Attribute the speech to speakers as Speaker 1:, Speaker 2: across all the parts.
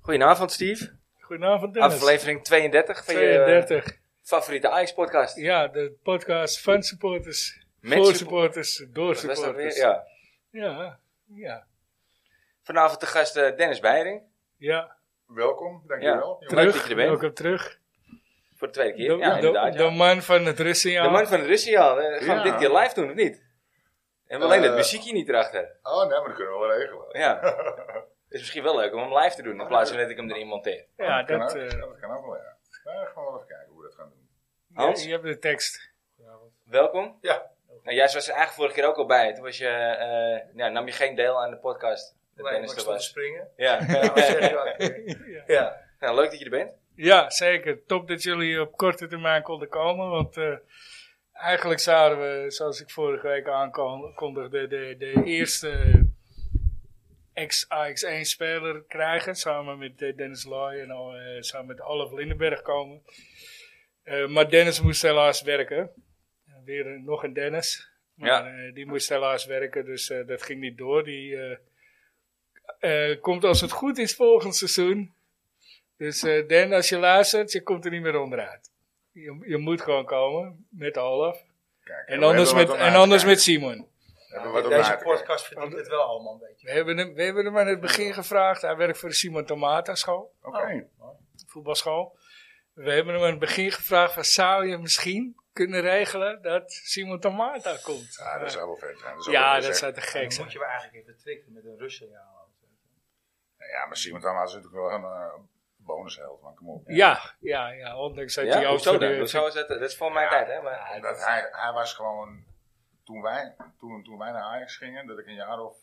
Speaker 1: Goedenavond, Steve.
Speaker 2: Goedenavond, Dennis.
Speaker 1: Aflevering 32 van je
Speaker 2: 32.
Speaker 1: eh, favoriete Ajax-podcast.
Speaker 2: Ja, de podcast van supporters,
Speaker 1: Met
Speaker 2: voor
Speaker 1: suppo-
Speaker 2: supporters, door
Speaker 1: Dat was dan
Speaker 2: supporters.
Speaker 1: weer- ja.
Speaker 2: ja, ja,
Speaker 1: Vanavond de gast eh, Dennis Beiring.
Speaker 2: ja.
Speaker 3: Welkom,
Speaker 1: Ja.
Speaker 3: dankjewel. jongen.
Speaker 1: Leuk
Speaker 2: Terug,
Speaker 1: dat je er bent.
Speaker 2: welkom terug.
Speaker 1: Voor de tweede
Speaker 2: De,
Speaker 1: keer. ja,
Speaker 2: de-
Speaker 1: inderdaad. ja.
Speaker 2: de man van het Russiaal.
Speaker 1: De man van de Russiaal. eh, gaan we
Speaker 3: Ja.
Speaker 1: dit keer live doen, of niet? En alleen
Speaker 3: Eh,
Speaker 1: het muziekje niet erachter.
Speaker 3: Oh nee, maar dat kunnen we wel regelen.
Speaker 1: Ja. is misschien wel leuk om hem live te doen, in plaats van dat ik hem erin monteer.
Speaker 3: Oh,
Speaker 2: Ja,
Speaker 3: dat, kan
Speaker 2: dat,
Speaker 3: ook.
Speaker 2: eh,
Speaker 3: Ja, dat kan ook wel, ja. Ja, gaan we wel even kijken hoe we dat gaan doen.
Speaker 1: Hans?
Speaker 2: je, je hebt de tekst.
Speaker 1: Welkom.
Speaker 3: Ja.
Speaker 1: Nou, jij was er eigenlijk vorige keer ook al bij. Toen was je, eh, ja, nam je geen deel aan de podcast. Dat
Speaker 4: Nee, maar
Speaker 1: Dennis
Speaker 4: ik
Speaker 1: er
Speaker 4: stond te
Speaker 1: was.
Speaker 4: springen.
Speaker 1: Ja.
Speaker 4: Ja, zeg je wel.
Speaker 2: Ja.
Speaker 4: ja.
Speaker 1: nou, leuk dat je er bent.
Speaker 2: Ja, zeker. Top dat jullie op korte termijn konden komen. Want eh, eigenlijk zouden we, zoals ik vorige week aankondigde, de, de eerste ex-AX1-speler krijgen. Samen met eh, Dennis Looy en al, eh, samen met Olaf Lindenberg komen. Eh, maar Dennis moest helaas werken. Weer een- nog een Dennis. Maar
Speaker 1: Ja.
Speaker 2: eh, die moest helaas werken, dus eh, dat ging niet door. Die eh, eh, komt als het goed is volgend seizoen. Dus eh Dan, als je luistert, je komt er niet meer onderuit. Je, je moet gewoon komen met Olaf.
Speaker 3: Kijk,
Speaker 2: En
Speaker 3: we
Speaker 2: anders,
Speaker 3: hebben
Speaker 2: met,
Speaker 3: wat om
Speaker 2: en
Speaker 3: na te
Speaker 2: anders met
Speaker 3: kijken.
Speaker 2: Simon.
Speaker 3: We hebben wat om na
Speaker 4: Deze
Speaker 3: te kijken.
Speaker 4: podcast verdient het wel allemaal een beetje.
Speaker 2: We hebben, hem, we hebben hem aan het begin gevraagd. Hij werkt voor de Simon Tomata school,
Speaker 3: Oké.
Speaker 2: Oh. voetbalschool. We hebben hem aan het begin gevraagd: van, zou je misschien kunnen regelen dat Simon Tomata komt?
Speaker 3: Ja, dat zou wel vet zijn. Dat zou
Speaker 2: ja,
Speaker 3: wel
Speaker 2: dat
Speaker 3: gezegd.
Speaker 2: zou te gek
Speaker 4: Dan
Speaker 2: zijn.
Speaker 4: moet je wel eigenlijk even trikken met een Russen. Ja.
Speaker 3: Ja, maar Simon Tama is natuurlijk wel een eh, bonusheld, maar kom op.
Speaker 2: Ja, ja, ja. Ondanks dat hij
Speaker 1: Ja,
Speaker 2: ook
Speaker 1: hoezo
Speaker 2: voor
Speaker 1: dan?
Speaker 2: de-
Speaker 1: Hoezo is dat? Dat is voor mijn
Speaker 3: Ja.
Speaker 1: tijd, hè? Maar,
Speaker 3: Omdat hij, hij was gewoon, toen wij, toen, toen wij naar Ajax gingen, dat ik een jaar of,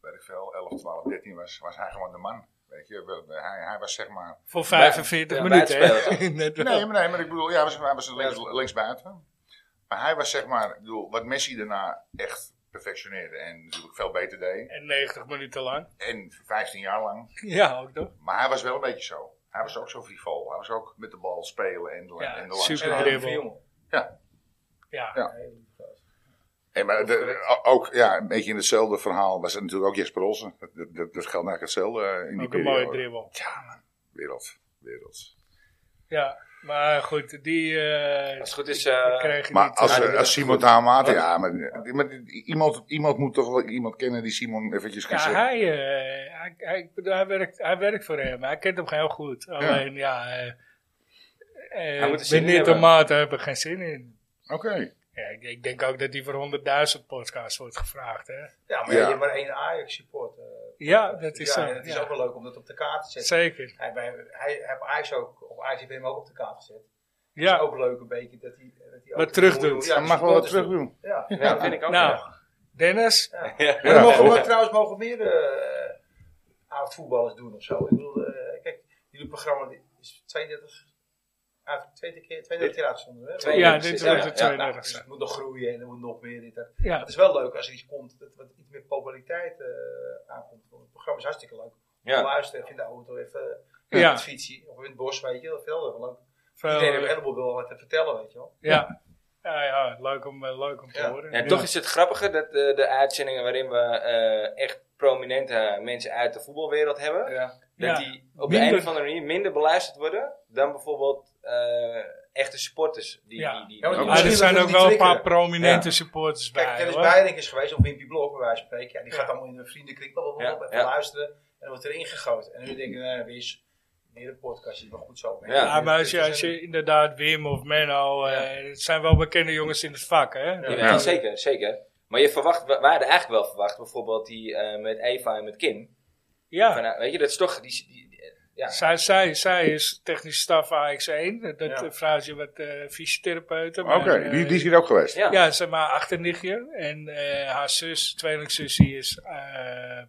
Speaker 3: weet ik veel, 11, 12, 13 was, was hij gewoon de man. Weet je, we- we- hij, hij was zeg maar...
Speaker 2: voor 45
Speaker 1: Ja, bij het
Speaker 2: minuten. hè?
Speaker 1: spelen,
Speaker 2: Net wel.
Speaker 3: Nee, maar, nee, maar ik bedoel, ja, hij was, hij was links, buiten. Maar hij was zeg maar, ik bedoel, wat Messi daarna echt perfectioneerde en natuurlijk veel beter deed.
Speaker 2: En 90 minuten lang.
Speaker 3: En 15 jaar lang.
Speaker 2: Ja, ook toch?
Speaker 3: Maar hij was wel een beetje zo. Hij was ook zo frivol. Hij was ook met de bal spelen en de,
Speaker 2: Ja,
Speaker 3: en de
Speaker 2: super.
Speaker 3: lange-
Speaker 2: dribbel.
Speaker 4: jongen.
Speaker 3: Ja.
Speaker 2: Ja.
Speaker 3: Ja. En maar de- ook, ja, een beetje in hetzelfde verhaal was het natuurlijk ook Jesper Olsen. Dat, dat, dat geldt eigenlijk hetzelfde eh, in die
Speaker 2: Ook een
Speaker 3: periode.
Speaker 2: mooie dribbel.
Speaker 3: Ja, man. Wereld. Wereld.
Speaker 2: Ja, maar goed, die eh
Speaker 1: Als het goed is, eh,
Speaker 2: kreeg je
Speaker 3: Maar
Speaker 2: niet.
Speaker 3: als,
Speaker 2: eh,
Speaker 3: eh, als Simon Tamata, ja, maar, maar iemand, iemand moet toch wel iemand kennen die Simon eventjes kan
Speaker 2: ja,
Speaker 3: zeggen.
Speaker 2: hij, eh, hij, hij, ik bedoel, hij, werkt, hij werkt voor hem. Hij kent hem heel goed. Alleen, ja... eh eh,
Speaker 1: Hij moet er zin in
Speaker 2: meneer
Speaker 1: hebben.
Speaker 2: Tomaat heb ik geen zin in.
Speaker 3: Oké.
Speaker 2: Ja, ik, ik denk ook dat hij voor 100.000 podcasts wordt gevraagd. Hè?
Speaker 4: Ja,
Speaker 3: Ja.
Speaker 4: maar je hebt maar één Ajax supporter. Dus
Speaker 2: Ja, dat is
Speaker 4: ja,
Speaker 2: zo,
Speaker 4: en Het is
Speaker 2: ja.
Speaker 4: ook wel leuk om dat op de kaart te zetten.
Speaker 2: Zeker.
Speaker 4: Hij, wij, hij heeft Ajax ook, of Ajax heeft hem ook op de kaart gezet. Ja.
Speaker 2: Ja,
Speaker 4: ook leuk een beetje dat hij... Dat hij ook
Speaker 2: Wat terug doet.
Speaker 4: Ja,
Speaker 3: Hij
Speaker 4: de
Speaker 3: mag wel wat
Speaker 4: supporters
Speaker 3: terug doen.
Speaker 4: doen. Ja.
Speaker 1: ja, dat vind ik ook.
Speaker 2: nou,
Speaker 1: ja.
Speaker 2: Dennis.
Speaker 4: Ja.
Speaker 1: Ja.
Speaker 4: Maar er mogen
Speaker 3: Ja.
Speaker 4: we trouwens mogen meer eh oud-voetballers doen of zo. Ik bedoel, eh, kijk, jullie programma is 32, uit, 22 keer, 32 keer uitgezonden. Hè?
Speaker 1: Twee-
Speaker 2: Ja,
Speaker 1: precies,
Speaker 2: dit
Speaker 1: ja,
Speaker 2: wordt de
Speaker 1: ja,
Speaker 4: Nou, dus
Speaker 2: 32e.
Speaker 4: het moet nog groeien en er moet nog meer dit. dat.
Speaker 2: Ja,
Speaker 4: Het is wel leuk als er iets komt dat wat iets meer populariteit eh, aankomt. Want het programma is hartstikke leuk.
Speaker 1: Ja.
Speaker 4: Luisteren even in de auto, even
Speaker 2: Ja.
Speaker 4: ja. fietsen of in het bos, weet je. Dat vind ik wel leuk.
Speaker 2: veel,
Speaker 4: Iedereen heeft een
Speaker 2: eh,
Speaker 4: heleboel wel wat te vertellen, weet je wel.
Speaker 2: ja. Ja, ja, leuk om, eh, leuk om te
Speaker 4: Ja.
Speaker 2: horen.
Speaker 1: En toch is het grappige dat eh, de uitzendingen waarin we eh, echt prominente mensen uit de voetbalwereld hebben,
Speaker 4: Ja.
Speaker 1: dat
Speaker 2: Ja.
Speaker 1: die op de
Speaker 2: Minder-
Speaker 1: een of andere manier minder beluisterd worden dan bijvoorbeeld eh, echte supporters. Die,
Speaker 2: Ja.
Speaker 1: die, die,
Speaker 4: Ja, want
Speaker 2: Maar Ah, er
Speaker 4: Misschien
Speaker 2: zijn
Speaker 4: dat
Speaker 2: ook
Speaker 4: we
Speaker 2: wel
Speaker 4: die
Speaker 2: een paar
Speaker 4: triggeren.
Speaker 2: prominente
Speaker 1: Ja.
Speaker 2: supporters bij.
Speaker 4: Kijk, Dennis
Speaker 2: hoor.
Speaker 4: Beiring is geweest, of Wimpy Blok bij wijze van spreken. Ja, die
Speaker 2: Ja.
Speaker 4: gaat allemaal in een vriendenkring wel
Speaker 1: Ja,
Speaker 4: even
Speaker 1: ja.
Speaker 4: luisteren. En dan wordt erin gegoten. En nu denken, nou, weer is weer een podcast, is wel goed zo. Dus
Speaker 1: Ja,
Speaker 2: Ja, maar als je, als je inderdaad Wim of Menno, eh, het zijn wel bekende jongens in het vak, hè?
Speaker 1: Ja,
Speaker 3: Ja.
Speaker 1: zeker, zeker. Maar je verwacht, we, we hadden eigenlijk wel verwacht, bijvoorbeeld die eh, met Eva en met Kim. Van,
Speaker 2: Ja,
Speaker 1: nou, weet je, dat is toch... Die, die- die- ja.
Speaker 2: zij, zij, zij is technische staf AX1, dat
Speaker 4: Ja.
Speaker 2: eh, vrouw is je wat eh fysiotherapeuten.
Speaker 3: Oké, die, die is hier ook geweest.
Speaker 1: Ja.
Speaker 2: Ja, ze maar achternichtje. En eh, haar zus, tweelingzus, die is eh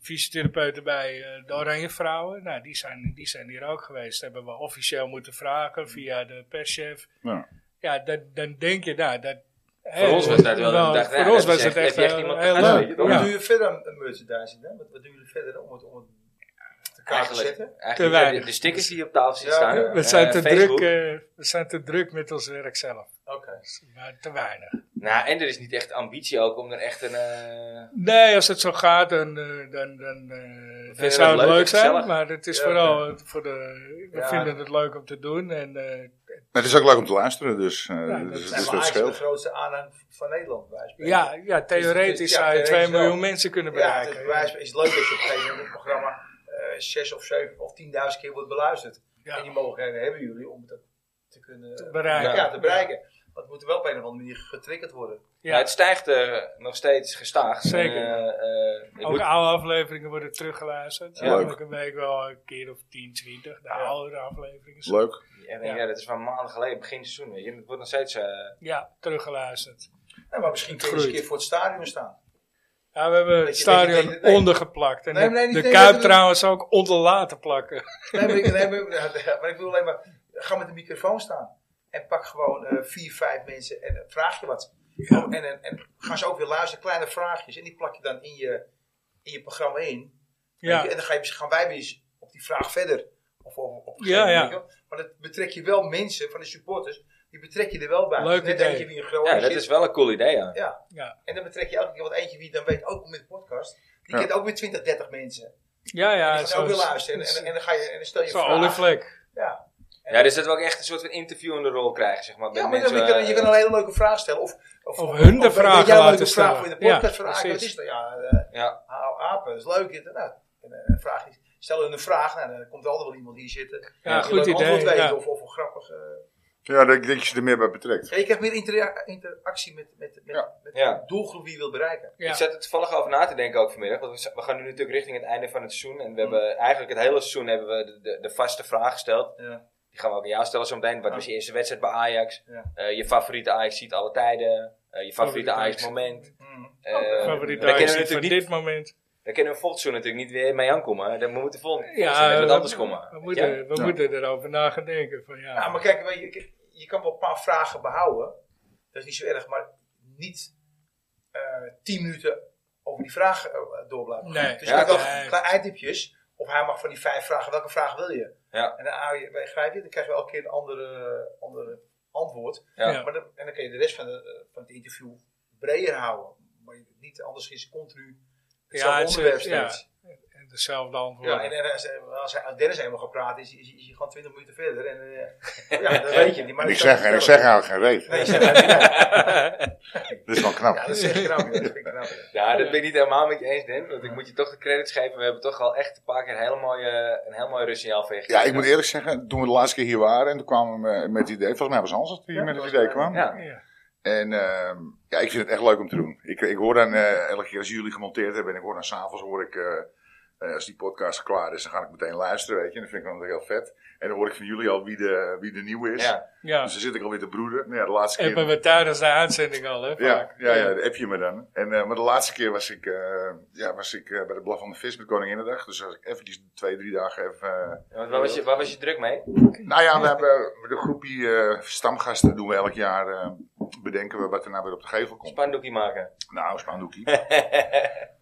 Speaker 2: fysiotherapeuten bij eh, de Oranje Vrouwen. Nou, die zijn, die zijn hier ook geweest. Hebben we officieel moeten vragen via de perschef.
Speaker 3: Ja.
Speaker 2: Ja, dat, dan denk je, nou, dat... nou,
Speaker 1: Voor ons was dat wel een dag,
Speaker 2: Voor
Speaker 1: ja, dat
Speaker 2: ons was
Speaker 1: is
Speaker 2: het
Speaker 1: echt-
Speaker 2: echt eh,
Speaker 1: heb je echt
Speaker 2: heel
Speaker 1: iemand
Speaker 2: heel
Speaker 1: te gast,
Speaker 2: leuk.
Speaker 1: weet je
Speaker 4: Hoe
Speaker 1: toch?
Speaker 2: Ja.
Speaker 4: doe je verder aan merchandising? Hè? Wat, wat doen jullie verder om het, om het te kaarten
Speaker 1: Eigenlijk-
Speaker 4: zetten.
Speaker 1: Eigenlijk
Speaker 2: Te
Speaker 1: heb je
Speaker 2: weinig.
Speaker 1: De stickers die op tafel zitten
Speaker 4: Ja,
Speaker 1: staan.
Speaker 4: we
Speaker 2: We
Speaker 1: eh,
Speaker 2: zijn, te
Speaker 1: Facebook.
Speaker 2: druk, eh, we zijn te druk met ons werk zelf.
Speaker 4: Oké.
Speaker 2: Maar te weinig.
Speaker 1: Nou, en er is niet echt ambitie ook om er echt een... eh,
Speaker 2: Nee, als het zo gaat, dan, eh, dan, dan, eh,
Speaker 1: je
Speaker 2: dan
Speaker 1: dat
Speaker 2: zou het
Speaker 1: leuk en
Speaker 2: leuk zijn.
Speaker 1: gezellig?
Speaker 2: Maar het is
Speaker 4: Ja,
Speaker 2: vooral eh, voor de. We
Speaker 4: Ja.
Speaker 2: vinden het leuk om te doen. En, eh,
Speaker 3: Maar het is ook leuk om te luisteren, dus, eh,
Speaker 2: Ja, dat
Speaker 4: Dat
Speaker 3: dus,
Speaker 4: zijn
Speaker 3: dus dat
Speaker 4: wel eigenlijk de
Speaker 3: scheelt.
Speaker 4: grootste aanhang van Nederland. bij wijze van
Speaker 2: ja, ja,
Speaker 4: Dus- dus-
Speaker 2: theoretisch
Speaker 4: ja,
Speaker 2: zou je
Speaker 4: theoretisch
Speaker 2: 2 miljoen
Speaker 4: wel.
Speaker 2: mensen kunnen
Speaker 4: Ja, het,
Speaker 2: bereiken.
Speaker 4: bij wijze van- is leuk dat je op een gegeven moment het programma eh, zes of zeven of tienduizend keer wordt beluisterd.
Speaker 2: Ja.
Speaker 4: En die mogelijkheden hebben jullie om dat te kunnen
Speaker 2: Te bereiken.
Speaker 4: Ja, te bereiken. Maar het moet wel op een of andere manier getriggerd worden.
Speaker 1: nou,
Speaker 2: ja.
Speaker 1: het stijgt er nog steeds gestaag.
Speaker 2: Zeker.
Speaker 1: En, eh, eh, ik
Speaker 2: Ook
Speaker 1: moet-
Speaker 2: oude afleveringen worden teruggeluisterd.
Speaker 1: Ja.
Speaker 2: Elke week wel een keer of 10, 20. De oude afleveringen.
Speaker 3: Leuk.
Speaker 1: ja, ja, dat is van maanden geleden, begin seizoen. Weet je. Het wordt nog steeds... eh,
Speaker 2: Ja, teruggeluisterd.
Speaker 4: Ja, maar misschien kun je eens een
Speaker 2: groeit.
Speaker 4: keer voor het stadion staan.
Speaker 2: Ja, we hebben het
Speaker 4: je-
Speaker 2: stadion
Speaker 4: dat je- nee.
Speaker 2: ondergeplakt. En
Speaker 4: Nee,
Speaker 2: de-
Speaker 4: nee, niet-
Speaker 2: de
Speaker 4: nee,
Speaker 2: Kuip
Speaker 4: dat we-
Speaker 2: trouwens ook onder laten plakken.
Speaker 4: Nee, maar ik, nee, maar, maar ik bedoel alleen maar, ga met de microfoon staan. En pak gewoon eh, vier, vijf mensen en eh, vraag je wat. Oh, en, en, en gaan ze ook weer luisteren, kleine vraagjes. En die plak je dan in je, in je programma in. Weet je,
Speaker 2: Ja,
Speaker 4: En dan ga je, gaan wij weer eens op die vraag verder. Of op, op een
Speaker 2: Ja,
Speaker 4: gegeven
Speaker 2: ja.
Speaker 4: moment, weet je wel. Maar dat betrek je wel mensen van de supporters. Die betrek je er wel bij. Dus
Speaker 2: Leuk
Speaker 4: Net
Speaker 2: idee.
Speaker 4: eentje wie een groot
Speaker 1: ja, dat is wel een cool idee, ja.
Speaker 4: Ja.
Speaker 2: ja.
Speaker 4: En dan betrek je elke keer wat eentje wie dan weet. Ook met de podcast. Die
Speaker 3: Ja.
Speaker 4: kent ook weer 20, 30 mensen.
Speaker 2: ja, ja
Speaker 4: die gaan ook weer luisteren. En, en,
Speaker 2: Zo'n
Speaker 4: en dan ga je, en dan stel je
Speaker 2: zo
Speaker 4: vragen.
Speaker 2: olievlek.
Speaker 4: Ja.
Speaker 1: Ja, dus dat we ook echt een soort van interviewende rol krijgen, zeg maar. met
Speaker 4: Ja, maar dan,
Speaker 1: mensen,
Speaker 4: je, kan, je
Speaker 1: eh,
Speaker 4: kan een hele leuke vraag stellen. Of, of,
Speaker 2: Of hun de
Speaker 4: weet
Speaker 2: vragen
Speaker 4: jij
Speaker 2: laten
Speaker 4: leuke
Speaker 2: stellen.
Speaker 4: vraag voor in de podcast
Speaker 2: Ja,
Speaker 4: van Aken? Wat
Speaker 2: precies.
Speaker 4: is dat? Ja, eh,
Speaker 1: ja.
Speaker 4: hou apen, dat is leuk inderdaad. En, eh, vraag is, stel hun een vraag, nou, dan komt er altijd wel iemand hier zitten. die een
Speaker 2: goed
Speaker 4: leuk
Speaker 2: idee,
Speaker 4: antwoord weet,
Speaker 2: ja.
Speaker 4: Of, of een grappig... eh,
Speaker 3: Ja, ik denk dat je er meer bij betrekt.
Speaker 4: Ja, je krijgt meer intera- interactie met, met, met,
Speaker 3: Ja.
Speaker 4: met
Speaker 1: Ja.
Speaker 4: de doelgroep die je wil bereiken.
Speaker 2: Ja.
Speaker 1: Ik zat er toevallig over na te denken ook vanmiddag. Want we z- we gaan nu natuurlijk richting het einde van het seizoen. En we hebben eigenlijk het hele seizoen hebben we de, de, de vaste vraag gesteld.
Speaker 4: Ja.
Speaker 1: Die gaan we ook aan jou stellen zometeen. Wat
Speaker 4: Ja.
Speaker 1: was je eerste wedstrijd bij Ajax?
Speaker 4: Ja.
Speaker 1: Eh, je favoriete Ajax ziet alle tijden. Eh, je favoriete
Speaker 2: Favoriete
Speaker 1: Ajax moment.
Speaker 2: Mm.
Speaker 1: Eh,
Speaker 2: Favoriet
Speaker 1: daar kennen we
Speaker 2: Ajax zit van
Speaker 1: natuurlijk niet,
Speaker 2: dit moment.
Speaker 1: daar kunnen we volgend seizoen natuurlijk niet weer mee aankomen. Dan moeten we volgend
Speaker 2: Ja,
Speaker 1: seizoen met wat
Speaker 2: we-
Speaker 1: anders komen.
Speaker 2: We
Speaker 1: Weet
Speaker 2: moeten,
Speaker 1: je?
Speaker 2: we
Speaker 3: Ja.
Speaker 2: moeten erover na gaan denken. Van, ja.
Speaker 4: Ja, maar kijk, weet je, ik- je kan wel een paar vragen behouden. Dat is niet zo erg, maar niet eh tien minuten over die vraag eh, door blijven gaan.
Speaker 2: Nee.
Speaker 4: Dus
Speaker 1: Ja,
Speaker 4: je kan wel
Speaker 2: nee.
Speaker 4: kleine eindipjes. Of hij mag van die vijf vragen, welke vraag wil je?
Speaker 1: Ja.
Speaker 4: En dan hou je, begrijp je, dan krijg je elke keer een andere, andere antwoord.
Speaker 1: Ja.
Speaker 2: Ja.
Speaker 4: Maar dan, en dan kun je de rest van, de, eh, van het interview breder houden. Maar je- niet anders is continu hetzelfde
Speaker 2: Ja, het is- eh,
Speaker 4: onderwerp
Speaker 2: ja.
Speaker 4: steeds.
Speaker 2: En dezelfde antwoord.
Speaker 4: Ja, en, en als, eh, als hij- als Dennis helemaal gaat praten, is, is, is hij gewoon 20 minuten verder. En, eh, ja, dat weet je niet. Maar
Speaker 3: Ik
Speaker 4: dat
Speaker 3: zeg,
Speaker 4: kan
Speaker 3: en ik zeg
Speaker 4: vertellen.
Speaker 3: eigenlijk geen reet.
Speaker 4: Nee, je zegt-
Speaker 3: Dat is wel knap.
Speaker 4: ja, dat zeg ik knap. ja, Dat vind ik nou knap. ja.
Speaker 1: Ja, dat ben ik niet helemaal met je eens, Dan. Want ik moet je toch de credits geven. We hebben toch al echt een paar keer een heel mooie, een heel mooi Russiaal veeg.
Speaker 3: Ja, ik moet eerlijk zeggen, toen we de laatste keer hier waren en toen kwamen we eh, met het idee, volgens mij was Hans dat die
Speaker 4: Ja,
Speaker 3: met het
Speaker 4: dat
Speaker 3: idee
Speaker 4: was-
Speaker 3: kwam.
Speaker 1: Ja.
Speaker 2: Ja.
Speaker 3: En ehm, ja, ik vind het echt leuk om te doen. Ik, ik hoor dan eh, elke keer als jullie gemonteerd hebben en ik hoor dan s'avonds hoor ik, eh, eh, als die podcast klaar is, dan ga ik meteen luisteren, weet je. En dat vind ik dan heel vet. En dan hoor ik van jullie al wie de, wie de nieuwe is.
Speaker 1: Ja.
Speaker 2: Ja.
Speaker 3: Dus dan zit ik alweer te broeden. Nou ja, de laatste keer...
Speaker 2: Appen we tijdens de uitzending al, hè?
Speaker 3: Ja,
Speaker 2: vaak.
Speaker 3: ja, ja, dat app je me dan. En, eh, maar de laatste keer was ik, eh, ja, was ik eh, bij de Blaf van de Vis met Koninginnedag. Dus was ik eventjes twee, drie dagen even... eh,
Speaker 1: Want waar, was je, waar was je druk mee?
Speaker 3: nou ja, we hebben met een groepje eh, stamgasten doen we elk jaar eh, bedenken we wat er nou weer op de gevel komt.
Speaker 1: Spandoekie maken.
Speaker 3: Nou, spandoekie.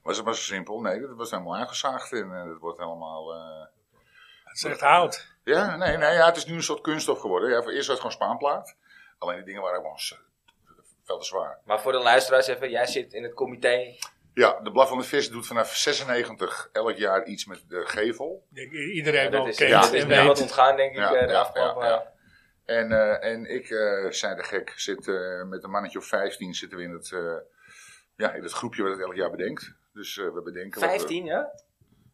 Speaker 3: was het maar zo simpel? Nee, dat was helemaal aangezaagd en eh, dat wordt helemaal... eh,
Speaker 2: Het is echt hout.
Speaker 3: Ja, nee, nee ja, het is nu een soort kunststof geworden. Ja, voor eerst was het gewoon spaanplaat. Alleen die dingen waren gewoon s- veel te zwaar.
Speaker 1: Maar voor de luisteraars even, jij zit in het comité.
Speaker 3: Ja, de Blaf van de Vis doet vanaf 96 elk jaar iets met de gevel.
Speaker 2: Ik denk, i- Iedereen
Speaker 1: dat
Speaker 2: wel
Speaker 1: is,
Speaker 2: kent
Speaker 1: dat is
Speaker 2: en
Speaker 1: mij wat
Speaker 2: weet.
Speaker 1: ontgaan, denk ik,
Speaker 3: Ja,
Speaker 1: eh, de
Speaker 3: ja,
Speaker 1: afgelopen...
Speaker 3: ja, ja. En, eh, en ik, eh zei de gek, zit eh, met een mannetje of 15 zitten we in het, eh, ja, in het groepje wat het elk jaar bedenkt. Dus eh, we bedenken... wat we-
Speaker 1: 15, ja?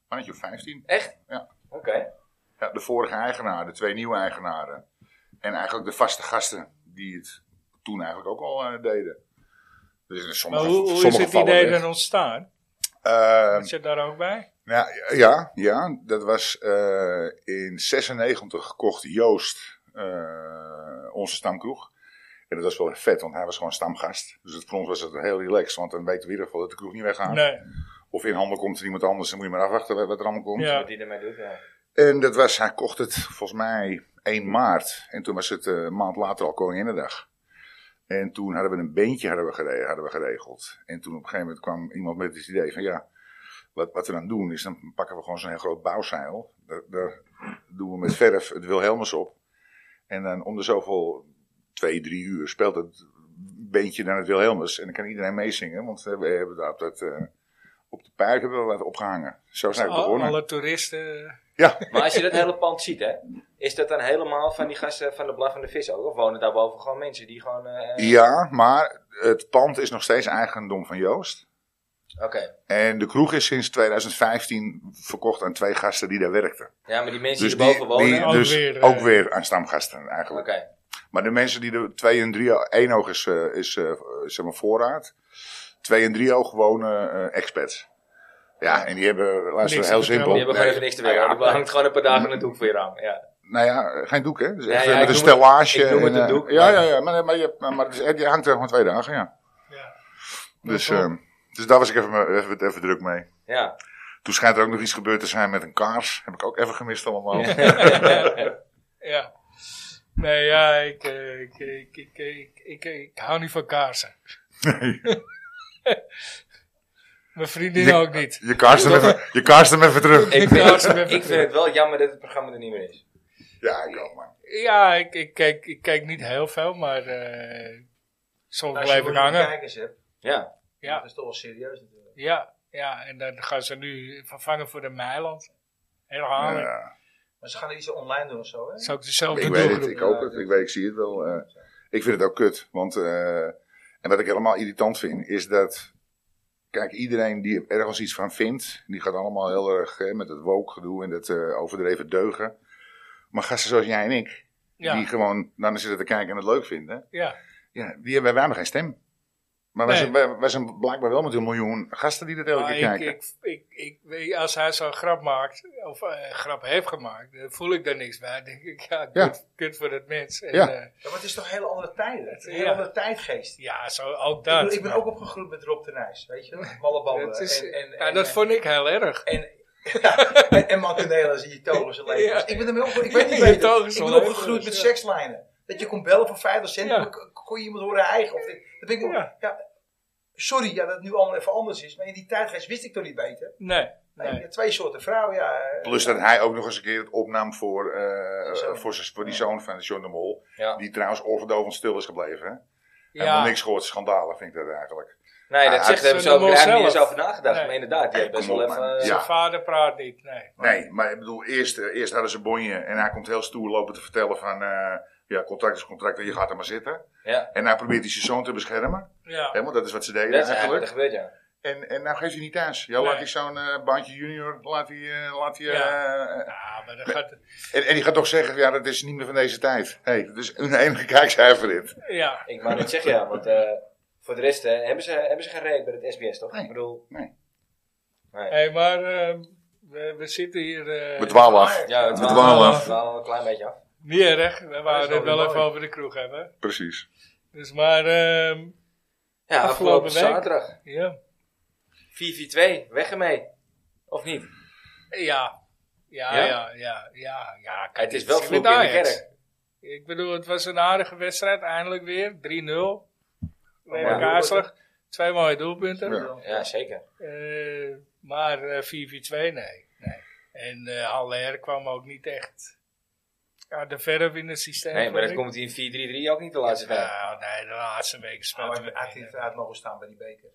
Speaker 3: mannetje of 15.
Speaker 1: Echt?
Speaker 3: Ja.
Speaker 1: Oké.
Speaker 3: Ja, de vorige eigenaar, de twee nieuwe eigenaren. En eigenlijk de vaste gasten die het toen eigenlijk ook al eh, deden. Dus in
Speaker 2: Maar
Speaker 3: sommige,
Speaker 2: hoe, hoe is
Speaker 3: sommige
Speaker 2: het idee
Speaker 3: vallen weg.
Speaker 2: dan ontstaan?
Speaker 3: Eh,
Speaker 2: Zit je daar ook bij?
Speaker 3: Nou, ja, ja, dat was eh, in 96 kocht Joost eh, onze stamkroeg. En dat was wel vet, want hij was gewoon stamgast. Dus het, voor ons was het heel relaxed, want dan weten we in ieder geval dat de kroeg niet weggaat.
Speaker 2: Nee.
Speaker 3: Of in handen komt er iemand anders, dan moet je maar afwachten wat wat er allemaal komt.
Speaker 2: Ja.
Speaker 1: Wat die ermee doet, ja.
Speaker 3: En dat was, hij kocht het volgens mij 1 maart. En toen was het eh, een maand later al Koninginnedag. En toen hadden we een beentje hadden we gere- hadden we geregeld. En toen op een gegeven moment kwam iemand met het idee van ja, Wat, wat we dan doen is, dan pakken we gewoon zo'n heel groot bouwzeil. Daar, daar doen we met verf het Wilhelmus op. En dan om de zoveel, twee, drie uur speelt het beentje naar het Wilhelmus. En dan kan iedereen meezingen, want we hebben daar op, dat, eh, op de puik hebben we wat opgehangen. Zo zijn we
Speaker 2: Al,
Speaker 3: begonnen.
Speaker 2: alle toeristen.
Speaker 3: Ja,
Speaker 1: Maar als je dat hele pand ziet, hè, is dat dan helemaal van die gasten van de blaffende vis ook? Of wonen daarboven gewoon mensen die gewoon. eh,
Speaker 3: ja, maar het pand is nog steeds eigendom van Joost.
Speaker 1: Oké.
Speaker 3: En de kroeg is sinds 2015 verkocht aan twee gasten die daar werkten.
Speaker 1: Ja, maar die mensen
Speaker 3: Dus,
Speaker 1: die
Speaker 3: die,
Speaker 1: erboven wonen.
Speaker 3: die,
Speaker 2: Ook
Speaker 3: dus
Speaker 2: weer, eh,
Speaker 3: ook weer aan stamgasten
Speaker 1: Oké.
Speaker 3: eigenlijk. Maar de mensen die de 2 en 3 één oog is, eh, is eh, zeg maar voorraad. 2 en 3 oog wonen eh expats. Ja, en die hebben, luister,
Speaker 2: Niks te
Speaker 3: heel
Speaker 2: vertellen.
Speaker 3: simpel.
Speaker 2: Die
Speaker 1: Die hebben gewoon even niks te werken.
Speaker 3: Ja,
Speaker 1: Die hangt gewoon een paar dagen een doek voor je raam. Ja.
Speaker 3: Nou ja, geen doek, hè? Dus
Speaker 1: ja, ik
Speaker 3: echt, eh, met een
Speaker 1: noem het-
Speaker 3: stellage.
Speaker 1: ik noem het
Speaker 3: en,
Speaker 1: een
Speaker 3: eh,
Speaker 1: doek,
Speaker 3: Ja,
Speaker 1: maar-
Speaker 3: ja, ja. Maar, maar, je, maar, maar het is- eh, die hangt er gewoon twee dagen, ja.
Speaker 2: Ja.
Speaker 3: Dus,
Speaker 2: Ja, toch.
Speaker 3: ehm, dus daar was ik even, me- even, even druk mee.
Speaker 1: ja.
Speaker 3: Toen schijnt er ook nog iets gebeurd te zijn met een kaars. Heb ik ook even gemist allemaal.
Speaker 2: Ja. Nee, ja, ik, eh, ik, ik, ik, ik, ik, ik hou niet van kaarsen. Mijn vriendin
Speaker 3: Je-
Speaker 2: ook niet.
Speaker 3: Je kaarst hem even, je kaarst hem even
Speaker 1: ik,
Speaker 3: terug.
Speaker 2: Ja,
Speaker 1: vind,
Speaker 2: ze hebben-
Speaker 1: ik vind het wel jammer dat het programma er niet meer is.
Speaker 3: Ja, ik ook, man.
Speaker 2: Ja, ik, ik, kijk, ik kijk niet heel veel, maar eh soms
Speaker 4: Nou, Als je
Speaker 2: blijf ik
Speaker 4: miljoen
Speaker 2: hangen.
Speaker 4: kijkers hebt,
Speaker 1: Ja.
Speaker 2: Ja.
Speaker 4: dat is toch wel serieus natuurlijk.
Speaker 2: Ja, ja, en dan gaan ze nu vervangen voor de Meiland. Heel hangen.
Speaker 3: Ja,
Speaker 4: Maar ze gaan er iets online doen of zo, hè?
Speaker 2: Zou ik dezelfde
Speaker 3: ik
Speaker 2: doen?
Speaker 3: weet het, ik hoop het. Ik, weet, ik zie het wel. eh. ik vind het ook kut. Want, eh, en wat ik helemaal irritant vind, is dat... Kijk, iedereen die ergens iets van vindt, die gaat allemaal heel erg eh, met het woke gedoe en dat eh, overdreven deugen. Maar gasten zoals jij en ik,
Speaker 2: Ja,
Speaker 3: die gewoon naar zitten te kijken en het leuk vinden,
Speaker 2: ja,
Speaker 3: ja, die hebben wij maar geen stem. Maar wij,
Speaker 2: Nee.
Speaker 3: zijn, wij, wij zijn blijkbaar wel met een miljoen gasten die dat elke
Speaker 2: Maar
Speaker 3: keer
Speaker 2: ik,
Speaker 3: kijken.
Speaker 2: ik, ik, ik weet, als hij zo'n grap maakt, of eh, een grap heeft gemaakt, dan voel ik daar niks bij. Dan denk ik, ja,
Speaker 3: Ja.
Speaker 2: kut, kut voor dat mens. En,
Speaker 3: Ja.
Speaker 2: ja.
Speaker 4: Ja, maar het is toch een hele andere tijden. Het is een
Speaker 2: Ja.
Speaker 4: hele andere tijdgeest. Ik
Speaker 2: ja, zo ook
Speaker 4: bedoel,
Speaker 2: dat.
Speaker 4: Ik, ben ook opgegroeid met Rob de Nijs, weet je? wel? Malleballen
Speaker 2: Het is-
Speaker 4: en, en,
Speaker 2: ja,
Speaker 4: en,
Speaker 2: dat
Speaker 4: en-
Speaker 2: vond ik heel erg.
Speaker 4: En, ja, en, en Mancanela zie je togen zijn leven.
Speaker 2: Ja.
Speaker 4: Ik ben ermee opgegroeid. Ik weet niet
Speaker 2: Je
Speaker 4: beter.
Speaker 2: togen
Speaker 4: Ik
Speaker 2: zijn
Speaker 4: ben
Speaker 2: leven,
Speaker 4: opgegroeid met
Speaker 2: ja.
Speaker 4: sekslijnen. Dat je kon bellen voor 50 cent.
Speaker 2: Ja.
Speaker 4: dan k- kon je iemand horen eigen. Of dit. dat ben ik ook-
Speaker 2: Ja.
Speaker 4: ja. Sorry ja, dat het nu allemaal even anders is. Maar in die tijdgeest wist ik toch niet beter.
Speaker 2: Nee,
Speaker 4: Nee,
Speaker 2: nee.
Speaker 4: Twee soorten vrouwen, ja. eh,
Speaker 3: Plus dat hij ook nog eens een keer het opnam voor, eh,
Speaker 4: Zoon.
Speaker 3: voor, zijn- voor die zoon van John de Mol.
Speaker 1: Ja.
Speaker 3: Die trouwens oorverdovend stil is gebleven. Hè? Helemaal
Speaker 2: Ja,
Speaker 3: niks gehoord. Schandalen vind ik dat eigenlijk.
Speaker 1: Nee,
Speaker 3: Ah,
Speaker 1: dat zegt, daar hebben
Speaker 2: het
Speaker 1: ze
Speaker 2: is
Speaker 1: ook
Speaker 2: een
Speaker 1: daar hebben we niet
Speaker 2: zelf.
Speaker 1: eens over nagedacht.
Speaker 2: Nee.
Speaker 1: Maar inderdaad, die heeft best
Speaker 3: Kom
Speaker 1: wel
Speaker 3: op,
Speaker 1: even...
Speaker 3: man.
Speaker 1: eh,
Speaker 3: Ja.
Speaker 2: zijn vader praat niet. Nee.
Speaker 3: Nee, maar ik bedoel, eerst, eh, eerst hadden ze bonje en hij komt heel stoer lopen te vertellen van... eh, ja, contract is contract en je gaat er maar zitten.
Speaker 1: ja.
Speaker 3: En hij probeert die zijn zoon te beschermen.
Speaker 2: Ja.
Speaker 3: Hè, want dat is wat ze
Speaker 1: Dat
Speaker 3: deden
Speaker 1: is eigenlijk wat er
Speaker 3: eigenlijk.
Speaker 1: gebeurt, ja.
Speaker 3: En, en nou geeft hij niet thuis. Ja,
Speaker 2: Nee.
Speaker 3: laat die zo'n eh, bandje junior, laat hij... eh, laat hij
Speaker 2: Ja.
Speaker 3: eh,
Speaker 2: Ja, maar dat gaat...
Speaker 3: en, en die gaat toch zeggen, ja, dat is niet meer van deze tijd. Hé, hey, dat is een enige kijkcijfer dit.
Speaker 2: Ja,
Speaker 1: Ik wou net zeggen, ja, want eh, voor de rest eh, hebben, ze, hebben ze geen reet bij het SBS, toch?
Speaker 3: Nee.
Speaker 1: Ik bedoel,
Speaker 3: Nee.
Speaker 1: nee.
Speaker 2: hey, maar ehm, we, we zitten hier... eh,
Speaker 3: We dwalen af.
Speaker 1: Ja, het
Speaker 3: We
Speaker 1: dwalen-
Speaker 3: dwalen
Speaker 1: we
Speaker 3: af.
Speaker 1: dwalen een klein beetje af.
Speaker 2: Niet erg, we
Speaker 4: Dat is
Speaker 2: waren
Speaker 4: wel
Speaker 2: het wel
Speaker 4: weer
Speaker 2: even
Speaker 4: mooi.
Speaker 2: over de kroeg hebben.
Speaker 3: Precies.
Speaker 2: Dus maar, ehm,
Speaker 1: Ja,
Speaker 2: Afgelopen
Speaker 1: afgelopen,
Speaker 2: week.
Speaker 1: zaterdag.
Speaker 2: ja.
Speaker 1: 4-4-2, weg ermee. Of niet?
Speaker 2: Ja. Ja,
Speaker 1: Ja?
Speaker 2: ja, ja, ja, ja. Kijk,
Speaker 1: Het is wel
Speaker 2: met
Speaker 1: vloek in de
Speaker 2: Ajax.
Speaker 1: kerk.
Speaker 2: Ik bedoel, het was een aardige wedstrijd, eindelijk weer. 3-0. Bij
Speaker 1: mooie
Speaker 2: elkaar slag. Twee mooie doelpunten.
Speaker 3: Ja.
Speaker 1: Ja, zeker.
Speaker 2: Eh, maar eh, 4-4-2, nee. nee. En eh Haller kwam ook niet echt aan de verf in het systeem.
Speaker 1: Nee, maar
Speaker 2: vond
Speaker 1: dat
Speaker 2: ik.
Speaker 1: komt in 4-3-3 ook niet de laatste tijd.
Speaker 2: Nou, nee, de laatste week
Speaker 4: Maar
Speaker 2: speelde
Speaker 4: hij had
Speaker 2: we
Speaker 3: eh,
Speaker 4: niet uit mogen staan bij die beker.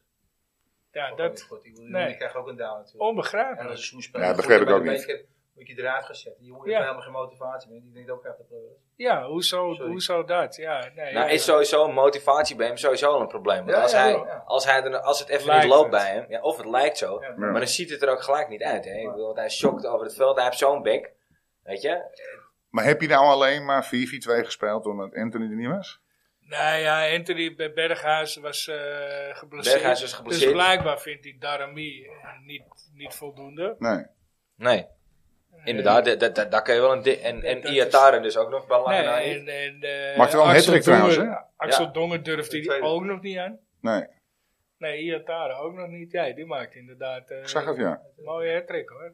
Speaker 2: Ja,
Speaker 4: Ook niet
Speaker 2: dat
Speaker 4: goed. Ik bedoel,
Speaker 2: nee. Oh,
Speaker 4: Die krijgt ook een down natuurlijk. En dat
Speaker 2: onbegrijpelijk.
Speaker 4: is een
Speaker 3: Ja, dat begrijp ik ook niet.
Speaker 4: Moet je eruit gezet. Die jongen
Speaker 2: Ja.
Speaker 4: heeft helemaal geen motivatie meer. Die denkt ook echt dat pleuren.
Speaker 2: Ja, hoezo,
Speaker 4: Sorry.
Speaker 2: hoezo dat? Ja, nee,
Speaker 1: Nou,
Speaker 2: ja.
Speaker 1: is sowieso motivatie bij hem sowieso al een probleem. Want
Speaker 4: Ja,
Speaker 1: als,
Speaker 4: ja,
Speaker 1: hij,
Speaker 4: ja.
Speaker 1: Als, hij er, als het even
Speaker 2: Lijkt
Speaker 1: niet loopt
Speaker 2: het.
Speaker 1: bij hem, ja, of het lijkt zo,
Speaker 4: Ja.
Speaker 1: maar dan ziet het er ook gelijk niet uit. Hè? Ik bedoel, want hij shockt over het veld, hij heeft zo'n bek. Weet je?
Speaker 3: Maar heb je nou alleen maar 4-4-2 gespeeld omdat Anthony er niet was?
Speaker 2: Nou ja, Anthony Be- Berghuis was eh geblesseerd.
Speaker 1: Berghuis was
Speaker 2: Dus
Speaker 1: geblesseerd.
Speaker 2: blijkbaar vindt hij Darami eh, niet, niet voldoende.
Speaker 3: Nee.
Speaker 1: Nee, inderdaad, da- da- da- daar kun je wel een. di- En, en
Speaker 2: Dat is-
Speaker 1: Iataren dus ook nog bij lange
Speaker 2: Nee,
Speaker 1: na niet.
Speaker 2: en, en, eh,
Speaker 3: Maakte wel een
Speaker 2: Axel
Speaker 3: hattrick trouwens,
Speaker 2: Dongen-
Speaker 3: hè?
Speaker 2: Axel
Speaker 1: Ja.
Speaker 2: Dongen durfde
Speaker 4: De
Speaker 2: die
Speaker 4: tweede.
Speaker 2: ook nog niet aan.
Speaker 3: Nee.
Speaker 2: Nee, Iatare ook nog niet. Ja, die maakt inderdaad eh
Speaker 3: Ik zag het, ja.
Speaker 2: een mooie hattrick hoor.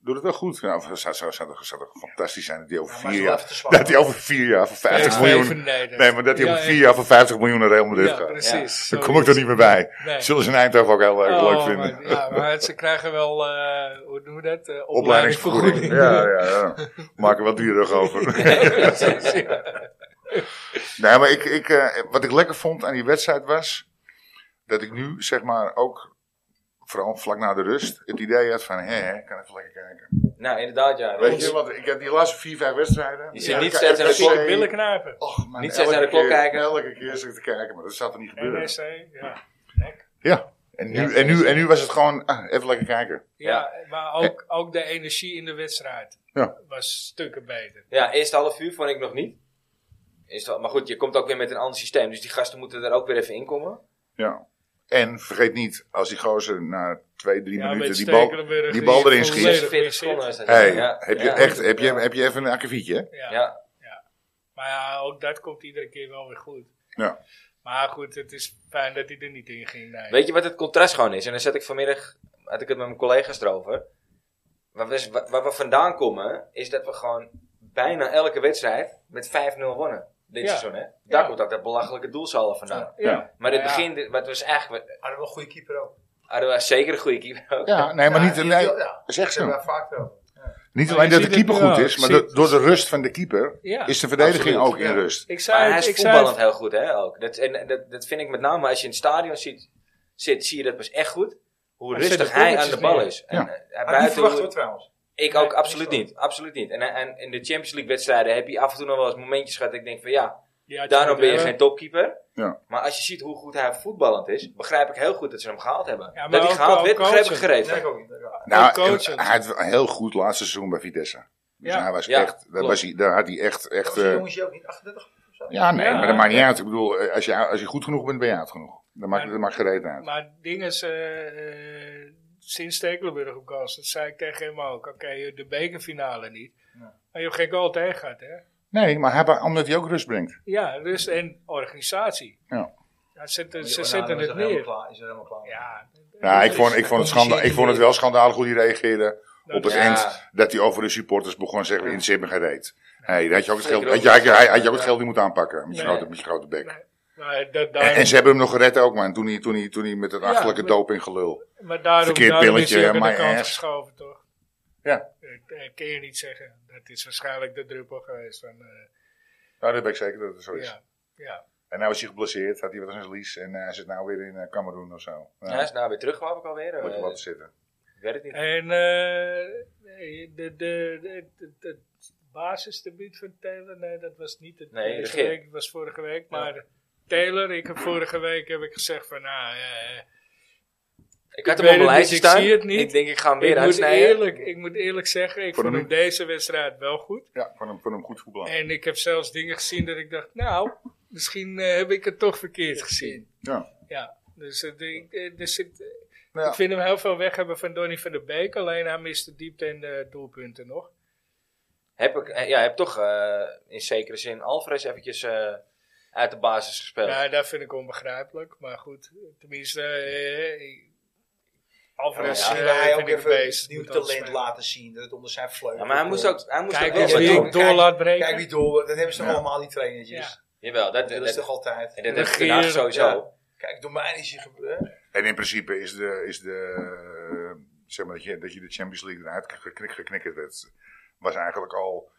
Speaker 3: doet het wel goed. Nou, het zou, zou, zou, zou toch fantastisch zijn dat hij over
Speaker 4: Ja, maar
Speaker 3: vier
Speaker 4: is wel
Speaker 3: jaar...
Speaker 4: even te zwak.
Speaker 3: Dat hij over vier jaar voor 50
Speaker 2: PSV
Speaker 3: miljoen...
Speaker 2: vernederd.
Speaker 3: Nee, maar dat hij
Speaker 2: Ja,
Speaker 3: over
Speaker 2: ja.
Speaker 3: vier jaar voor 50 miljoen naar Real Madrid
Speaker 2: Ja,
Speaker 3: gaat.
Speaker 2: precies.
Speaker 3: Daar
Speaker 2: Zo
Speaker 3: kom ik
Speaker 2: is
Speaker 3: er niet meer bij.
Speaker 2: Nee.
Speaker 3: Zullen ze in Eindhoven ook heel leuk,
Speaker 2: Oh,
Speaker 3: leuk vinden.
Speaker 2: maar- ja, maar het- ze krijgen wel, eh, hoe doen we dat? Eh,
Speaker 3: Opleidingsvergoeding. Ja, ja, ja. Maak er wat duurder over.
Speaker 2: Precies, ja.
Speaker 3: Nee, maar ik, ik, eh, wat ik lekker vond aan die wedstrijd was. dat ik nu zeg maar ook. vooral vlak na de rust. het idee had van. hè, hè, ik kan even lekker kijken.
Speaker 1: Nou, inderdaad, ja.
Speaker 3: Weet je, want ik heb die laatste vier, vijf wedstrijden.
Speaker 1: Je zit
Speaker 3: Ja,
Speaker 1: niet
Speaker 3: ik-
Speaker 1: steeds aan de
Speaker 3: RKC,
Speaker 1: klok.
Speaker 2: Billen knapen.
Speaker 3: Och, man,
Speaker 1: Niet steeds
Speaker 3: elke
Speaker 1: naar de klok
Speaker 3: keer-
Speaker 1: kijken.
Speaker 3: Elke keer zit ik te kijken, maar dat zat er niet gebeuren.
Speaker 2: NSC, ja. Nek.
Speaker 3: Ja. En nu, en, nu, en nu was het gewoon. ah, even lekker kijken.
Speaker 2: Ja, maar ook, ook de energie in de wedstrijd
Speaker 3: Ja.
Speaker 2: was stukken beter.
Speaker 1: Ja, eerste half uur vond ik nog niet. Eerste hal- maar goed, je komt ook weer met een ander systeem. Dus die gasten moeten er ook weer even in komen.
Speaker 3: Ja. En vergeet niet, als die gozer na twee, drie
Speaker 2: Ja,
Speaker 3: minuten
Speaker 2: met
Speaker 3: die bal,
Speaker 2: Stekelenburg
Speaker 3: die bal
Speaker 2: die
Speaker 3: erin
Speaker 2: volledig-
Speaker 3: schiet.
Speaker 1: 46 seconden is dat.
Speaker 3: Hey,
Speaker 1: ja.
Speaker 3: heb, je
Speaker 1: ja.
Speaker 3: echt, heb, je, heb je even een akkefietje? hè?
Speaker 2: Ja.
Speaker 1: Ja.
Speaker 2: Maar ja, ook dat komt iedere keer wel weer goed.
Speaker 3: Ja.
Speaker 2: Maar goed, het is fijn dat hij er niet in ging. Nee.
Speaker 1: Weet je wat het contrast gewoon is? En dan zet ik vanmiddag, had ik het met mijn collega's erover. Waar we, waar we vandaan komen, is dat we gewoon bijna elke wedstrijd met 5-0 wonnen. Dit
Speaker 2: Ja.
Speaker 1: seizoen, hè? Daar
Speaker 2: Ja.
Speaker 1: komt ook dat belachelijke doelsaldo vandaan.
Speaker 2: ja.
Speaker 1: Maar in het
Speaker 2: Nou ja,
Speaker 1: begin, dit- wat was eigenlijk,
Speaker 4: Hadden we een goede keeper ook.
Speaker 1: hadden we zeker een goede keeper ook.
Speaker 3: Ja, nee, maar
Speaker 4: Ja,
Speaker 3: niet...
Speaker 4: die-
Speaker 3: Nee,
Speaker 4: ja,
Speaker 3: zeg
Speaker 4: Ze hebben
Speaker 3: ze.
Speaker 4: daar vaak wel.
Speaker 3: Niet
Speaker 2: Maar
Speaker 3: alleen
Speaker 2: je
Speaker 3: dat de
Speaker 2: ziet
Speaker 3: keeper
Speaker 2: het nu
Speaker 3: goed
Speaker 2: al.
Speaker 3: is, maar
Speaker 2: Zie-
Speaker 3: dat- door de rust van de keeper
Speaker 2: Ja.
Speaker 3: is de verdediging
Speaker 1: Absoluut.
Speaker 3: ook in
Speaker 1: Ja.
Speaker 3: rust.
Speaker 2: Ik zei
Speaker 1: Maar hij
Speaker 2: het,
Speaker 1: is
Speaker 2: ik zei
Speaker 1: voetballend
Speaker 2: het.
Speaker 1: heel goed, hè? Ook. Dat, en dat, dat vind ik met name als je in het stadion ziet, zit, zie je dat pas echt goed. Hoe
Speaker 2: Hij zet
Speaker 1: rustig
Speaker 2: de
Speaker 1: hij aan
Speaker 2: balletjes
Speaker 1: de bal
Speaker 2: neer.
Speaker 1: is.
Speaker 3: Ja.
Speaker 1: En, eh, hij
Speaker 4: Had niet
Speaker 1: buiten,
Speaker 4: verwacht
Speaker 1: hoe-
Speaker 4: hoor trouwens.
Speaker 1: ik ook
Speaker 4: Nee,
Speaker 1: absoluut
Speaker 4: niet
Speaker 1: niet. Absoluut niet. En, en in de Champions League wedstrijden heb je af en toe nog wel eens momentjes gehad dat ik denk van ja,
Speaker 2: Die had
Speaker 1: daarom
Speaker 2: niet,
Speaker 1: ben je
Speaker 2: hè?
Speaker 1: geen topkeeper.
Speaker 3: Ja.
Speaker 1: Maar als je ziet hoe goed hij voetballend is, begrijp ik heel goed dat ze hem gehaald hebben.
Speaker 2: Ja, maar
Speaker 1: dat hij
Speaker 2: ook-
Speaker 1: gehaald
Speaker 2: ook
Speaker 1: werd, begrijp ik
Speaker 2: coachen.
Speaker 1: gereed.
Speaker 4: Nee, ik ook niet. Ja.
Speaker 3: Nou,
Speaker 2: coach.
Speaker 3: en- hij had een heel goed laatste seizoen bij Vitesse. Dus
Speaker 2: Ja.
Speaker 3: hij was
Speaker 1: Ja,
Speaker 3: echt... Daar,
Speaker 1: klopt.
Speaker 3: was hij, daar had hij echt...
Speaker 4: Was
Speaker 3: echt
Speaker 4: die
Speaker 3: eh,
Speaker 4: jongens hier ook niet 38? of zo?
Speaker 3: ja, nee,
Speaker 2: Ja.
Speaker 3: maar dat maakt niet uit. Ik bedoel, eh, als je, als je goed genoeg bent, ben je oud genoeg. Dat maakt,
Speaker 2: Ja.
Speaker 3: dat maakt gereed uit.
Speaker 2: Maar ding is, eh, eh, sinds Stekelenburg op goal, dat zei ik tegen hem ook. Oké, eh, de bekerfinale niet. Maar je hebt geen goal tegen gehad, hè?
Speaker 3: Nee, maar hij, omdat hij ook rust brengt.
Speaker 2: Ja, dus en organisatie.
Speaker 3: Ja. Oh, nou,
Speaker 2: Ja, ze zetten,
Speaker 4: Die
Speaker 2: ze
Speaker 4: Onana
Speaker 2: zetten
Speaker 4: is
Speaker 2: het
Speaker 4: er helemaal
Speaker 2: neer.
Speaker 4: klaar- Is er helemaal klaar.
Speaker 2: Ja,
Speaker 3: Ja, ik vond, ik vond, het, schanda, ik vond het wel schandalig hoe hij reageerde op het
Speaker 1: Ja.
Speaker 3: eind. Dat hij over de supporters begon te zeggen, in zin me gereed. Nee, daar had je ook het
Speaker 1: Zeker
Speaker 3: geld, had
Speaker 1: ook.
Speaker 3: je, had je, had je ook het geld niet moeten aanpakken. Met je
Speaker 2: Nee.
Speaker 3: grote, met je grote bek.
Speaker 2: maar, dat,
Speaker 3: En,
Speaker 2: daar,
Speaker 3: en ze hebben hem nog gered ook, man. Toen hij, toen hij, toen hij met dat
Speaker 2: Ja,
Speaker 3: achterlijke
Speaker 2: maar-
Speaker 3: dopinggelul.
Speaker 2: maar daarom,
Speaker 3: verkeerd
Speaker 2: daarom
Speaker 3: pilletje,
Speaker 2: is hij ook aan
Speaker 3: my
Speaker 2: de kant
Speaker 3: ass.
Speaker 2: geschoven, toch?
Speaker 3: Ja,
Speaker 2: Dat eh, kun je niet zeggen. Dat is waarschijnlijk de druppel geweest. Van, eh,
Speaker 3: nou, dat ben ik zeker dat het zo is.
Speaker 2: ja, ja.
Speaker 3: En nou is hij geblesseerd, had hij wat aan zijn lies. En eh, hij zit nou weer in eh, Cameroen of zo. Nou,
Speaker 1: Ja, hij is nou weer terug, geloof ik alweer.
Speaker 3: moet
Speaker 1: Eh,
Speaker 3: je wat zitten.
Speaker 1: ik weet het niet.
Speaker 2: En eh, de, de, de, de, de- het basisdebuut van Taylor, nee, dat was niet het
Speaker 1: Nee,
Speaker 2: deze
Speaker 1: de Geer.
Speaker 2: week, dat was vorige week. Maar Taylor, ik heb vorige week heb ik gezegd van, nou, eh,
Speaker 1: Ik had
Speaker 2: ik
Speaker 1: hem op
Speaker 2: weet
Speaker 1: mijn
Speaker 2: het
Speaker 1: lijstje
Speaker 2: niet, ik
Speaker 1: staan.
Speaker 2: zie het niet.
Speaker 1: Ik denk, ik ga hem weer
Speaker 2: ik, moet
Speaker 1: uitsnijden.
Speaker 2: eerlijk, ik moet eerlijk zeggen, ik
Speaker 3: Voor
Speaker 2: vond
Speaker 3: hem.
Speaker 2: hem deze wedstrijd wel goed.
Speaker 3: Ja, van hem, van hem goed voetballen.
Speaker 2: En ik heb zelfs dingen gezien dat ik dacht, nou, misschien eh, heb ik het toch verkeerd gezien.
Speaker 3: Ja.
Speaker 2: Ja, dus eh, de- ik- eh, er zit, eh,
Speaker 3: Nou ja,
Speaker 2: ik vind hem heel veel weg hebben van Donny van der Beek. Alleen hij mist de diepte en de doelpunten nog.
Speaker 1: Heb ik eh, ja, heb toch eh, in zekere zin Alvarez eventjes eh, uit de basis gespeeld.
Speaker 2: Ja, Nou, dat vind ik onbegrijpelijk. Maar goed, tenminste, eh, eh,
Speaker 1: Ja,
Speaker 2: Alvarez
Speaker 1: maar
Speaker 2: eh,
Speaker 4: Misschien wil hij ook
Speaker 2: vind ik
Speaker 4: even
Speaker 2: beest.
Speaker 4: het nieuw
Speaker 2: Moet alles
Speaker 4: talent
Speaker 2: spelen.
Speaker 4: laten zien. Dat het onder zijn vleugel.
Speaker 1: Ja, maar hij moest
Speaker 4: eh,
Speaker 1: ook, hij moest
Speaker 2: Kijk
Speaker 1: ook
Speaker 2: eens
Speaker 1: wel
Speaker 2: wie
Speaker 1: wat
Speaker 2: ik
Speaker 1: doen.
Speaker 4: Kijk-
Speaker 2: door laat breken.
Speaker 4: Kijk wie door. Dat hebben ze toch
Speaker 3: Ja.
Speaker 4: allemaal die trainertjes.
Speaker 2: Ja.
Speaker 1: Jawel, dat, dat,
Speaker 4: Dat is toch
Speaker 1: dat,
Speaker 4: altijd.
Speaker 1: dat heeft
Speaker 2: Regeer,
Speaker 1: Den Haag sowieso.
Speaker 2: ja.
Speaker 4: Kijk, door mij is je gebeurd.
Speaker 3: En in principe is de, is de eh, zeg maar dat je, dat je de Champions League eruit geknik, geknikkerd werd, was eigenlijk al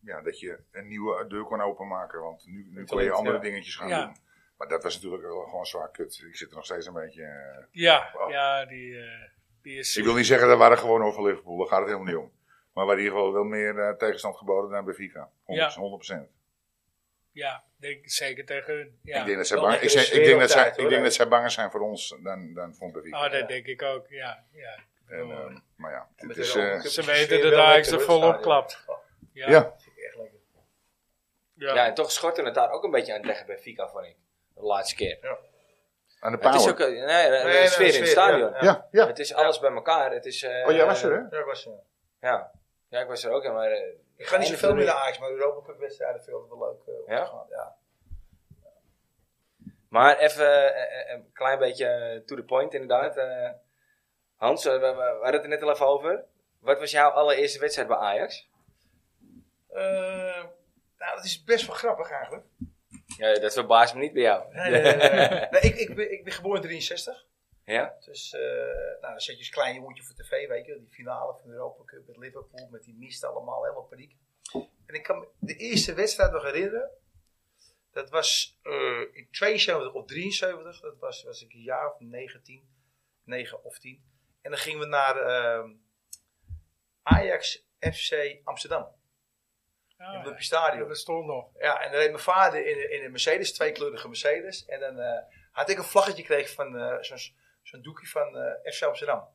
Speaker 3: ja, dat je een nieuwe deur kon openmaken. Want nu, nu kon je
Speaker 4: talent,
Speaker 3: andere
Speaker 4: ja.
Speaker 3: dingetjes gaan
Speaker 2: Ja.
Speaker 3: doen. Maar dat was natuurlijk wel gewoon zwaar kut. Ik zit er nog steeds een beetje... eh,
Speaker 2: Ja,
Speaker 3: Wow.
Speaker 2: ja die, eh, die is...
Speaker 3: ik wil niet zeggen dat waren gewoon over Liverpool, daar gaat het helemaal niet om. Maar we hadden in ieder geval wel meer eh, tegenstand geboden dan bij Vika. 100%.
Speaker 2: Ja.
Speaker 3: 100%.
Speaker 2: Ja, denk ik zeker tegen hun. Ja.
Speaker 3: ik denk dat zij
Speaker 4: wel
Speaker 3: bang, ik
Speaker 4: lekkere
Speaker 3: zeg- ik
Speaker 4: sfeer
Speaker 3: denk
Speaker 4: op
Speaker 3: dat zij-
Speaker 4: tijd,
Speaker 3: ik
Speaker 4: hoor.
Speaker 3: denk dat zij banger zijn voor ons dan, dan vond Benfica.
Speaker 2: Oh, dat
Speaker 4: Ja.
Speaker 2: denk ik ook, ja. ja. Ik
Speaker 3: En,
Speaker 2: bedoel,
Speaker 3: eh, maar ja,
Speaker 4: Met
Speaker 3: het
Speaker 4: de
Speaker 3: is...
Speaker 4: Europa
Speaker 3: eh,
Speaker 4: Cup
Speaker 2: ze
Speaker 4: sfeer
Speaker 2: weten
Speaker 4: wel
Speaker 2: dat Ajax
Speaker 4: lekker
Speaker 2: er
Speaker 4: in het
Speaker 2: volop
Speaker 4: stadion.
Speaker 2: klapt.
Speaker 4: Oh,
Speaker 2: Ja,
Speaker 3: ja,
Speaker 4: dat vind ik echt lekker.
Speaker 2: ja. Ah,
Speaker 1: Ja, en toch schortte het daar ook een beetje aan tegen bij Fika, vond ik. De laatste keer.
Speaker 3: aan de
Speaker 1: Het is ook
Speaker 3: power.
Speaker 1: een, nee, een
Speaker 4: Nee, nee,
Speaker 1: sfeer in
Speaker 4: sfeer,
Speaker 1: het stadion.
Speaker 4: ja,
Speaker 3: Ja, ja.
Speaker 1: Het is alles bij elkaar. Het is, eh,
Speaker 3: Oh, jij was er, hè?
Speaker 4: Ja, dat was, eh,
Speaker 1: Ja. ja, ik was er ook. ja, Maar, eh,
Speaker 4: Ik ga niet
Speaker 1: einde
Speaker 4: zoveel
Speaker 1: van de-
Speaker 4: meer naar Ajax, maar Europa Cup wedstrijden vind ik altijd wel leuk eh, om
Speaker 1: Ja?
Speaker 4: te gaan. Ja.
Speaker 1: Maar even eh, eh, een klein beetje eh, to the point, inderdaad. Eh, Hans, eh, we, we- we hadden het er net al even over. Wat was jouw allereerste wedstrijd bij Ajax?
Speaker 4: Eh, nou, dat is best wel grappig eigenlijk.
Speaker 1: Ja, dat verbaast me niet bij jou.
Speaker 4: Nee, nee, nee, nee. Eh, Nee, ik, ik, ben, ik ben geboren in 63.
Speaker 1: Ja?
Speaker 4: Dus eh, nou, dan zet je als klein jongetje voor tv, weet je, die finale van de Europa Cup met Liverpool, met die mist allemaal, helemaal paniek. En ik kan me de eerste wedstrijd nog herinneren. Dat was eh, in 72 of 73, dat was, was ik een jaar of 19, 9 of 10. En dan gingen we naar eh, Ajax FC Amsterdam, in
Speaker 2: Ah,
Speaker 4: het Olympisch
Speaker 2: ja,
Speaker 4: Stadion.
Speaker 2: dat stond nog.
Speaker 4: Ja, en dan reed mijn vader in, in een Mercedes, tweekleurige Mercedes. En dan eh, had ik een vlaggetje gekregen van eh, zo'n zo'n doekje van eh FC Amsterdam.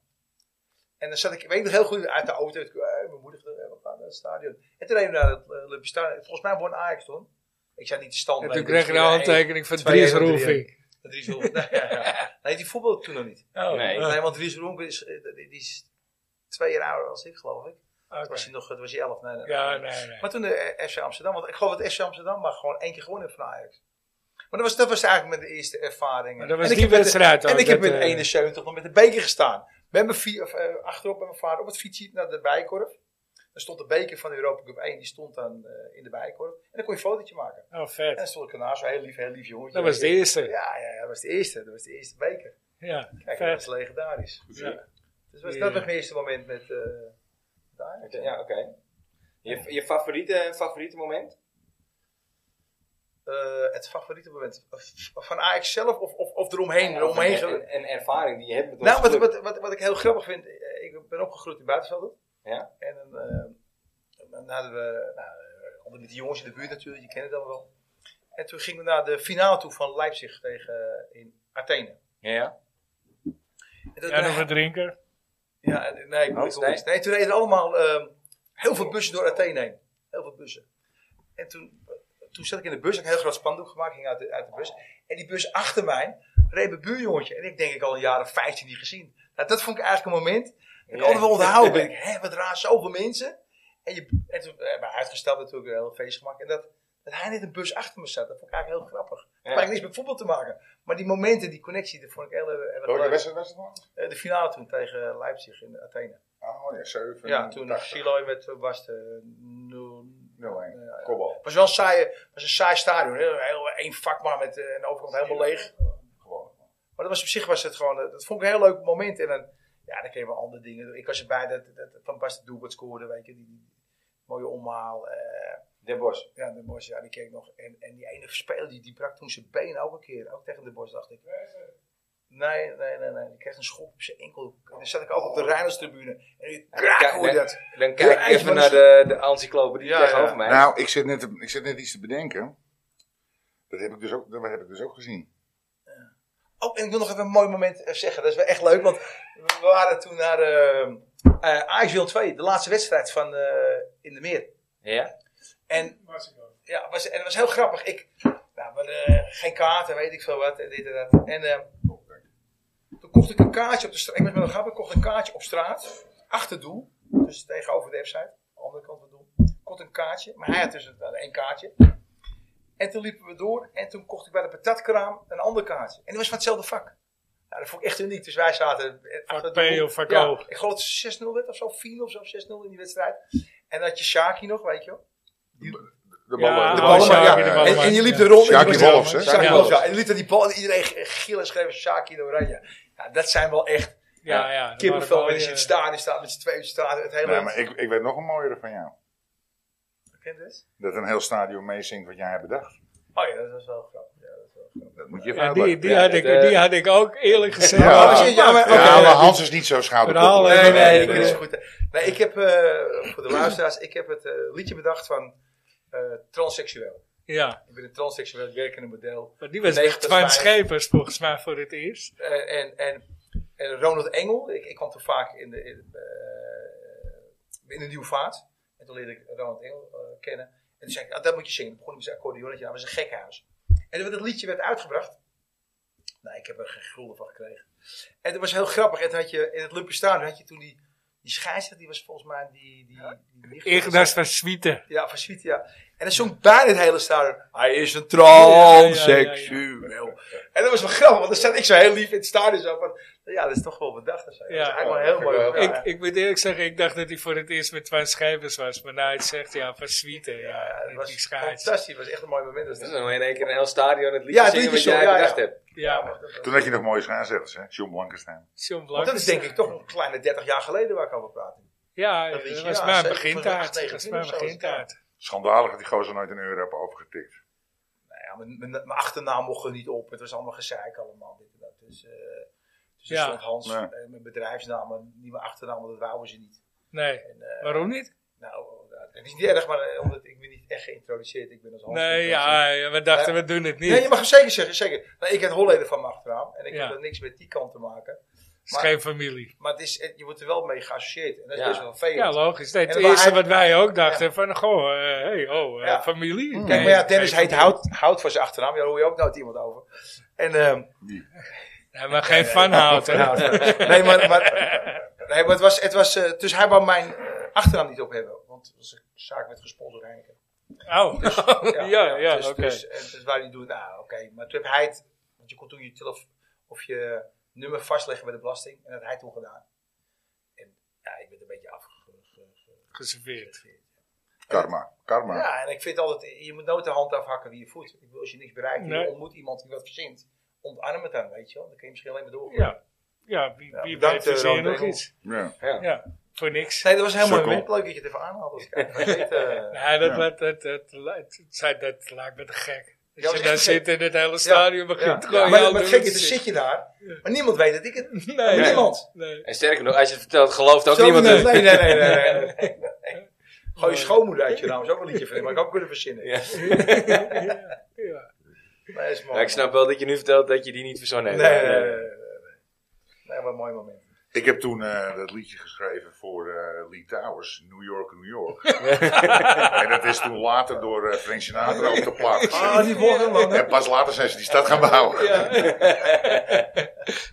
Speaker 4: En dan zat ik, ik weet nog heel goed, uit de auto. Ik, eh, mijn moeder, eh, we gaan naar het stadion. En toen reden we naar het eh, Olympisch Stadion. Volgens mij won Ajax toen. Ik zei niet de stand.
Speaker 2: En
Speaker 4: maar
Speaker 2: toen
Speaker 4: ik
Speaker 2: kreeg je de
Speaker 4: denk,
Speaker 2: handtekening van
Speaker 4: twee,
Speaker 2: Dries
Speaker 4: één, drie,
Speaker 2: Roelvink.
Speaker 4: eh, Dries Roelvink. Nee, ja, ja. nee, die voetbalde toen nog niet.
Speaker 2: Oh,
Speaker 1: Nee.
Speaker 4: Nee, want Dries Roelvink is, eh, die die is twee jaar ouder dan ik, geloof ik.
Speaker 2: Oké.
Speaker 4: Toen was hij nog, eh, toen was hij elf. Nee, nee,
Speaker 2: ah, Ja, nee, nee.
Speaker 4: maar toen de eh, FC Amsterdam, want ik geloof dat FC Amsterdam maar gewoon één keer gewonnen heeft van Ajax. Maar dat was, dat was eigenlijk mijn eerste ervaring.
Speaker 2: Maar dat was
Speaker 4: En ik
Speaker 2: die
Speaker 4: heb met de-
Speaker 2: wedstrijd ook,
Speaker 4: En ik heb
Speaker 2: dat,
Speaker 4: in
Speaker 2: eh,
Speaker 4: 71 nog met de beker gestaan. Met mijn vier, of, eh, achterop met mijn vader op het fietsje naar de Bijenkorf. Dan stond de beker van de Europa Cup 1, die stond dan eh, in de Bijenkorf. En dan kon je een fotootje maken.
Speaker 2: Oh,
Speaker 4: En dan
Speaker 2: vet.
Speaker 4: stond ik ernaast, zo'n heel lief, heel lief jongetje.
Speaker 2: Dat was de eerste.
Speaker 4: Ja, ja, ja, dat was de eerste. Dat was de eerste beker.
Speaker 2: Ja,
Speaker 4: Kijk, dat
Speaker 2: vet.
Speaker 4: was legendarisch.
Speaker 2: Ja.
Speaker 4: Ja. Dus was, dat was mijn eerste moment met, eh met Ajax.
Speaker 1: Oké, Ja, oké. Je, je favoriete, favoriete moment?
Speaker 4: eh, het favoriete moment? Of- Van Ajax zelf of, of, of eromheen? eromheen
Speaker 1: een, een, een ervaring die je hebt met
Speaker 4: nou,
Speaker 1: onze
Speaker 4: wat,
Speaker 1: club.
Speaker 4: wat, wat, wat ik heel grappig vind, eh, ik ben opgegroeid in Buitenvelden.
Speaker 1: Ja?
Speaker 4: En dan, eh, dan hadden we, nou, eh, altijd met die jongens in de buurt natuurlijk, je kent het dan wel. En toen gingen we naar de finale toe van Leipzig tegen eh, in Athene.
Speaker 1: Ja, ja.
Speaker 4: En dat-
Speaker 2: Ja, nog een drinker.
Speaker 4: Ja, en- nee, ik
Speaker 1: Hans,
Speaker 4: bedoel-
Speaker 1: Oh, nee.
Speaker 4: nee, toen reden allemaal ehm, heel veel bussen door Athene heen. Heel veel bussen. En toen, eh, toen zat ik in de bus, ik had een heel groot spandoek gemaakt, ging uit de, uit de bus. En die bus achter mij reed mijn buurjongetje. En ik denk ik al een jaar of 15 niet gezien. Nou, dat vond ik eigenlijk een moment. dat Ik
Speaker 1: Ja.
Speaker 4: altijd wel onthouden ben. Ik, hè, wat raar, zoveel mensen. En, je, en toen eh, hebben we uitgesteld natuurlijk, een heel feest gemaakt. En dat, dat hij net een bus achter me zat, dat vond ik eigenlijk heel grappig. Dat had eigenlijk niks met voetbal te maken. Maar die momenten, die connectie, dat vond ik heel, heel erg
Speaker 3: Welke
Speaker 4: leuk.
Speaker 3: wedstrijd was het nog?
Speaker 4: Eh, De finale toen tegen Leipzig in Athene.
Speaker 3: Oh ja, 7.
Speaker 4: Ja, toen
Speaker 3: 80,
Speaker 4: Siloy met eh, was de 0.
Speaker 3: 0-1.
Speaker 4: Ja.
Speaker 3: Kopbal.
Speaker 4: was wel een saaie, was een saai stadion. hè. Heel, één vak maar met eh, en de overkant helemaal leeg.
Speaker 3: Gewoon.
Speaker 4: Maar dat was op zich was het gewoon, eh, dat vond ik een heel leuk moment. En dan, ja, dan kregen we andere dingen. doen. Ik was erbij dat, dat, dat Van Basten Doelbert scoorde, weet je, die, die mooie omhaal. eh,
Speaker 1: De Bos.
Speaker 4: ja, de Bos, ja, die keek nog. En, en die ene speler, die, die brak toen zijn been ook een keer. Ook tegen de Bos, dacht ik. Nee, nee, nee, nee. Die kreeg een schop op zijn enkel. En dan zat ik ook op de Rijnlandstribune. En die kraak hoorde dat.
Speaker 1: Dan kijk ik
Speaker 4: eigenlijk
Speaker 1: even
Speaker 4: was-
Speaker 1: naar de, de encyclopedie
Speaker 4: Ja,
Speaker 1: tegenover
Speaker 4: ja.
Speaker 1: mij.
Speaker 3: Nou, ik zit, net, te- ik zit net iets te bedenken. Dat heb ik dus ook, dat heb ik dus ook gezien.
Speaker 4: Oh, en ik wil nog even een mooi moment eh, zeggen. Dat is wel echt leuk, want we waren toen naar eh eh Ajax Willem 2, de laatste wedstrijd van eh, in de meer.
Speaker 1: ja?
Speaker 4: En, ja, was, en dat was heel grappig. Ik, nou, we hadden, eh, geen kaarten, weet ik veel wat, en dit en dat. En eh, toen kocht ik een kaartje op de straat. Ik ben wel grappig, ik kocht een kaartje op straat, achter doel, dus tegenover de website, aan de andere kant van het doel. Ik kocht een kaartje, maar hij had dus een- één kaartje. En toen liepen we door en toen kocht ik bij de patatkraam een ander kaartje. En die was van hetzelfde vak. Nou, dat vond ik echt uniek. Dus wij zaten... achter
Speaker 2: P
Speaker 4: doel.
Speaker 2: of vak
Speaker 4: Ja,
Speaker 2: O.
Speaker 4: Ik geloof dat het 6-0 werd of zo, 4 of zo, 6-0 in die wedstrijd. En dan had je Shaki nog, weet je wel.
Speaker 3: De
Speaker 2: Ja,
Speaker 3: ballen.
Speaker 4: de ballen,
Speaker 2: Oh, Sjaak,
Speaker 4: ja.
Speaker 2: de
Speaker 3: ja.
Speaker 2: ballen.
Speaker 4: En, en je liep
Speaker 2: Ja.
Speaker 4: er rond.
Speaker 3: Sjaak
Speaker 4: en je
Speaker 3: die
Speaker 4: was-
Speaker 3: Wolfs, hè?
Speaker 4: Sjaak die
Speaker 2: Ja.
Speaker 4: Wolfs, ja. En je liet er die bal en iedereen gillen schreef Shaki de Oranje. Ja, dat zijn wel echt
Speaker 2: Ja, ja. dat
Speaker 4: kippenvel.
Speaker 2: waren
Speaker 4: Als je in het
Speaker 2: mooie-
Speaker 4: stadion staat, met z'n tweeën in het stadion. Het hele...
Speaker 3: Nee, maar ik, ik weet nog een mooiere van jou.
Speaker 4: Ken je dit?
Speaker 3: Dat een heel stadion meezingt wat jij hebt bedacht.
Speaker 4: Oh ja, dat was wel grappig. Ja, dat was wel grappig.
Speaker 3: Dat moet je even
Speaker 2: Ja, die, die,
Speaker 3: uitleggen.
Speaker 2: had ik,
Speaker 1: dat, eh,
Speaker 2: die had ik ook eerlijk gezegd.
Speaker 3: Ja.
Speaker 2: wel
Speaker 3: Ja,
Speaker 2: gepakt.
Speaker 4: maar-
Speaker 2: Oké,
Speaker 4: ja,
Speaker 3: Ja, maar
Speaker 2: ja.
Speaker 3: Hans is niet zo schouderklopper.
Speaker 2: Verhalen.
Speaker 4: Nee,
Speaker 2: Nee,
Speaker 4: nee,
Speaker 2: nee,
Speaker 4: ik
Speaker 2: nee.
Speaker 4: ken het zo goed. Nee, ik heb eh, voor de luisteraars, ik heb het eh, liedje bedacht van eh, transseksueel.
Speaker 2: Ja,
Speaker 4: Ik ben een transseksueel, ik werk in een model.
Speaker 2: maar die was
Speaker 4: 90
Speaker 2: Twijn
Speaker 4: vijf.
Speaker 2: Schepers volgens mij voor het eerst.
Speaker 4: En, Eh, en, en, en Ronald Engel, ik, ik kwam toen vaak in de, in, eh, in de Nieuwe Vaart. En toen leerde ik Ronald Engel eh, kennen. En toen zei ik, ah, dat moet je zingen. Dan begon ik met zijn accordeonnetje, dat was een gekkenhuis. En toen dat liedje werd uitgebracht. Nou, ik heb er geen gulden van gekregen. En dat was heel grappig. En toen had je, in het Olympisch Stadion had je toen die, die scheidsrechter, die was volgens mij die... die, die, die
Speaker 2: Ignaz van Swieten.
Speaker 4: ja, van Sweet, ja. En dan zong bijna het hele stadion. Hij is een transseksueel. En dat was wel grappig, want dan zat ik zo heel lief in het stadion. Zo van, "Nou Ja, dat is toch wel bedacht. Dat is
Speaker 2: Ja.
Speaker 4: eigenlijk wel heel
Speaker 3: Ja,
Speaker 4: mooi.
Speaker 3: ik wel.
Speaker 4: Ja,
Speaker 2: Ik, ik moet eerlijk zeggen, ik dacht dat hij voor het eerst met twee schijvers was. Maar nou, het zegt ja, van suite. Ja,
Speaker 4: ja,
Speaker 2: met
Speaker 4: het was
Speaker 2: die schaartjes.
Speaker 4: fantastisch. Het was echt een mooi moment. Dat
Speaker 1: Dat
Speaker 4: is
Speaker 1: is dan in één keer een heel stadion het lied
Speaker 4: Ja,
Speaker 1: ja, zingen wat
Speaker 4: liedje
Speaker 1: jij
Speaker 4: zo, ja,
Speaker 1: bedacht
Speaker 4: ja.
Speaker 1: hebt.
Speaker 2: Ja,
Speaker 4: maar
Speaker 2: maar
Speaker 4: dat-
Speaker 3: Toen had je nog mooie schaarzetters, hè? John Blankenstein.
Speaker 2: John
Speaker 4: Want dat is denk ik
Speaker 2: Blankenstein.
Speaker 4: toch een kleine 30 jaar geleden waar ik over praat. Nou
Speaker 2: Ja,
Speaker 4: Dat
Speaker 2: dat
Speaker 4: weet je,
Speaker 2: was
Speaker 4: ja,
Speaker 2: maar een
Speaker 4: 7,
Speaker 2: begintaart.
Speaker 4: 8,
Speaker 2: Dat was maar een
Speaker 4: 19 of zo,
Speaker 2: begintaart.
Speaker 3: Schandalig dat die gozer nooit een euro heeft overgetikt.
Speaker 4: Nou ja, mijn, mijn, mijn achternaam mocht er niet op. Het was allemaal gezeik allemaal. Dit en dat. Dus, eh dus er
Speaker 2: Ja.
Speaker 4: stond Hans,
Speaker 3: Ja.
Speaker 4: eh, mijn bedrijfsnaam, maar niet mijn achternaam, want dat wouden ze niet.
Speaker 2: Nee,
Speaker 4: En, eh,
Speaker 2: waarom niet?
Speaker 4: nou, eh, het is niet erg, maar eh, omdat ik ben niet echt geïntroduceerd. Ik ben als Hans.
Speaker 2: Nee,
Speaker 4: geïntroduceerd.
Speaker 2: ja, ja, we dachten we doen het
Speaker 4: Nee, je
Speaker 2: niet.
Speaker 4: mag het zeker zeggen, zeker. Nou, ik heb Holleder van mijn achternaam en ik
Speaker 2: Ja.
Speaker 4: heb er niks met die kant te maken.
Speaker 2: Het is geen familie.
Speaker 4: Maar het is, eh, je wordt er wel mee geassocieerd en dat is
Speaker 1: Ja.
Speaker 4: best wel
Speaker 2: Ja,
Speaker 4: vervelend.
Speaker 2: logisch. Nee, het
Speaker 4: En waar
Speaker 2: eerste
Speaker 4: hij-
Speaker 2: wat wij ook dachten, van goh, eh, hey, oh, eh,
Speaker 4: Ja.
Speaker 2: familie. Nee,
Speaker 4: Kijk, maar ja, Dennis
Speaker 2: geen
Speaker 4: heet
Speaker 2: familie.
Speaker 4: Hout, Hout voor zijn achternaam. Ja, daar hoor je ook nooit iemand over. En, ehm, nou,
Speaker 2: Nee, maar geen van hout, hè.
Speaker 4: dus- nee, maar, maar, nee, maar het was, het was eh, dus hij wou mijn eh, achternaam niet op hebben. Want het was een zaak met gesponsord Heineken.
Speaker 2: Oh, ja, ja,
Speaker 4: dus,
Speaker 2: oké.
Speaker 4: Dus, en dus wij die doen, nou oké. Maar toen heb hij het, want je kon toen je telefoon of je nummer vastleggen bij de belasting. En dat had hij toen gedaan. En ja, ik ben een beetje afgeserveerd.
Speaker 2: Geserveerd.
Speaker 3: Karma. Karma.
Speaker 4: Ja, en ik vind altijd, je moet nooit de hand afhakken wie je voet. Ik bedoel, als je niks bereikt, en
Speaker 2: Nee.
Speaker 4: je ontmoet iemand die wat verzint. Ontarm het dan, weet je wel. Dan kun je misschien alleen maar doorgaan.
Speaker 2: Ja, ja wie,
Speaker 4: Ja,
Speaker 2: wie
Speaker 4: bedankt,
Speaker 2: weet is
Speaker 4: eh,
Speaker 2: hier
Speaker 4: Ron
Speaker 2: nog
Speaker 4: Tegel.
Speaker 2: iets.
Speaker 3: Ja.
Speaker 1: Ja.
Speaker 2: Ja, voor niks.
Speaker 4: Nee, dat was helemaal
Speaker 3: Sukkel.
Speaker 4: leuk dat je het even aanhaalde. als ik eigenlijk weet, eh,
Speaker 2: Ja, dat, Dat,
Speaker 3: Ja.
Speaker 2: dat, dat, dat, dat, dat lijkt me te gek. Als
Speaker 4: Ja, dat
Speaker 2: je
Speaker 4: is
Speaker 2: daar
Speaker 4: echt
Speaker 2: zit en het hele stadion
Speaker 4: Ja,
Speaker 2: begint
Speaker 4: ja.
Speaker 2: gewoon...
Speaker 4: Maar,
Speaker 2: jou
Speaker 4: maar het
Speaker 2: door
Speaker 4: gekke is,
Speaker 2: te
Speaker 4: dan
Speaker 2: zitten.
Speaker 4: zit je daar. Maar niemand weet dat ik het.
Speaker 2: Nee,
Speaker 1: Nee.
Speaker 4: Niemand.
Speaker 2: nee.
Speaker 1: En sterker nog, als je het vertelt, gelooft ook
Speaker 4: Zo
Speaker 1: niemand
Speaker 4: niemand.
Speaker 1: het.
Speaker 4: Nee, nee, nee. nee, nee, nee. Gooi je schoonmoeder uit je naam. is ook een liedje van hem. Maar ik ook kunnen verzinnen.
Speaker 1: Ja.
Speaker 2: Ja, ja.
Speaker 4: Nee, is mooi.
Speaker 1: Ja, ik snap wel dat je nu vertelt dat je die niet verzonnen
Speaker 4: Nee,
Speaker 1: hebt.
Speaker 4: nee, nee. nee, nee. Nee, wat een mooi moment.
Speaker 3: Ik heb toen eh, dat liedje geschreven voor eh, Lee Towers, New York, New York. en dat is toen later door eh, Frank Sinatra op de plaat gezet.
Speaker 4: Ah, die volgende man.
Speaker 3: En pas later zijn ze die stad gaan bouwen.
Speaker 2: Ja.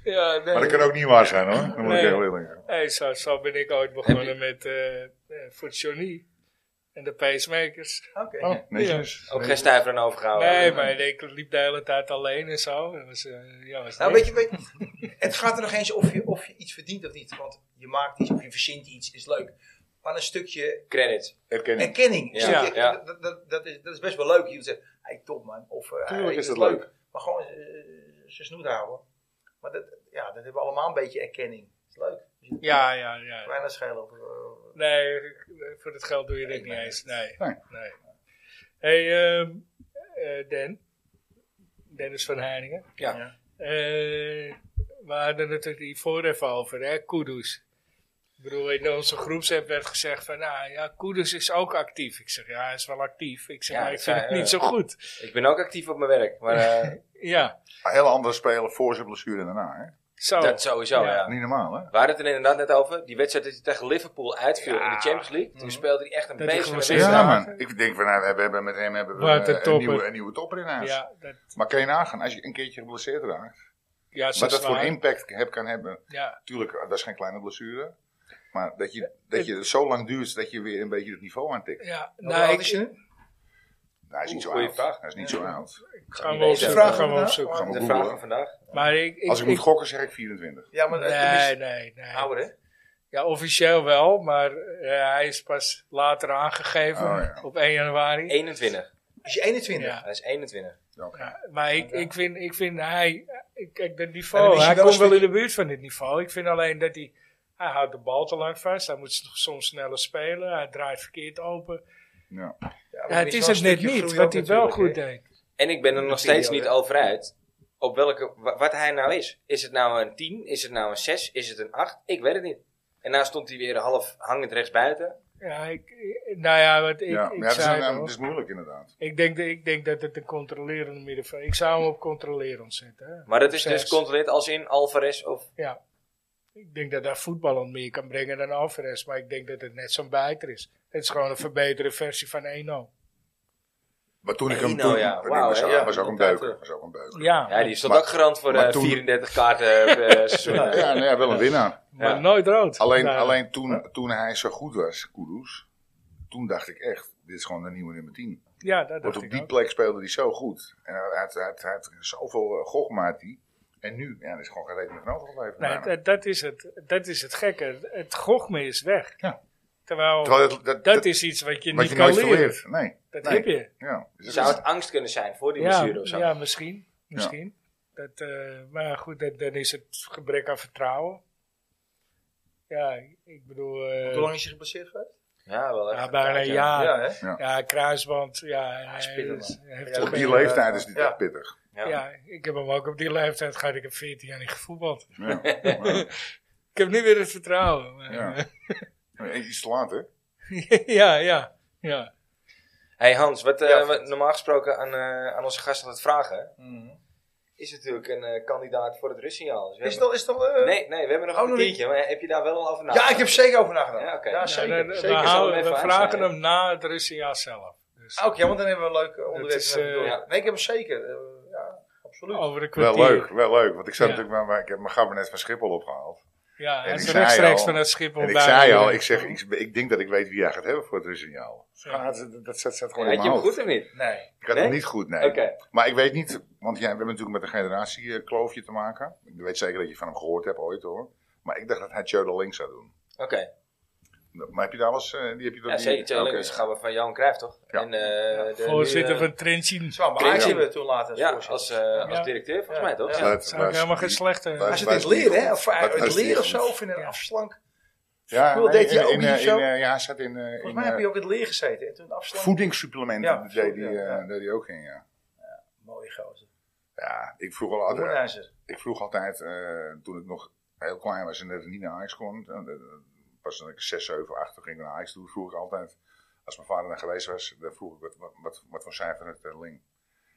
Speaker 2: Ja, nee.
Speaker 3: Maar dat kan ook niet waar zijn hoor. Dat moet
Speaker 2: Nee.
Speaker 3: ik heel eerlijk zeggen.
Speaker 2: Hey, zo, zo ben ik ooit begonnen met eh, eh, voor Johnny en de pacemakers.
Speaker 4: Oké.
Speaker 3: Oh, netjes.
Speaker 1: Ook geen stuiver aan
Speaker 4: Oh,
Speaker 1: overgehouden.
Speaker 2: nee, maar ik liep de hele tijd alleen en zo. Dat was, eh, ja, was
Speaker 4: Nou,
Speaker 2: leuk.
Speaker 4: weet je, weet, het gaat er nog eens of je, of je iets verdient of niet. Want je maakt iets of je verzint iets, is leuk. Maar een stukje
Speaker 1: Credits.
Speaker 3: Erkenning.
Speaker 1: Ja,
Speaker 4: erkenning. Snap je?
Speaker 1: ja.
Speaker 4: Dat, dat, dat, is, dat is best wel leuk. Je zegt, hey, top man. Of, eh,
Speaker 3: Tuurlijk
Speaker 4: hey,
Speaker 3: is
Speaker 4: dit
Speaker 3: dat leuk.
Speaker 4: Maar gewoon eh, zijn snoet houden. Maar dat, ja, dat hebben we allemaal een beetje erkenning. Dat is leuk. Dus je-
Speaker 2: Ja, ja, ja.
Speaker 4: Kleine schelen. Of, eh,
Speaker 2: Nee, voor het geld doe je dit niet eens. Nee.
Speaker 3: Nee.
Speaker 2: nee. hey, ehm, eh, Dan. Dennis van Heiningen.
Speaker 1: Ja.
Speaker 4: ja.
Speaker 2: Eh, we hadden het er hiervoor even over, hè, Kudus. Ik bedoel, in onze groepsapp werd gezegd van, nou ja, Kudus is ook actief. Ik zeg, ja, hij is wel actief. Ik zeg,
Speaker 1: Ja,
Speaker 2: maar ik
Speaker 1: ik
Speaker 2: vind
Speaker 1: zei,
Speaker 2: het niet
Speaker 1: eh,
Speaker 2: zo goed.
Speaker 1: Ik ben ook actief op mijn werk. Maar eh,
Speaker 2: Ja,
Speaker 3: Een hele andere speler voor zijn blessure en daarna. Hè?
Speaker 4: Oh.
Speaker 2: zo.
Speaker 1: dat sowieso,
Speaker 2: Ja.
Speaker 1: ja.
Speaker 3: Niet normaal hè?
Speaker 1: We hadden het er inderdaad net over. Die wedstrijd dat hij tegen Liverpool uitviel
Speaker 2: Ja.
Speaker 1: in de Champions League. Toen speelde hij echt een
Speaker 2: Dat hij
Speaker 1: beetje
Speaker 2: geblesseerd
Speaker 3: Ja,
Speaker 2: Ja,
Speaker 3: man. Ik denk van nou, we hebben met hem hebben we
Speaker 2: Wat een
Speaker 3: eh, een,
Speaker 2: topper.
Speaker 3: nieuwe, een nieuwe topper in huis.
Speaker 2: ja, dat,
Speaker 3: Maar kan je nagaan, als je een keertje geblesseerd raakt,
Speaker 2: ja, zo
Speaker 3: wat dat
Speaker 2: zwaar.
Speaker 3: voor impact heb, kan hebben.
Speaker 2: Ja,
Speaker 3: Tuurlijk, eh, dat is geen kleine blessure. Maar dat je, dat je het zo lang duurt dat je weer een beetje het niveau aantikt.
Speaker 2: ja.
Speaker 4: Hoe
Speaker 2: Nou,
Speaker 4: oud
Speaker 2: ik,
Speaker 4: is je nu?
Speaker 3: Nou, hij is niet zo
Speaker 1: Oeh, goeie
Speaker 3: oud.
Speaker 1: vraag.
Speaker 3: Hij is niet zo oud.
Speaker 2: gaan we opzoeken.
Speaker 4: vraag
Speaker 2: Gaan we
Speaker 4: vandaag?
Speaker 2: opzoeken.
Speaker 3: Gaan we
Speaker 1: De vraag
Speaker 3: googlen.
Speaker 1: van vandaag.
Speaker 2: Maar ik, ik,
Speaker 3: Als ik
Speaker 2: ik-
Speaker 3: moet gokken zeg ik 24.
Speaker 4: Ja, maar eh,
Speaker 2: nee,
Speaker 4: toen is-
Speaker 2: nee, nee.
Speaker 4: ouder hè?
Speaker 2: Ja, officieel wel, maar eh, hij is pas later aangegeven
Speaker 3: Oh, ja.
Speaker 2: op 1 januari.
Speaker 1: 21.
Speaker 4: Is je 21?
Speaker 2: Ja.
Speaker 1: Hij is 21.
Speaker 2: Ja, maar ik, ik, vind, ik vind hij, kijk, dat
Speaker 4: En dan
Speaker 2: niveau,
Speaker 4: is hij
Speaker 2: hij
Speaker 4: wel
Speaker 2: komt
Speaker 4: een
Speaker 2: wel in
Speaker 4: stukje-
Speaker 2: de buurt van dit niveau. Ik vind alleen dat hij, hij houdt de bal te lang vast, hij moet s- soms sneller spelen, hij draait verkeerd open.
Speaker 3: Ja.
Speaker 4: Ja,
Speaker 2: Ja, het is het net niet, wat hij wel goed deed.
Speaker 1: En ik ben er nog
Speaker 4: Dat
Speaker 1: steeds
Speaker 4: video,
Speaker 1: niet
Speaker 4: hè?
Speaker 1: over uit. Op welke, wa- wat hij nou is. Is het nou een 10? Is het nou een 6? Is het een 8? Ik weet het niet. En nou stond hij weer half hangend rechts buiten.
Speaker 2: Ja, ik, nou ja, wat ik,
Speaker 3: ja.
Speaker 2: ik
Speaker 3: ja, het, is,
Speaker 2: zei
Speaker 3: een-
Speaker 2: al,
Speaker 3: het is moeilijk inderdaad.
Speaker 2: ik, denk, dat- ik denk dat het een controlerende middenveld Ik zou hem op controlerend zetten. hè.
Speaker 1: Maar dat is
Speaker 2: Op
Speaker 1: dus
Speaker 2: zes.
Speaker 1: controleerd als in Alvarez of...
Speaker 2: Ja. Ik denk dat hij voetballend meer kan brengen dan Alvarez, maar ik denk dat het net zo'n bijter is. Het is gewoon een verbeterde versie van 1-0.
Speaker 3: Maar toen ik hem
Speaker 1: Eno,
Speaker 3: toen,
Speaker 1: ja.
Speaker 3: toen
Speaker 1: Wauw,
Speaker 3: was,
Speaker 1: hè?
Speaker 3: was ook een
Speaker 4: Ja.
Speaker 3: beuker. Was ook een beuker.
Speaker 2: Ja,
Speaker 1: Ja, die stond
Speaker 3: Maar-
Speaker 1: ook garant voor
Speaker 3: maar
Speaker 1: eh,
Speaker 3: toen-
Speaker 1: 34 kaarten per seizoen.
Speaker 3: Ja, nou ja, wel een winnaar.
Speaker 2: maar
Speaker 1: Ja.
Speaker 2: nooit rood.
Speaker 3: Alleen,
Speaker 2: Nou,
Speaker 3: alleen toen, toen hij zo goed was, Kudus, toen dacht ik echt, dit is gewoon de nieuwe nummer 10.
Speaker 2: Ja, dat
Speaker 3: Want
Speaker 2: dacht
Speaker 3: op
Speaker 2: ik
Speaker 3: die
Speaker 2: ook.
Speaker 3: plek speelde hij zo goed. En hij had, hij had, hij had zoveel eh, gochmaat die. En nu, ja, er is gewoon geen reden meer van overgebleven.
Speaker 2: Nee,
Speaker 3: bijna.
Speaker 2: dat, dat is het, dat is het gekke. Het gochme is weg.
Speaker 3: Ja.
Speaker 2: Terwijl,
Speaker 3: Terwijl dat, dat,
Speaker 2: Oh, dat
Speaker 3: dat-
Speaker 2: is iets wat je
Speaker 3: wat
Speaker 2: niet
Speaker 3: je
Speaker 2: kan
Speaker 3: nooit
Speaker 2: leren.
Speaker 3: verleert. Nee.
Speaker 2: Dat
Speaker 3: nee.
Speaker 2: heb je.
Speaker 3: Ja. Dus dat
Speaker 1: Zou
Speaker 3: is-
Speaker 1: het angst kunnen zijn voor die
Speaker 2: Ja,
Speaker 1: blessure of zo?
Speaker 2: ja, misschien. misschien. Dat, eh, maar goed, dat, dan is het gebrek aan vertrouwen. Ja, ik bedoel... eh,
Speaker 4: Hoe lang is je geblesseerd geweest?
Speaker 1: Ja, wel echt.
Speaker 2: ja, bijna een
Speaker 1: ja.
Speaker 2: jaar. Ja,
Speaker 4: hè?
Speaker 2: kruisband. Ja, hij
Speaker 4: spittig,
Speaker 2: is- hij heeft
Speaker 4: Ja,
Speaker 3: op
Speaker 2: ook
Speaker 3: die
Speaker 2: een-
Speaker 3: leeftijd is dit
Speaker 4: Ja.
Speaker 3: echt pittig.
Speaker 1: Ja.
Speaker 2: Ja, ik heb hem ook op die leeftijd gehad. Ik heb 14 jaar niet gevoetbald.
Speaker 3: Ja. Maar,
Speaker 2: Ik heb nu weer het vertrouwen. maar-
Speaker 3: Ja. maar Iets te laat, hè?
Speaker 2: ja, ja, ja.
Speaker 1: Hey Hans, wat eh,
Speaker 4: Ja,
Speaker 1: we
Speaker 4: goed.
Speaker 1: normaal gesproken aan, eh, aan onze gasten altijd vragen,
Speaker 4: Mhm.
Speaker 1: is natuurlijk een eh, kandidaat voor het rustsignaal. Dus we
Speaker 4: Is het
Speaker 1: hebben-
Speaker 4: al... Is het al eh,
Speaker 1: Nee, nee, we hebben nog
Speaker 4: Oh,
Speaker 1: een
Speaker 4: nog
Speaker 1: kwartiertje, maar heb je daar wel al over
Speaker 4: Ja,
Speaker 1: nagedacht?
Speaker 4: ik heb zeker over nagedacht.
Speaker 1: Ja,
Speaker 4: Ja,
Speaker 1: oké. Ja,
Speaker 4: zeker.
Speaker 2: Ja, dan-
Speaker 4: zeker.
Speaker 2: we,
Speaker 1: Zullen we
Speaker 2: houden-
Speaker 1: hem
Speaker 2: we
Speaker 1: even
Speaker 2: vragen
Speaker 1: aansnijden?
Speaker 2: hem na het Russiaanse zelf. Dus
Speaker 4: Ah, Oké, want dan hebben we een leuk eh, onderwerp.
Speaker 2: is,
Speaker 4: om even
Speaker 2: eh, Oh.
Speaker 4: door.
Speaker 1: ja.
Speaker 4: Nee, ik heb hem zeker. Eh, ja, absoluut.
Speaker 2: Over een
Speaker 3: Wel
Speaker 2: kwartier.
Speaker 3: leuk, wel leuk. Want ik, zat
Speaker 2: Ja.
Speaker 3: natuurlijk maar, maar ik heb mijn gabinet van Schiphol opgehaald.
Speaker 2: Ja,
Speaker 3: En
Speaker 2: hij is
Speaker 3: ik zei
Speaker 2: rechtstreeks
Speaker 3: al-
Speaker 2: vanuit Schiphol.
Speaker 3: En ik
Speaker 2: daar
Speaker 3: zei al,
Speaker 2: naartoe.
Speaker 3: ik zeg, ik, ik denk dat ik weet wie jij gaat hebben voor het rustsignaal.
Speaker 2: Ja.
Speaker 3: Ja, dat, dat zat, zat gewoon in
Speaker 1: Had je
Speaker 3: mijn
Speaker 1: hem
Speaker 3: hoofd.
Speaker 1: goed of niet?
Speaker 4: Nee.
Speaker 3: Ik had
Speaker 1: Nee?
Speaker 3: hem niet goed, nee.
Speaker 1: Oké.
Speaker 3: Maar ik weet niet, want ja, we hebben natuurlijk met een generatiekloofje te maken. Ik weet zeker dat je van hem gehoord hebt ooit hoor. Maar ik dacht dat hij Tjödel links zou doen.
Speaker 1: Oké,
Speaker 3: Maar heb je daar wel eens, eh, die heb je dat
Speaker 1: ja, zeker. Tjelle
Speaker 3: Oké.
Speaker 1: Lingus gaan we van Johan Cruijff, toch?
Speaker 3: Ja.
Speaker 1: En, eh, de-
Speaker 2: Voorzitter
Speaker 1: nu, eh,
Speaker 2: van Trentin.
Speaker 4: Zwaar, maar
Speaker 1: Kreeg
Speaker 4: Ajax
Speaker 1: je-
Speaker 4: hebben we toen later als
Speaker 1: Ja,
Speaker 4: voorzitter.
Speaker 1: als, eh, als
Speaker 2: Ja.
Speaker 1: directeur, volgens
Speaker 4: Ja.
Speaker 1: mij, toch?
Speaker 4: Ja.
Speaker 1: Ja.
Speaker 3: Dat
Speaker 2: Zou ik
Speaker 3: was-
Speaker 2: helemaal geen slechte...
Speaker 3: dat-
Speaker 4: Hij
Speaker 3: dat-
Speaker 4: zit in het
Speaker 3: was niet
Speaker 4: leren, hè?
Speaker 3: goed.
Speaker 4: Of
Speaker 3: Dat
Speaker 4: uit het
Speaker 3: was niet
Speaker 4: leren of
Speaker 3: goed.
Speaker 4: zo, of in een
Speaker 2: Ja.
Speaker 4: afslank.
Speaker 3: Ja,
Speaker 4: Vroeger deed hij
Speaker 3: in-
Speaker 4: ook
Speaker 3: in,
Speaker 4: niet
Speaker 3: eh,
Speaker 4: zo.
Speaker 3: in, eh, ja, hij zat in, eh, in
Speaker 4: Volgens mij heb
Speaker 3: eh,
Speaker 4: je ook in het leer gezeten. En toen afslank.
Speaker 3: voedingssupplementen
Speaker 4: Ja,
Speaker 3: deed, hij,
Speaker 4: ja,
Speaker 3: eh,
Speaker 4: ja.
Speaker 3: deed hij ook in, ja.
Speaker 4: Mooie gozer.
Speaker 3: Ja, ik vroeg,
Speaker 1: eh,
Speaker 3: al altijd,
Speaker 4: Hoornijzer.
Speaker 3: ik vroeg altijd, eh, toen ik nog heel klein was en net niet naar Ajax kon, eh, eh, pas toen ik 6, 7, 8 ging naar Ajax toe, vroeg ik altijd, als mijn vader daar geweest was, dan vroeg ik wat, wat, wat, wat voor cijfer het eh, ling.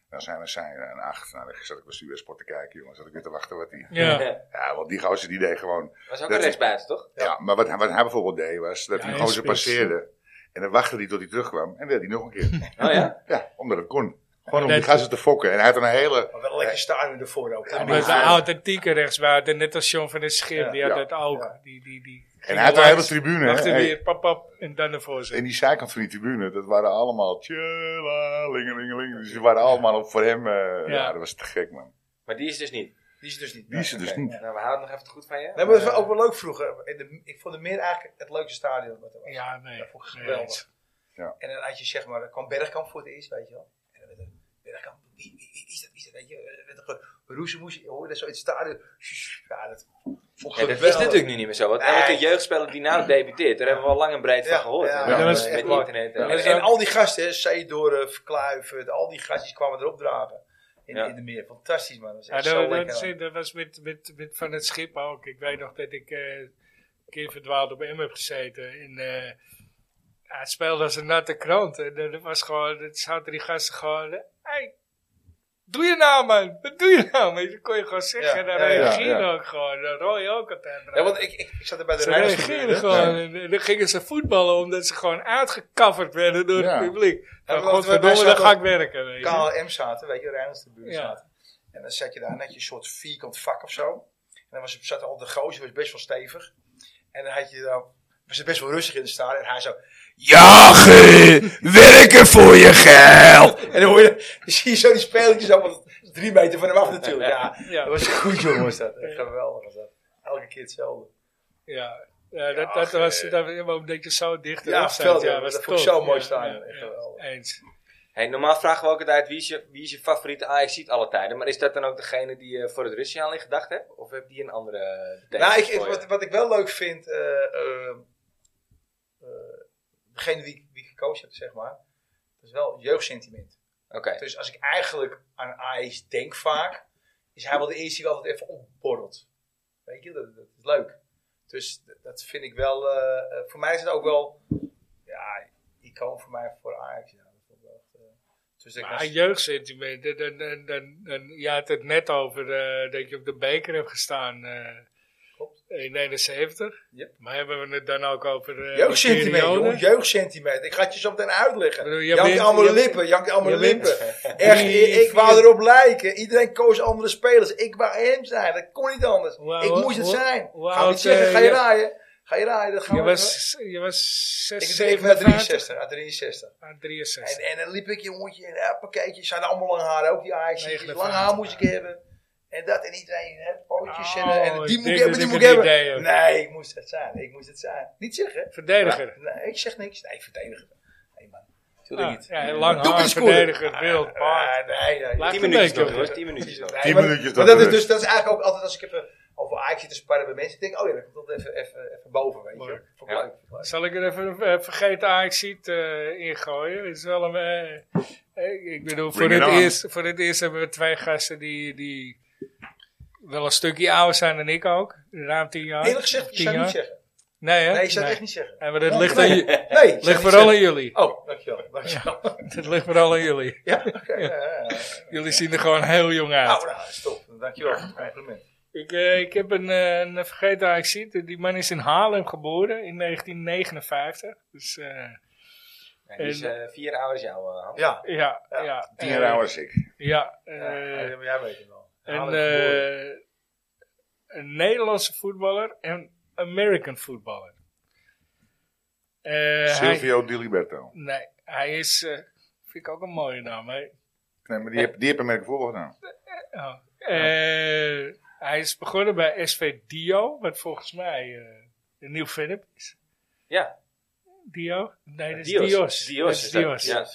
Speaker 3: Dan zijn er zijn een 8. Nou, dan zat ik bij Sport te kijken, jongens. Zat ik weer te wachten wat die.
Speaker 2: Ja, ja,
Speaker 3: Ja, want die gozer die deed gewoon.
Speaker 1: Was ook
Speaker 3: Dat-
Speaker 1: een rechtsbuiten, toch?
Speaker 3: Ja, maar wat, hij- wat hij bijvoorbeeld deed was dat
Speaker 2: Ja,
Speaker 3: hij
Speaker 2: hij
Speaker 3: die gozer
Speaker 2: spits.
Speaker 3: passeerde. En dan wachtte hij tot hij terugkwam en deed hij nog een keer.
Speaker 1: Oh ja?
Speaker 3: ja, omdat het kon. Gewoon om
Speaker 2: dat-
Speaker 3: die gozer te fokken. En hij had een hele.
Speaker 4: Maar wel een
Speaker 1: eh,
Speaker 4: lekker stadion ervoor ook.
Speaker 2: Dat
Speaker 3: die-
Speaker 2: was een authentieke rechtswaarde. Net als John van der Schip.
Speaker 4: Ja.
Speaker 2: Die had
Speaker 3: Ja.
Speaker 2: dat ook.
Speaker 4: Ja.
Speaker 2: Die, die, die
Speaker 3: En hij had een hele tribune. hè.
Speaker 2: Achter
Speaker 3: Hey.
Speaker 2: weer, pap, pap. En dan de
Speaker 3: En
Speaker 2: voorzitter.
Speaker 3: die zijkant van die tribune, dat waren allemaal tjela, lingelingeling. Dus die waren allemaal op voor hem. eh, ja. dat was te gek, man.
Speaker 1: Maar die is dus niet.
Speaker 4: Die is dus niet.
Speaker 3: Die is er dus
Speaker 1: Oké.
Speaker 3: niet.
Speaker 1: Nou, we houden nog even goed van je.
Speaker 4: Nee, maar dat was ook wel leuk vroeger. In de, ik vond de meer eigenlijk het leukste stadion. Wat er was.
Speaker 2: Ja, nee.
Speaker 4: Dat vond ik
Speaker 2: nee,
Speaker 4: geweldig.
Speaker 3: Ja.
Speaker 4: En dan had je zeg maar, er kwam Bergkamp voor het eerst, weet je wel. En dan werd er, Bergkamp, wie, wie, wie is dat, wie is dat, weet je. Er werd er gewoon roezemoes, je hoorde zo in het stadion. Ja, dat vond ik
Speaker 1: Ja, dat
Speaker 4: geweldig.
Speaker 1: is natuurlijk nu niet meer zo. Want
Speaker 4: Nee.
Speaker 1: elke jeugdspeler die nou debuteert, daar hebben we al lang en breed van
Speaker 4: Ja,
Speaker 1: gehoord.
Speaker 4: ja,
Speaker 1: hè?
Speaker 3: ja, dat
Speaker 1: met
Speaker 2: is
Speaker 1: met
Speaker 4: echt waar.
Speaker 1: internet. en-
Speaker 2: Ja,
Speaker 4: En,
Speaker 2: dat is
Speaker 4: en al die gasten, hè, Seedorf, Kluivert, al die gasten kwamen erop dragen. In,
Speaker 1: Ja.
Speaker 4: in de meer. Fantastisch, man. Dat is
Speaker 2: Ja,
Speaker 4: echt
Speaker 2: dat,
Speaker 4: zo
Speaker 2: dat
Speaker 4: lekker.
Speaker 2: is- dat was met, met, met van het schip ook. Ik weet nog dat ik eh, een keer verdwaald op M heb gezeten. En, eh, ja, het speelde als een natte krant. En eh, dat was gewoon, dat zaten die gasten gewoon. eh, Hey, doe je nou man, wat doe je nou? man? Dat kon je gewoon zeggen.
Speaker 4: Ja,
Speaker 2: en dan
Speaker 4: ja, ja,
Speaker 2: reageerde
Speaker 3: ja.
Speaker 2: ook gewoon. Dan rooi ook altijd.
Speaker 4: Ja, want ik, ik, ik zat er bij de
Speaker 2: ze
Speaker 4: Rijners
Speaker 2: reageerden
Speaker 4: tribune.
Speaker 2: gewoon. En, en dan gingen ze voetballen omdat ze gewoon uitgekafferd werden door
Speaker 3: Ja.
Speaker 2: het publiek.
Speaker 4: Ja,
Speaker 2: Nou,
Speaker 4: want wij
Speaker 2: godverdomme, dan
Speaker 4: zaten
Speaker 2: ga
Speaker 4: op
Speaker 2: ik werken. Weet je.
Speaker 4: KLM zaten, weet je, Rijnlands tribune
Speaker 2: Ja.
Speaker 4: zaten. En dan zat je daar net je soort vierkant vak of zo. En dan was, zat al de gozer, was best wel stevig. En dan had je dan, was het best wel rustig in de stad. En hij zo,
Speaker 3: Jagen! Werken voor je geld!
Speaker 4: en dan hoor je, dan zie je zo die spelertjes allemaal drie meter van hem af natuurlijk. Ja,
Speaker 2: Ja.
Speaker 4: dat was goed jongen was dat. Echt Geweldig was dat. Elke keer hetzelfde.
Speaker 2: Ja, ja, dat,
Speaker 4: Ja,
Speaker 2: dat
Speaker 4: ge-
Speaker 2: was dat, ja, maar omdat je zo dicht
Speaker 4: Ja,
Speaker 2: erop zat,
Speaker 4: veld, ja,
Speaker 2: was
Speaker 4: dat vond ik
Speaker 2: top.
Speaker 4: zo mooi
Speaker 2: Ja,
Speaker 4: staan.
Speaker 2: ja,
Speaker 4: Echt
Speaker 2: ja,
Speaker 4: geweldig.
Speaker 2: eens.
Speaker 1: Hey, normaal vragen we ook altijd wie is je, wie is je favoriete ajax ziet alle tijden. Maar is dat dan ook degene die je voor het Russiaal in gedacht hebt? Of heb die een andere betekenis
Speaker 4: Nou, ik,
Speaker 1: voor je?
Speaker 4: wat, wat ik wel leuk vind, eh, eh, eh, degene die, die ik gekozen heb, zeg maar, dat is wel jeugdsentiment.
Speaker 1: Oké,
Speaker 4: Dus als ik eigenlijk aan Ajax denk vaak, is hij wel de eerste die altijd even opborrelt. Weet je, dat, dat is leuk. Dus d- dat vind ik wel, eh, eh, voor mij is het ook wel, ja, icoon voor mij voor Ajax. Ja, dat vind ik wel echt, eh, dus ik
Speaker 2: Maar
Speaker 4: was-
Speaker 2: jeugdsentiment, dan, dan, dan, dan, dan- je had het net over eh, dat je op de beker hebt gestaan eh,
Speaker 4: Klopt.
Speaker 2: in 71.
Speaker 4: Yep.
Speaker 2: Maar hebben we het dan ook over eh
Speaker 4: jeugdsentiment,
Speaker 2: periode?
Speaker 4: jongen, jeugdsentiment. Ik ga het je zo meteen uitleggen.
Speaker 2: Ik bedoel, je
Speaker 4: Jank
Speaker 2: bent-
Speaker 4: allemaal
Speaker 2: je-
Speaker 4: lippen, jank allemaal
Speaker 2: je bent-
Speaker 4: lippen. Echt,
Speaker 2: Drie,
Speaker 4: ik, ik
Speaker 2: vier-
Speaker 4: wou erop lijken. Iedereen koos andere spelers. Ik wou hem zijn, dat kon niet anders.
Speaker 2: Hoe-
Speaker 4: ik
Speaker 2: hoe-
Speaker 4: moest het
Speaker 2: hoe-
Speaker 4: zijn.
Speaker 2: hoe
Speaker 4: Ga niet
Speaker 2: oud,
Speaker 4: zeggen,
Speaker 2: eh,
Speaker 4: ga je
Speaker 2: je-
Speaker 4: raaien. Ga je raaien, dat gaan
Speaker 2: Je
Speaker 4: we even-
Speaker 2: was, je was 6,
Speaker 4: Ik deed naar 63, uit 63.
Speaker 2: aan
Speaker 4: En,
Speaker 2: 63.
Speaker 4: en dan liep ik, jongetje, en appaketje, ze hadden allemaal lang haar, ook die Ajax. Lang
Speaker 2: 59,
Speaker 4: haar moest ik hebben. En dat en iedereen, hè, pootjes en,
Speaker 2: Oh,
Speaker 4: eh, en
Speaker 2: ik
Speaker 4: die
Speaker 2: denk
Speaker 4: moet ik hebben,
Speaker 2: dat
Speaker 4: die
Speaker 2: ik
Speaker 4: moet ik
Speaker 2: een
Speaker 4: hebben.
Speaker 2: idee heb.
Speaker 4: Nee, ik moest het zijn. Ik moest het zijn. Niet zeggen.
Speaker 2: Verdediger.
Speaker 4: Nee, ik zeg niks. Nee, verdediger. Nee, man. Tuurlijk
Speaker 2: Ah,
Speaker 4: niet.
Speaker 2: ja, lang
Speaker 4: Doe
Speaker 2: haar,
Speaker 4: eens goed.
Speaker 2: verdediger, wild, paard.
Speaker 4: Ah, nee, nee.
Speaker 2: Laat
Speaker 1: 10
Speaker 2: een
Speaker 1: minuutjes
Speaker 2: beetje
Speaker 1: nog, jongens.
Speaker 2: rust.
Speaker 1: 10 minuutjes nog.
Speaker 4: Nee,
Speaker 3: Tien
Speaker 4: maar-
Speaker 3: minuutjes
Speaker 4: maar
Speaker 3: tot
Speaker 4: dat is,
Speaker 3: rust.
Speaker 4: dus, dat is eigenlijk ook altijd als ik even over Ajax zit te sparren met mensen. denk ik, oh ja, dat komt altijd even, even, even boven, weet je. wel.
Speaker 2: Leuk.
Speaker 4: Vond ik
Speaker 1: Ja.
Speaker 4: leuk, vond ik leuk.
Speaker 2: Zal ik er even een eh, vergeten ajax ziet ingooien? Het is wel een... eh, eh, ik bedoel, voor
Speaker 3: Bring it
Speaker 2: het,
Speaker 3: on.
Speaker 2: eerst, voor het eerst hebben we twee gasten die, die wel een stukje ouder zijn dan ik ook. Ruim tien jaar.
Speaker 4: Eerlijk gezegd, je
Speaker 2: Tien
Speaker 4: zou het niet
Speaker 2: jaar.
Speaker 4: zeggen.
Speaker 2: Nee, hè?
Speaker 4: Nee, je zou het echt niet zeggen.
Speaker 2: Eh, maar dat
Speaker 4: Nee,
Speaker 2: ligt,
Speaker 4: nee.
Speaker 2: aan, je-
Speaker 4: Nee, je zou het
Speaker 2: ligt
Speaker 4: niet
Speaker 2: vooral aan
Speaker 4: zeggen.
Speaker 2: jullie.
Speaker 4: Oh, dankjewel. dankjewel.
Speaker 2: Dat ligt vooral aan jullie.
Speaker 4: Ja, oké. ja, ja, ja.
Speaker 2: Jullie zien er gewoon heel jong uit.
Speaker 4: Nou, nou, stop. Dankjewel. Compliment.
Speaker 2: Ik, eh, ik heb een, eh, een vergeten ajax Die man is in Haarlem geboren in 1959. Dus eh,
Speaker 1: Nee, die is eh, vier ouders jou, eh, Hans.
Speaker 4: Ja,
Speaker 2: ja, ja.
Speaker 4: Ja,
Speaker 3: Tien
Speaker 2: eh,
Speaker 3: jaar ouder als ik.
Speaker 2: Ja. eh,
Speaker 4: ja, maar jij weet het wel.
Speaker 2: een,
Speaker 4: Haal het door.
Speaker 2: eh, een Nederlandse voetballer en American voetballer. Eh, hij,
Speaker 3: Silvio Di Liberto.
Speaker 2: nee, hij is... eh, vind ik ook een mooie naam, hè?
Speaker 3: Nee,
Speaker 2: Eh.
Speaker 3: maar die heb, die heb een voetbal gedaan.
Speaker 2: Oh. Eh, hij is begonnen bij SV Dio, wat volgens mij eh, een nieuw Philip is.
Speaker 1: Ja,
Speaker 2: Dio? Nee, dat is
Speaker 1: Dios.
Speaker 2: Dios.
Speaker 1: Dios. is
Speaker 2: Dat is
Speaker 1: dat,
Speaker 2: Dios.
Speaker 1: ja.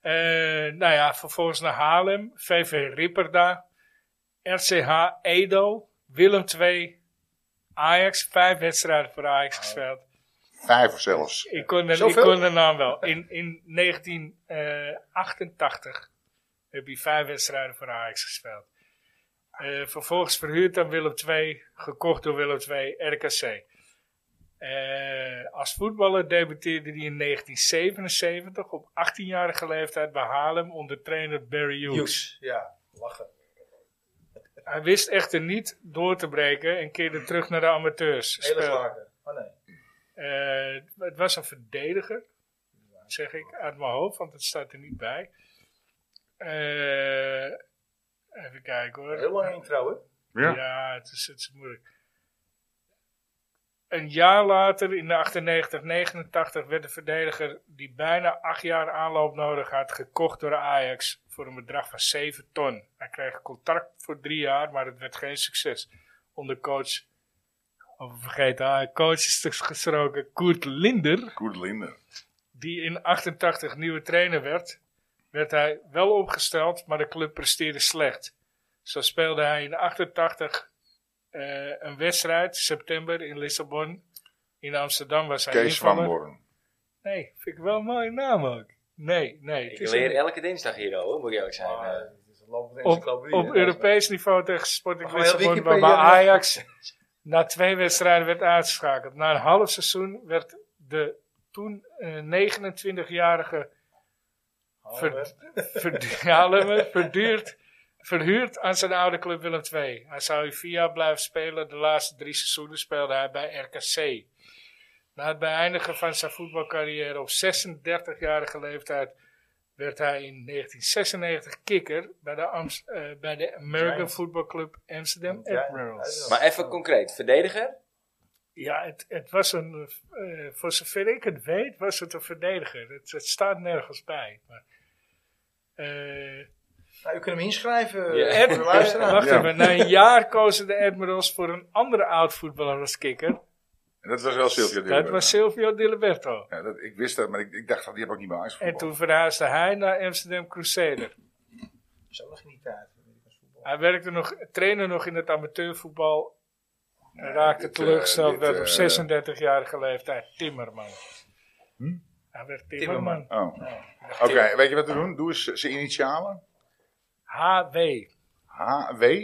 Speaker 2: Eh, nou ja, vervolgens naar Haarlem, VV Ripperda, RCH Edo, Willem II, Ajax, vijf wedstrijden voor Ajax gespeeld.
Speaker 3: Vijf of zelfs.
Speaker 2: Ik kon, de, ik
Speaker 4: Zoveel?
Speaker 2: kon de naam wel. In, in 1988 heb hij vijf wedstrijden voor Ajax gespeeld. Eh, vervolgens verhuurd aan Willem II, gekocht door Willem II, RKC. Eh, als voetballer debuteerde hij in 1977 op 18-jarige leeftijd bij Haarlem onder trainer Barry Hughes.
Speaker 4: Hughes, Ja, lachen.
Speaker 2: Hij wist echter niet door te breken en keerde terug naar de amateurs.
Speaker 4: Hele
Speaker 2: Speelde-
Speaker 4: slagen. Oh nee.
Speaker 2: eh, het was een verdediger, zeg ik uit mijn hoofd, want het staat er niet bij. Eh, even kijken hoor.
Speaker 4: Heel lang intro, hè?
Speaker 3: Ja.
Speaker 2: Ja, het is, het is moeilijk. Een jaar later, in de 98, 89, werd de verdediger die bijna acht jaar aanloop nodig had, gekocht door Ajax voor een bedrag van 7 ton. Hij kreeg een contract voor drie jaar, maar het werd geen succes. Onder coach, over vergeten, ah, coach is dus gesproken, Koert Linder,
Speaker 3: Goed Linde.
Speaker 2: die in 88 nieuwe trainer werd, werd hij wel opgesteld, maar de club presteerde slecht. Zo speelde hij in 88 eh, een wedstrijd, september in Lissabon. In Amsterdam was hij
Speaker 3: Kees
Speaker 2: invaller.
Speaker 3: van Born.
Speaker 2: Nee, vind ik wel een mooie naam ook. Nee, nee. het
Speaker 1: Ik
Speaker 2: is
Speaker 1: leer
Speaker 2: een- Ah,
Speaker 1: elke dinsdag hier al, hoor, moet ik eerlijk zijn.
Speaker 4: Maar,
Speaker 1: Eh,
Speaker 4: eh, het is een lopende
Speaker 2: op,
Speaker 4: encyclopedie,
Speaker 2: op
Speaker 4: hè,
Speaker 2: Europees niveau tegen Sporting
Speaker 4: Maar heel
Speaker 2: Lissabon,
Speaker 4: Wikipedia
Speaker 2: waarbij
Speaker 4: nog.
Speaker 2: Ajax na twee wedstrijden werd uitgeschakeld. Na een half seizoen werd de toen eh, 29-jarige
Speaker 4: Haal
Speaker 2: Ver-
Speaker 4: het.
Speaker 2: Verd- ja, laat maar. verduurd, verhuurd aan zijn oude club Willem II. Hij zou hier vier jaar blijven spelen. De laatste drie seizoenen speelde hij bij RKC. Na het beëindigen van zijn voetbalcarrière op 36-jarige leeftijd werd hij in 1996 kikker bij de, Amst- eh, bij de American
Speaker 4: Giants.
Speaker 2: Football Club Amsterdam
Speaker 4: Ja,
Speaker 2: Admirals.
Speaker 4: ja,
Speaker 1: maar even concreet, verdediger?
Speaker 2: Ja, het, het was een, eh, voor zover ik het weet, was het een verdediger. Het, het staat nergens bij. Maar, eh,
Speaker 4: Nou, u kunt hem inschrijven
Speaker 1: Ja.
Speaker 4: eh, voor de luisteraar.
Speaker 2: Wacht
Speaker 3: Ja.
Speaker 2: even, na een jaar kozen de Admirals voor een andere oud voetballer als kikker.
Speaker 3: En dat was wel Silvio Di
Speaker 2: Dat
Speaker 3: Liberto.
Speaker 2: was Silvio Di Liberto.
Speaker 3: ja, dat, ik wist dat, maar ik, ik dacht van die heb ik niet bij Ajax
Speaker 2: En
Speaker 3: voetbal.
Speaker 2: toen verhuisde hij naar Amsterdam Crusader.
Speaker 4: Zo nog niet uit.
Speaker 2: Hij werkte nog, trainde nog in het amateurvoetbal. En raakte
Speaker 3: dit,
Speaker 2: teleurgesteld
Speaker 3: eh,
Speaker 2: werd
Speaker 3: dit,
Speaker 2: op
Speaker 3: eh,
Speaker 2: 36-jarige leeftijd Timmerman. Hij werd Timmerman.
Speaker 3: Oh. Oké, weet je wat we doen? Doe eens zijn initialen.
Speaker 2: HW.
Speaker 3: HW.
Speaker 2: Ah.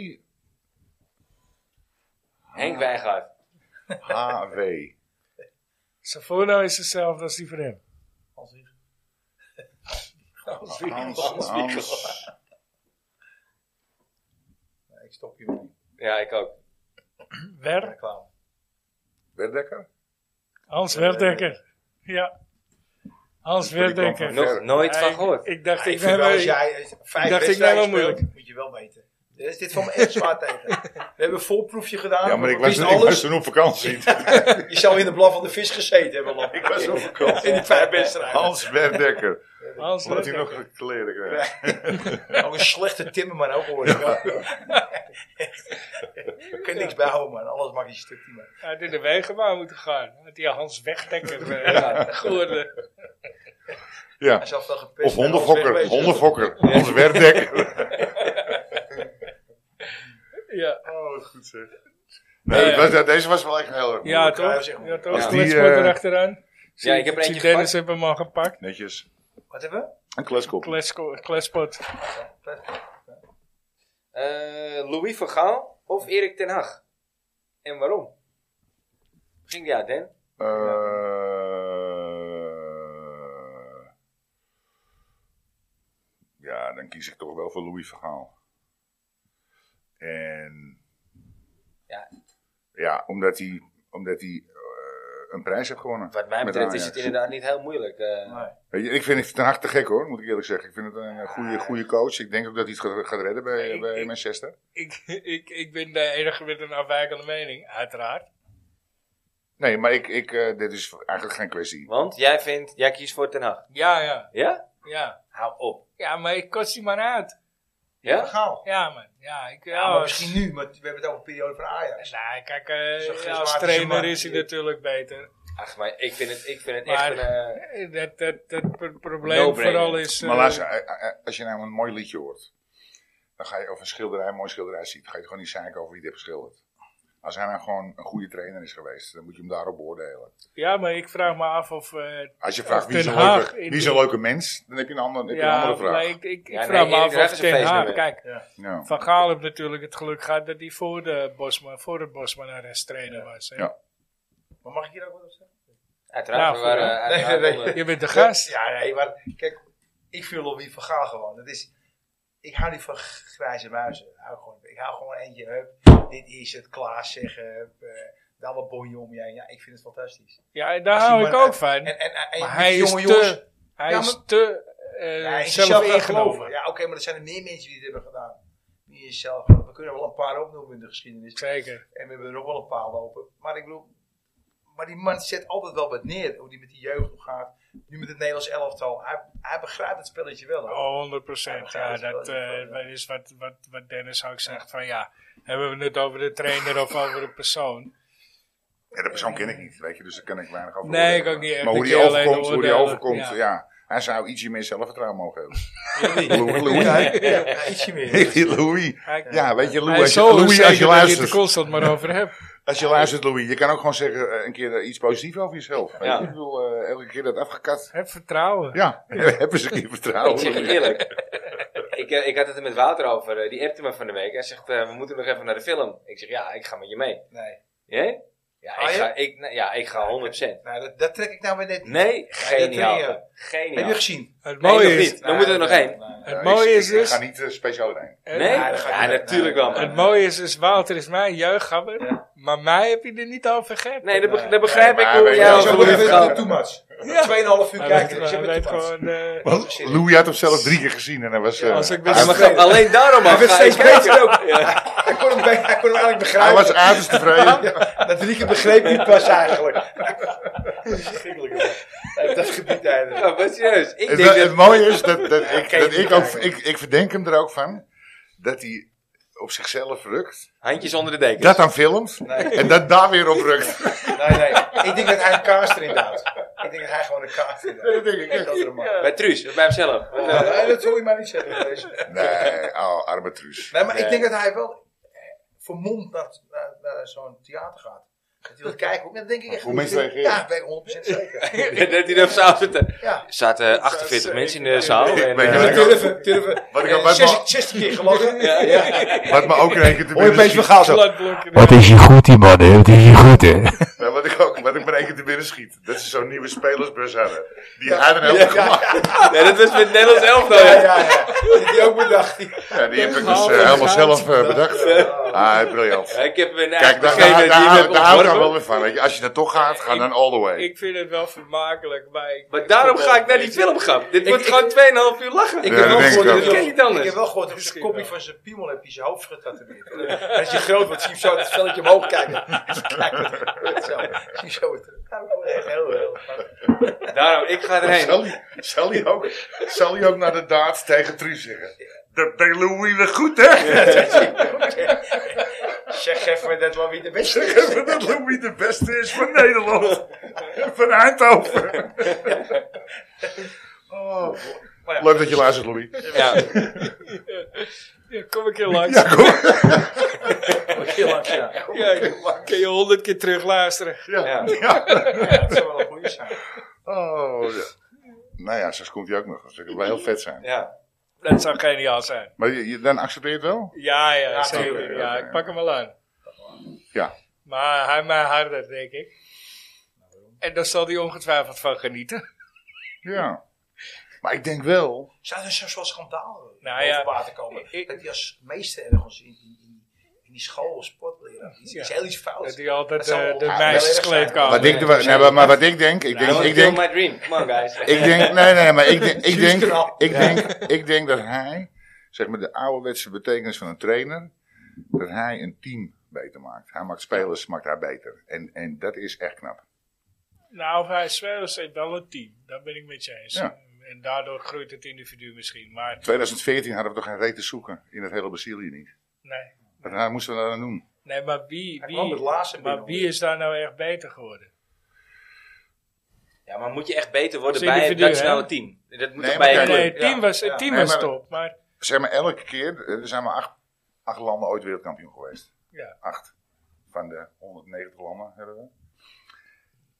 Speaker 1: Henk Wijngaard.
Speaker 3: HW.
Speaker 2: Zijn voornaam is hetzelfde als die van hem.
Speaker 4: Als u-
Speaker 3: Hans.
Speaker 1: Hans Wiegel.
Speaker 3: Hans.
Speaker 4: Nee, ik stop hier mee.
Speaker 1: Ja, ik ook.
Speaker 2: Wer?
Speaker 4: Reclame.
Speaker 3: Werdekker?
Speaker 2: Hans Werdekker. Ja. Hans Werdekker.
Speaker 3: Nog
Speaker 1: Nog nooit van
Speaker 2: Hij-
Speaker 1: gehoord.
Speaker 2: Ik dacht,
Speaker 4: Ik
Speaker 2: ik
Speaker 4: vind
Speaker 2: ben
Speaker 4: wel, als
Speaker 2: bij...
Speaker 4: jij eh, vijf
Speaker 2: dacht, ik ben
Speaker 4: wedstrijden
Speaker 2: wel
Speaker 4: speelt,
Speaker 2: moeilijk.
Speaker 4: moet je wel weten. Dit is dit voor me echt zwaar tegen. We hebben een voorproefje gedaan.
Speaker 3: Ja, maar ik
Speaker 4: we
Speaker 3: was,
Speaker 4: wisten
Speaker 3: ik was
Speaker 4: alles.
Speaker 3: toen op vakantie.
Speaker 4: Je zou in de blaf van de vis gezeten hebben. Lap.
Speaker 3: ik was op vakantie. Oh.
Speaker 4: In die vijf wedstrijden.
Speaker 3: Hans Werdekker.
Speaker 2: Hans
Speaker 3: Omdat hij
Speaker 2: Rutger.
Speaker 3: nog kleren krijgt.
Speaker 4: Ook een slechte timmerman ook hoor. Ja. Ik kan niks bijhouden man, alles mag je stuk niet meer.
Speaker 2: Hij had in de wegenbouw moeten gaan. Had hij Hans Wegdekker eh, geworden.
Speaker 4: Hij
Speaker 3: Ja.
Speaker 4: is altijd wel gepest.
Speaker 3: Of hondenfokker.
Speaker 4: Wegwezen.
Speaker 3: Hondenfokker. Hans Werdekker.
Speaker 2: Ja,
Speaker 3: Oh, wat goed zeg. Nee,
Speaker 2: Ja.
Speaker 3: dat was- deze was wel echt heel erg
Speaker 2: ja,
Speaker 3: moeilijk.
Speaker 2: toch?
Speaker 4: zeg maar.
Speaker 2: Ja, toch?
Speaker 3: Als
Speaker 2: Ja.
Speaker 3: die, eh,
Speaker 2: erachteraan.
Speaker 1: Ja, ik heb er
Speaker 2: Zie
Speaker 1: eentje
Speaker 2: Dennis
Speaker 1: gepakt.
Speaker 2: heeft hem al gepakt.
Speaker 3: Netjes.
Speaker 4: Wat hebben we?
Speaker 3: Een kleskop.
Speaker 2: Klesko- Klespot.
Speaker 1: Eh, Louis van Gaal of Erik ten Hag? En waarom? Ging die uit, Den?
Speaker 3: Eh, ja, dan kies ik toch wel voor Louis Vergaal. En
Speaker 1: Ja.
Speaker 3: ja, omdat hij, omdat hij eh, een prijs heeft gewonnen.
Speaker 1: Wat mij
Speaker 3: Met
Speaker 1: betreft is het
Speaker 3: Ajax.
Speaker 1: inderdaad niet heel moeilijk. eh.
Speaker 4: Nee.
Speaker 3: Weet je, ik vind het ten harte gek hoor, moet ik eerlijk zeggen. Ik vind het een eh, goede, goede coach. Ik denk ook dat hij het gaat, gaat redden bij,
Speaker 2: Eh. Ik-
Speaker 3: bij
Speaker 2: ik-
Speaker 3: Manchester.
Speaker 2: Ik, ik, ik ben de enige met een afwijkende mening, uiteraard.
Speaker 3: Nee, maar ik, ik, eh, dit is eigenlijk geen kwestie.
Speaker 1: Want jij vindt, jij kiest voor ten Hag.
Speaker 2: Ja, ja,
Speaker 1: Ja?
Speaker 2: ja.
Speaker 1: Hou op.
Speaker 2: Ja, maar ik kost die man uit.
Speaker 1: Ja?
Speaker 4: Gaal.
Speaker 2: Ja, man. Ja, ik, ja,
Speaker 4: Ja, maar
Speaker 2: als-
Speaker 4: misschien nu, maar we hebben het over een periode van Ajax.
Speaker 2: Nou, kijk,
Speaker 4: Zo'n
Speaker 2: eh, als
Speaker 4: charismatische
Speaker 2: trainer
Speaker 4: man.
Speaker 2: is hij natuurlijk beter.
Speaker 1: Ach, maar ik vind het, ik vind het
Speaker 2: Maar-
Speaker 1: echt een... eh,
Speaker 2: Eh, Dat, dat, dat pro- probleem
Speaker 1: No-brainer.
Speaker 2: vooral is... eh,
Speaker 3: Maar luister, eh, eh, als je nou een mooi liedje hoort, dan ga je, of een schilderij, een mooi schilderij ziet, dan ga je het gewoon niet zeiken over wie het heeft geschilderd. Als hij nou gewoon een goede trainer is geweest, dan moet je hem daarop beoordelen.
Speaker 2: Ja, maar ik vraag me af of... eh,
Speaker 3: Als je vraagt
Speaker 2: Of
Speaker 3: wie is,
Speaker 2: Den
Speaker 3: een
Speaker 2: Haag
Speaker 3: leuke,
Speaker 2: in
Speaker 3: wie is een leuke mens, dan heb je een andere, heb je een
Speaker 2: ja,
Speaker 3: andere vraag.
Speaker 2: maar ik, ik, ik
Speaker 1: Ja,
Speaker 2: vraag
Speaker 1: nee,
Speaker 2: me
Speaker 1: Erik
Speaker 2: af
Speaker 1: Draaf
Speaker 2: of
Speaker 1: is een
Speaker 2: Ten Haag...
Speaker 1: feestnummer.
Speaker 2: Kijk,
Speaker 3: Ja.
Speaker 2: Van Gaal heeft natuurlijk het geluk gehad dat hij voor, de Bosman, voor het Bosman-arrest trainer was. hè.
Speaker 3: Ja.
Speaker 4: Maar mag ik hier ook wat op zeggen?
Speaker 1: Uiteraard,
Speaker 2: Ja,
Speaker 1: we
Speaker 2: goed,
Speaker 1: waren eh,
Speaker 2: hè?
Speaker 1: uiteraard
Speaker 4: Nee, nee,
Speaker 1: onder-
Speaker 2: Je bent de gast.
Speaker 4: Ja, nee, maar kijk, ik viel Louis van Gaal gewoon. Dat is, ik hou niet van grijze muizen. Ik hou gewoon, ik hou gewoon eentje, hup, dit is het, klaar zeggen, hup, eh, dan wat bonje om je heen. Ja, ik vind het fantastisch.
Speaker 2: Ja, en daar
Speaker 4: Als die
Speaker 2: hou
Speaker 4: man-
Speaker 2: ik ook van.
Speaker 4: En, en, en, en
Speaker 2: Maar
Speaker 4: met
Speaker 2: hij
Speaker 4: die
Speaker 2: is
Speaker 4: jonge
Speaker 2: te... Hij
Speaker 4: Ja,
Speaker 2: is
Speaker 4: maar-
Speaker 2: te...
Speaker 4: Ja,
Speaker 2: eh,
Speaker 4: in zichzelf
Speaker 2: zelf
Speaker 4: gaan
Speaker 2: ingenomen.
Speaker 4: geloven. Ja, oké, maar er zijn er meer mensen die dit hebben gedaan. Niet in jezelf. We kunnen er wel een paar opnoemen in de geschiedenis.
Speaker 2: Zeker.
Speaker 4: En we hebben er nog wel een paar lopen. Maar ik bedoel, maar die man zet altijd wel wat neer. Hoe die met die jeugd omgaat. Nu met het Nederlands elftal. Hij, hij begrijpt het spelletje wel. hoor.
Speaker 2: Oh, 100 procent. Ja,
Speaker 4: Ja,
Speaker 2: dat
Speaker 4: dat is wel-
Speaker 2: eh, is wat, wat, wat Dennis ook zegt. Van ja, hebben we het over de trainer of over de persoon?
Speaker 3: Ja, de persoon ken ik niet, weet je, dus daar kan ik weinig over
Speaker 2: Nee,
Speaker 3: oordelen.
Speaker 2: ik ook niet echt.
Speaker 3: Maar hoe
Speaker 2: Ik
Speaker 3: die
Speaker 2: ken alleen
Speaker 3: overkomt, hoe die
Speaker 2: oordelen,
Speaker 3: overkomt,
Speaker 2: ja.
Speaker 3: ja. Hij zou ietsje meer zelfvertrouwen mogen hebben. Louis, Louis,
Speaker 4: Ja, ietsje meer.
Speaker 3: Louis.
Speaker 2: Hij,
Speaker 3: Ja, weet je,
Speaker 2: hij
Speaker 3: Louis,
Speaker 2: is
Speaker 3: als je,
Speaker 2: zo
Speaker 3: Louis, als je
Speaker 2: onzeker dat je het
Speaker 3: luistert.
Speaker 2: er constant maar over hebt.
Speaker 3: Als je luistert, Louis, je kan ook gewoon zeggen eh, een keer eh, iets positiefs over jezelf. weet
Speaker 1: Ja.
Speaker 3: je? Ik bedoel, eh, elke keer dat afgekat.
Speaker 2: Heb vertrouwen.
Speaker 3: Ja, hebben ze een keer vertrouwen.
Speaker 1: Oh, Ik zeg je eerlijk. ik, eh, ik had het er met Wouter over. eh, Die appte me van de week. Hij zegt, eh, we moeten nog even naar de film. Ik zeg, ja, ik ga met je mee.
Speaker 4: Nee,
Speaker 1: Jij? Ja, ik
Speaker 4: Ah, ja?
Speaker 1: ga, ik, nou, ja, ik ga 100%.
Speaker 4: nou, dat, dat trek ik nou weer net niet.
Speaker 1: Nee,
Speaker 4: dat doe je.
Speaker 1: geniaal.
Speaker 4: Heb je
Speaker 1: Geniaal.
Speaker 4: gezien?
Speaker 2: Het
Speaker 1: Nee,
Speaker 2: mooie
Speaker 1: nog
Speaker 2: is...
Speaker 1: niet. Dan moeten we er nog één.
Speaker 3: Ja,
Speaker 2: Het mooie
Speaker 3: ik-
Speaker 2: is
Speaker 3: ik, ik
Speaker 2: dus...
Speaker 3: ga niet eh, speciaal
Speaker 1: Nee?
Speaker 3: heen.
Speaker 4: Nee, dat gaat
Speaker 1: Ja,
Speaker 4: niet.
Speaker 1: natuurlijk wel.
Speaker 4: Nee,
Speaker 1: man.
Speaker 2: Het mooie is dus, Wouter is mijn jeugdgabber,
Speaker 4: Ja.
Speaker 2: maar mij heb je er niet over gegeven.
Speaker 1: Nee, dat, be- dat begrijp
Speaker 3: Nee,
Speaker 1: ik
Speaker 3: maar
Speaker 1: hoe
Speaker 3: hij
Speaker 1: jij
Speaker 3: weet
Speaker 1: over
Speaker 3: wel.
Speaker 1: Louis van Gaal-
Speaker 3: Ja.
Speaker 4: too much.
Speaker 2: Ja.
Speaker 4: Tweeënhalf uur
Speaker 2: Hij
Speaker 4: kijken.
Speaker 2: weet,
Speaker 4: dus je
Speaker 2: hij weet
Speaker 4: bent too much.
Speaker 2: gewoon... eh,
Speaker 1: Oh,
Speaker 3: Want Louis had hem zelf drie keer gezien en hij was... eh,
Speaker 2: Als ik ben-
Speaker 1: Ja, maar
Speaker 3: hij,
Speaker 1: grap, alleen daarom al.
Speaker 4: Hij werd
Speaker 1: ga ik
Speaker 4: steeds beter
Speaker 1: kijken. Ja.
Speaker 4: Hij kon hem, bij- hij kon hem eigenlijk
Speaker 3: hij
Speaker 4: begrijpen.
Speaker 3: was uiterst tevreden.
Speaker 4: Dat Rieke begreep niet pas eigenlijk. Verschrikkelijk. hoor. Nee, Dat gebied eigenlijk.
Speaker 1: Ja, maar serieus. Ik
Speaker 3: Het,
Speaker 1: denk
Speaker 3: het
Speaker 1: dat...
Speaker 3: mooie is dat, dat,
Speaker 4: Ja,
Speaker 3: ik,
Speaker 4: kijk,
Speaker 3: dat
Speaker 4: die
Speaker 3: ik, ook,
Speaker 4: kijken.
Speaker 3: ik, ik verdenk hem er ook van dat hij op zichzelf rukt.
Speaker 1: Handjes onder de dekens.
Speaker 3: Dat dan filmt
Speaker 4: Nee.
Speaker 3: en dat daar weer op rukt.
Speaker 4: Nee, nee. Ik denk dat hij een kaas erin houdt. Ik denk dat hij gewoon een kaas erin houdt.
Speaker 3: Dat denk ik echt.
Speaker 4: Dat is een man.
Speaker 1: Bij Truus, bij hemzelf.
Speaker 4: Nee, dat hoor je mij niet zeggen. Kees.
Speaker 3: Nee, oh, arme truus.
Speaker 4: Nee, maar
Speaker 1: Nee.
Speaker 4: ik denk dat hij wel eh, vermomd naar, naar, naar zo'n theater gaat. Dat hij wil kijken. hoe- Dat denk ik echt.
Speaker 3: Hoe mensen reageren.
Speaker 4: Ja, dat ben ik 100% zeker.
Speaker 1: dat hij daar op zaal zit. Er
Speaker 4: Ja.
Speaker 1: zaten 48 mensen in de zaal. En,
Speaker 3: Weet je
Speaker 1: eh,
Speaker 3: wat ik ook-
Speaker 4: Turven, turven.
Speaker 3: Wat ik
Speaker 4: Eh,
Speaker 3: ook bij
Speaker 4: 60 60 keer gelachen.
Speaker 1: ja, ja.
Speaker 3: Wat me ook rekent
Speaker 4: Hoor je een beetje van Gaal zo.
Speaker 2: Gladblokken.
Speaker 5: Wat is je goed, die man, hè? Wat is je goed, hè?
Speaker 3: Maar Nou, wat ik ook, wat ik me één keer te binnen schiet, dat ze zo'n nieuwe spelersbus hadden. Die hij dan helemaal
Speaker 1: Ja.
Speaker 3: gemaakt.
Speaker 1: Nee, dat was met Nederlands elftal.
Speaker 4: Ja,
Speaker 1: ja.
Speaker 4: ja, ja. Dat heb je ook bedacht.
Speaker 3: Ja, die heb ik dus
Speaker 2: Gaal,
Speaker 3: eh, helemaal
Speaker 2: Gaal.
Speaker 3: zelf eh, bedacht. Ah, briljant.
Speaker 1: Ja, Ik heb een
Speaker 3: Kijk,
Speaker 1: eigen
Speaker 3: daar,
Speaker 1: degene
Speaker 3: daar,
Speaker 1: die
Speaker 3: daar,
Speaker 1: hem
Speaker 3: hou-
Speaker 1: heeft
Speaker 3: daar hou ik dan wel
Speaker 1: ontworpen.
Speaker 3: weer van. Weet je, als je er toch gaat, ga dan all the way.
Speaker 2: Ik vind het wel vermakelijk, maar... ik-
Speaker 1: Maar daarom ga ik naar die film gaan. Dit wordt
Speaker 4: ik-
Speaker 1: gewoon 2,5 uur lachen.
Speaker 3: Ja,
Speaker 4: Ik heb
Speaker 3: dat
Speaker 4: wel
Speaker 3: denk ik
Speaker 4: gehoord
Speaker 3: ook.
Speaker 4: dat
Speaker 1: Dat ken je niet anders.
Speaker 4: Ik heb wel gehoord dat op zijn
Speaker 2: Misschien
Speaker 4: kopje
Speaker 2: wel.
Speaker 4: van zijn piemel heb je zijn hoofd getatoeëerd. Als je groot wordt, zie je hem zo dat velletje omhoog kijken. Kijk, zo. Zie je hem zo weer terug. Ja, ik hoor echt heel, heel. maar-
Speaker 1: Daarom, ik ga erheen.
Speaker 3: Zal hij, zal, hij ook, zal hij ook naar de daad tegen Truus zeggen? Dat deed Louis weer goed, hè?
Speaker 4: Zeg even dat Louis de beste
Speaker 3: Zeg
Speaker 4: is.
Speaker 3: even dat Louis de beste is van Nederland. Van Eindhoven. Oh,
Speaker 4: Maar ja.
Speaker 3: leuk dat je luistert, Louis.
Speaker 1: Ja.
Speaker 2: Ja, kom een keer langs.
Speaker 3: Ja, kom.
Speaker 4: Heel lang, ja.
Speaker 2: Ja, ik- kun je honderd keer terugluisteren.
Speaker 1: Ja.
Speaker 3: Ja. ja.
Speaker 4: Dat zou wel een goede zijn.
Speaker 3: Oh, ja. Nou ja, straks komt hij ook nog. Dat zou heel vet zijn.
Speaker 1: ja.
Speaker 2: Dat zou geniaal zijn.
Speaker 3: Maar je, je- dan accepteer je het wel?
Speaker 2: Ja, ja,
Speaker 4: Ja,
Speaker 2: zeker.
Speaker 3: oké,
Speaker 2: ja,
Speaker 3: oké.
Speaker 2: ik pak hem wel aan.
Speaker 3: Ja.
Speaker 2: Maar hij mij harder, denk ik. En daar zal hij ongetwijfeld van genieten.
Speaker 3: Ja. Maar ik denk wel...
Speaker 4: Zou er zelfs wel schandaal
Speaker 2: Nou ja,
Speaker 4: over water komen?
Speaker 2: ik-
Speaker 4: dat die als meester ergens in, in, in, in die school of sportleraar iets,
Speaker 2: Ja.
Speaker 4: iets heel iets
Speaker 2: Dat
Speaker 4: fout.
Speaker 2: hij altijd
Speaker 4: Dat zou
Speaker 2: eh, de
Speaker 4: wel-
Speaker 2: meisjeskleedkamer...
Speaker 3: Wat ik, er- nee, maar, maar wat ik denk... Ik denk,
Speaker 1: Don't
Speaker 3: ik
Speaker 1: kill
Speaker 3: denk
Speaker 1: my dream. Come on, guys.
Speaker 3: Ik denk, nee, nee, maar ik denk, ik denk,
Speaker 4: knap.
Speaker 3: ik denk, ik denk dat hij, zeg maar de ouderwetse betekenis van een trainer, dat hij een team beter maakt. Hij maakt spelers, maakt haar beter. En, en dat is echt knap.
Speaker 2: Nou, hij is wel, is wel een team. Daar ben ik met je eens.
Speaker 3: Ja.
Speaker 2: En daardoor groeit het individu misschien. Maar
Speaker 3: 2014 hadden we toch geen reet te zoeken in het hele Brazilië niet.
Speaker 2: nee,
Speaker 3: Wat hij moesten we dat dan doen?
Speaker 2: nee maar, wie,
Speaker 4: Hij
Speaker 2: wie,
Speaker 4: kwam met Larsen
Speaker 2: maar
Speaker 4: binnen,
Speaker 2: wie
Speaker 4: hoor.
Speaker 2: is daar nou echt beter geworden?
Speaker 1: Ja, maar moet je echt beter worden
Speaker 2: Als
Speaker 1: bij het
Speaker 2: individu,
Speaker 1: nationale
Speaker 2: hè?
Speaker 1: team? Dat moet
Speaker 3: Nee,
Speaker 1: toch
Speaker 3: maar
Speaker 1: bij je
Speaker 3: kijk,
Speaker 2: Nee,
Speaker 1: club?
Speaker 2: het team
Speaker 4: ja,
Speaker 2: was, het
Speaker 4: ja.
Speaker 2: team
Speaker 3: Nee,
Speaker 2: was
Speaker 3: maar-
Speaker 2: top. Maar
Speaker 3: Zeg maar elke keer, eh, er zijn maar acht, acht landen ooit wereldkampioen geweest.
Speaker 2: Ja.
Speaker 3: Acht. Van de 190 landen hebben we.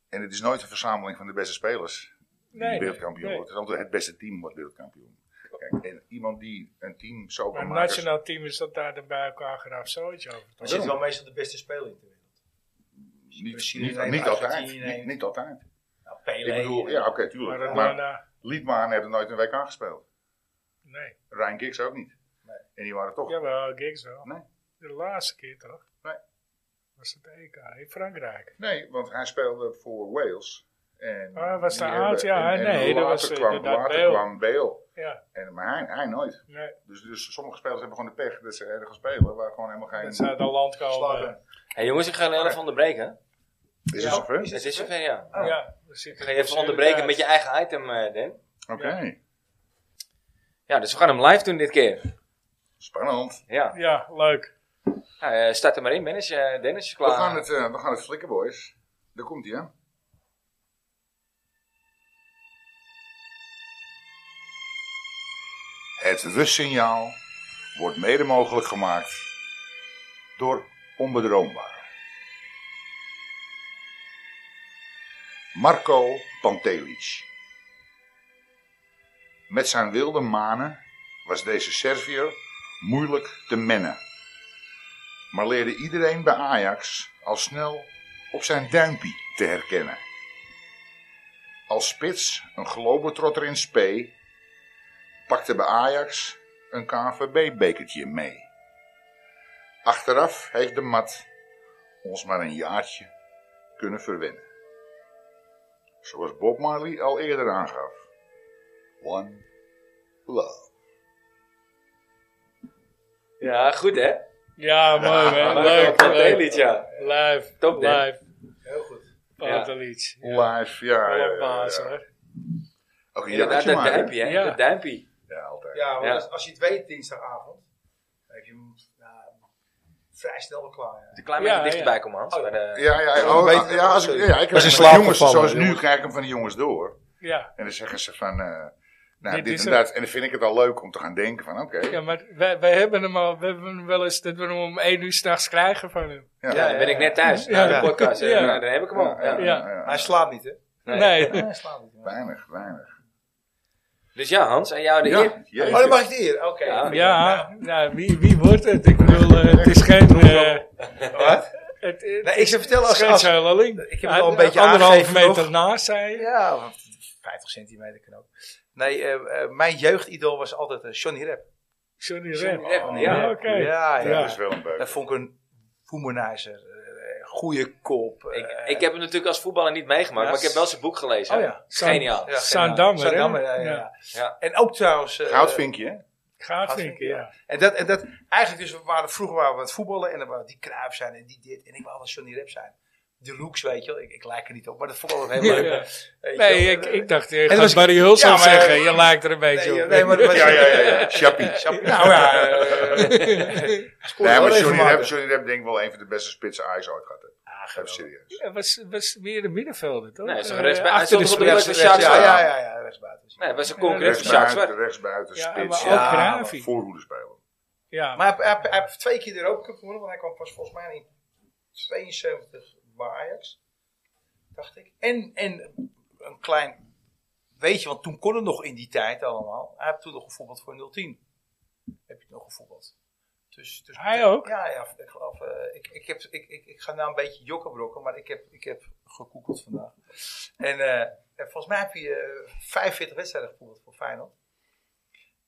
Speaker 3: En het is nooit een verzameling van de beste spelers. die
Speaker 2: Nee,
Speaker 3: wereldkampioen
Speaker 2: nee.
Speaker 3: wordt. Het is altijd het beste team wordt wereldkampioen. Kijk, en iemand die een team zo
Speaker 2: Maar
Speaker 3: kan
Speaker 2: het
Speaker 3: maken.
Speaker 2: nationaal team is dat daar de bij elkaar geraafd zoiets over.
Speaker 4: Er zit wel meestal de beste speler in de wereld.
Speaker 3: Niet,
Speaker 4: Brazilië
Speaker 3: niet,
Speaker 4: neemt,
Speaker 3: niet altijd.
Speaker 4: Argentinië
Speaker 3: Niet,
Speaker 4: neemt.
Speaker 3: niet altijd.
Speaker 4: Nou, Pelé.
Speaker 3: Ik bedoel, ja, oké, tuurlijk. Maar
Speaker 2: Maradona,
Speaker 3: Liedmaan heeft er nooit een WK gespeeld.
Speaker 2: nee.
Speaker 3: Ryan Giggs ook niet. En die waren toch.
Speaker 2: Jawel, Giggs wel.
Speaker 3: Nee.
Speaker 2: De laatste keer toch?
Speaker 3: Nee.
Speaker 2: Was het EK in Frankrijk?
Speaker 3: Nee, want hij speelde voor Wales. En
Speaker 2: Ah, hij was
Speaker 3: die
Speaker 2: te
Speaker 3: hebben-
Speaker 2: oud, ja,
Speaker 3: en-
Speaker 2: hij-
Speaker 3: en
Speaker 2: nee, dat
Speaker 3: later
Speaker 2: was, eh,
Speaker 3: kwam,
Speaker 2: inderdaad
Speaker 3: later
Speaker 2: Bale.
Speaker 3: kwam Bale.
Speaker 2: Ja,
Speaker 3: En, maar hij, hij nooit.
Speaker 2: nee.
Speaker 3: Dus, dus sommige spelers hebben gewoon de pech dat ze ergens spelen waar gewoon helemaal geen.
Speaker 2: Dat zou uit een land komen.
Speaker 4: Slagen.
Speaker 1: Hey, jongens, ik ga jullie even onderbreken.
Speaker 3: Is het zover?
Speaker 4: Is
Speaker 1: Het is zover, ja.
Speaker 4: Oh.
Speaker 2: Ja, we zitten
Speaker 1: Ik ga je even onderbreken met je eigen item, eh Dan.
Speaker 3: Oké.
Speaker 1: Ja, dus we gaan hem live doen dit keer.
Speaker 3: Spannend.
Speaker 1: Ja.
Speaker 2: Ja, leuk.
Speaker 1: Nou, eh, start er maar in, Dennis. eh Dennis, je
Speaker 3: We
Speaker 1: klaar?
Speaker 3: gaan, het, eh, we gaan het flikken, boys. Daar komt hij, hè? Het rustsignaal wordt mede mogelijk gemaakt door Onbedroombaar. Marco Pantelic. Met zijn wilde manen was deze Serviër moeilijk te mennen maar leerde iedereen bij Ajax al snel op zijn duimpie te herkennen. Als spits een globetrotter in spe, pakte bij Ajax een KNVB-bekertje mee. Achteraf heeft de mat ons maar een jaartje kunnen verwennen. Zoals Bob Marley al eerder aangaf. One love.
Speaker 1: Ja, goed hè?
Speaker 2: Ja, mooi
Speaker 1: Ja,
Speaker 2: man.
Speaker 1: maar
Speaker 2: Leuk,
Speaker 1: dat was een
Speaker 2: leuk.
Speaker 1: lied, ja.
Speaker 2: Live,
Speaker 1: Top, Dan.
Speaker 2: live.
Speaker 4: Heel goed.
Speaker 1: Ja.
Speaker 2: Pantelic.
Speaker 3: Live, ja. ja, ja,
Speaker 2: Alle
Speaker 3: ja.
Speaker 2: baas hoor.
Speaker 3: Ook een
Speaker 1: Inderdaad,
Speaker 3: jaartje
Speaker 1: dat
Speaker 3: maar, hè?
Speaker 1: duimpje, hè?
Speaker 2: Ja.
Speaker 1: Dat duimpje.
Speaker 3: Ja, altijd.
Speaker 4: Ja, want
Speaker 1: Ja.
Speaker 4: Als, als je het weet dinsdagavond, dan heb je hem nou, vrij snel wel klaar. Ja.
Speaker 1: Een klein
Speaker 2: Ja,
Speaker 1: beetje
Speaker 2: ja.
Speaker 1: dichterbij komen, Hans. maar, eh,
Speaker 3: Ja, ja, oh,
Speaker 6: Beter-
Speaker 3: ja, als ik, ja, ik
Speaker 6: Was
Speaker 3: heb
Speaker 6: in
Speaker 3: van die
Speaker 6: slaap
Speaker 3: jongens,
Speaker 6: gevallen,
Speaker 3: zoals nu
Speaker 6: jongens.
Speaker 3: kijk ik hem van die jongens door.
Speaker 2: Ja.
Speaker 3: En dan zeggen ze van, eh, nou,
Speaker 2: Dit
Speaker 3: dit,
Speaker 2: is
Speaker 3: en dat. En dan vind ik het al leuk om te gaan denken van, oké.
Speaker 2: Ja, maar wij, wij hebben hem al, we hebben hem wel eens, dat we hem om één uur s'nachts krijgen van hem.
Speaker 1: ja, dan ben ik net thuis.
Speaker 2: Ja,
Speaker 1: na de
Speaker 2: ja.
Speaker 1: podcast. eh,
Speaker 2: Ja.
Speaker 1: nou, dan heb ik hem al. Ja.
Speaker 2: Ja.
Speaker 4: Hij slaapt niet, hè?
Speaker 2: Nee.
Speaker 4: Hij slaapt niet. Maar.
Speaker 3: Weinig, weinig.
Speaker 1: Dus ja, Hans, en jou de eer.
Speaker 3: Ja, jeetje.
Speaker 4: Oh, dan mag ik hier. Oké.
Speaker 1: Ja.
Speaker 2: Ja, ja wie, wie wordt het? Ik bedoel, eh, het is geen... eh,
Speaker 4: Wat?
Speaker 2: Het, het
Speaker 4: Nee, ik zou vertellen als-
Speaker 2: geen
Speaker 4: als-
Speaker 2: zuileling.
Speaker 4: Ik heb het al een beetje
Speaker 2: Anderhalf
Speaker 4: aangegeven
Speaker 2: meter
Speaker 4: nog.
Speaker 2: naast, zei je.
Speaker 4: Ja, want 50 centimeter kan ook. Nee, eh, eh, mijn jeugdidool was altijd eh, Johnny Rep.
Speaker 2: Johnny
Speaker 1: Johnny
Speaker 2: Rep.
Speaker 1: Depp,
Speaker 3: Oh,
Speaker 1: ja.
Speaker 2: Ja, oké.
Speaker 4: Ja, ja.
Speaker 3: Dat is wel een beuk.
Speaker 4: Dat vond ik een womanizer. eh, goede kop. eh,
Speaker 1: Ik, ik heb hem natuurlijk als voetballer niet meegemaakt,
Speaker 4: Ja.
Speaker 1: maar ik heb wel zijn boek gelezen.
Speaker 4: Oh ja.
Speaker 1: Geniaal.
Speaker 4: ja,
Speaker 2: Zaandammer, hè?
Speaker 4: Zaandammer, ja, ja, ja.
Speaker 2: Ja.
Speaker 1: Ja.
Speaker 4: En ook trouwens... eh,
Speaker 3: Goudvinkje, hè?
Speaker 2: Gaat
Speaker 4: Gaat
Speaker 2: denk ik,
Speaker 4: vinken,
Speaker 2: ja.
Speaker 4: En dat, en dat, eigenlijk dus, we waren, vroeger waren we aan het voetballen en dan waren die Kruijf zijn en die dit. En ik wou altijd Johnny Rep zijn. de looks, weet je wel. Ik, ik lijk er niet op, maar dat vond ik wel heel
Speaker 2: Ja,
Speaker 4: leuk.
Speaker 2: ja.
Speaker 4: Weet
Speaker 2: Nee,
Speaker 4: je wel.
Speaker 2: ik,
Speaker 4: Eh,
Speaker 2: ik dacht, je
Speaker 4: dat
Speaker 2: gaat
Speaker 4: was-
Speaker 2: Barry Hulst
Speaker 4: Ja,
Speaker 2: al
Speaker 4: maar-
Speaker 2: zeggen. Je lijkt er een beetje
Speaker 4: Nee,
Speaker 2: op.
Speaker 4: nee, maar dat was-
Speaker 3: Ja, ja, ja. ja. Chappie.
Speaker 4: Chappie. Nou ja,
Speaker 3: Nee, maar Johnny Depp, Johnny Depp denk ik wel een van de beste spitsen Ajax ooit gehad. heeft. Even serieus.
Speaker 2: Ja, was, was weer een middenvelder, toch?
Speaker 1: Nee, hij is toch
Speaker 2: Eh,
Speaker 1: rechtsbij- hij
Speaker 2: achter de
Speaker 1: stond toch op de
Speaker 2: spits.
Speaker 1: rechtsbij-
Speaker 4: Ja, ja, ja, ja, ja, rechtsbuiten.
Speaker 1: Nee, het was een concurrent van Sjaak
Speaker 3: Rechtsbuiten,
Speaker 1: Zwart.
Speaker 3: rechtsbuiten,
Speaker 2: Ja,
Speaker 3: spits.
Speaker 2: maar ook
Speaker 3: Ja,
Speaker 2: Gravi.
Speaker 3: Voorhoede spelen.
Speaker 2: Ja,
Speaker 4: Maar hij, hij, hij heeft twee keer de Europa Cup gewonnen, want hij kwam pas volgens mij in 72 bij Ajax, dacht ik. En, en een klein, weet je, want toen kon het nog in die tijd allemaal. Hij heeft toen nog gevoetbald voor 010. Heb je nog gevoetbald? Dus, dus
Speaker 2: Hij ook?
Speaker 4: Ja, ja ik geloof. eh, ik, ik, heb, ik, ik, ik ga nou een beetje jokken brokken, maar ik heb, ik heb gekoekeld vandaag. En eh, en volgens mij heb je eh, 45 wedstrijden gevoetbald voor Feyenoord.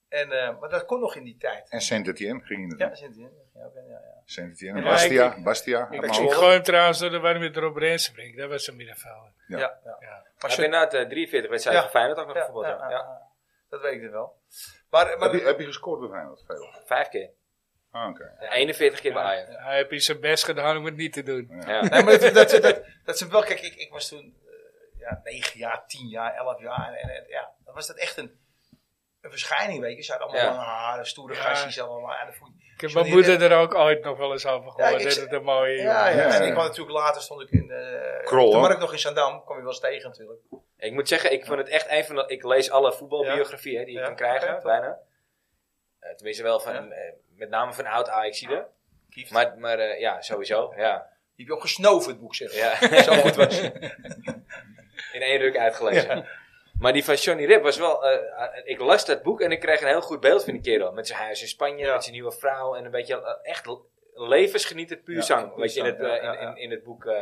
Speaker 4: En, eh, maar dat kon nog in die tijd.
Speaker 3: En Saint-Etienne ging in
Speaker 4: Ja,
Speaker 3: het.
Speaker 4: zit in. Ja, oké, ja, ja.
Speaker 3: Saint-Etienne en
Speaker 2: Ja, ik-
Speaker 3: Bastia. Bastia.
Speaker 2: ik,
Speaker 3: maar
Speaker 2: ik
Speaker 3: ook-
Speaker 2: gooi hem trouwens door de warm met Rob Rensenbrink. Dat was een middenvelder.
Speaker 3: Ja.
Speaker 4: ja. ja.
Speaker 2: Ja.
Speaker 1: Maar
Speaker 4: Maar
Speaker 1: heb
Speaker 4: zo-
Speaker 1: inderdaad eh, 43 wedstrijden
Speaker 4: Ja.
Speaker 1: voor Feyenoord ook nog
Speaker 4: ja,
Speaker 1: voetbal.
Speaker 4: ja,
Speaker 1: Ja,
Speaker 4: ja, ja. Dat weet ik dan wel. Maar, maar
Speaker 3: Heb je, heb je gescoord bij Feyenoord? Veel.
Speaker 1: Vijf keer.
Speaker 3: Ah, oké.
Speaker 1: En 41 keer bij Ajax.
Speaker 2: Hij heeft zijn best gedaan om het niet te doen.
Speaker 1: Ja.
Speaker 4: nee, maar dat, dat, dat, dat zijn wel, kijk, ik, ik was toen eh, ja, 9 jaar, 10 jaar, 11 jaar. En, en- en ja, dan was dat echt een, een verschijning, weet je. Ze hadden allemaal
Speaker 1: Ja.
Speaker 4: lange haren, stoere
Speaker 2: Ja.
Speaker 4: gastjes, allemaal aan de voet.
Speaker 2: Ik heb mijn
Speaker 4: Johnny
Speaker 2: moeder
Speaker 4: Depp.
Speaker 2: er ook ooit nog wel eens over
Speaker 4: Ja,
Speaker 2: gehoord.
Speaker 4: ik-
Speaker 2: dat het een mooie jongen
Speaker 4: Ja, ja,
Speaker 3: Ja,
Speaker 4: en
Speaker 3: ja.
Speaker 4: ik kwam natuurlijk later, stond ik in eh,
Speaker 3: Krol,
Speaker 4: op de
Speaker 3: hoor.
Speaker 4: markt nog in Zandam, kwam je wel eens tegen natuurlijk.
Speaker 1: Ik moet zeggen, ik vond het echt een van de... Ik lees alle voetbalbiografieën hè, die ik
Speaker 4: Ja.
Speaker 1: kan krijgen,
Speaker 4: Ja, toch?
Speaker 1: bijna. Eh, tenminste wel van...
Speaker 4: Ja.
Speaker 1: eh, met name van oud ajax
Speaker 4: Kieft.
Speaker 1: Maar, maar eh, ja, sowieso. Ja.
Speaker 4: Die heb je ook gesnoven, het boek, zeg.
Speaker 1: ja.
Speaker 4: Zo goed was het.
Speaker 1: In één druk uitgelezen. Maar die van Johnny Rip was wel... eh, eh, ik las dat boek en ik kreeg een heel goed beeld van die kerel. Met zijn huis in Spanje, met zijn nieuwe vrouw. En een beetje eh, echt l- levensgenieten puur
Speaker 4: Ja,
Speaker 1: zang.
Speaker 4: puur
Speaker 1: Weet je, in
Speaker 4: zang,
Speaker 1: het, eh,
Speaker 4: ja,
Speaker 1: in,
Speaker 4: ja,
Speaker 1: in,
Speaker 4: ja.
Speaker 1: in het boek... eh,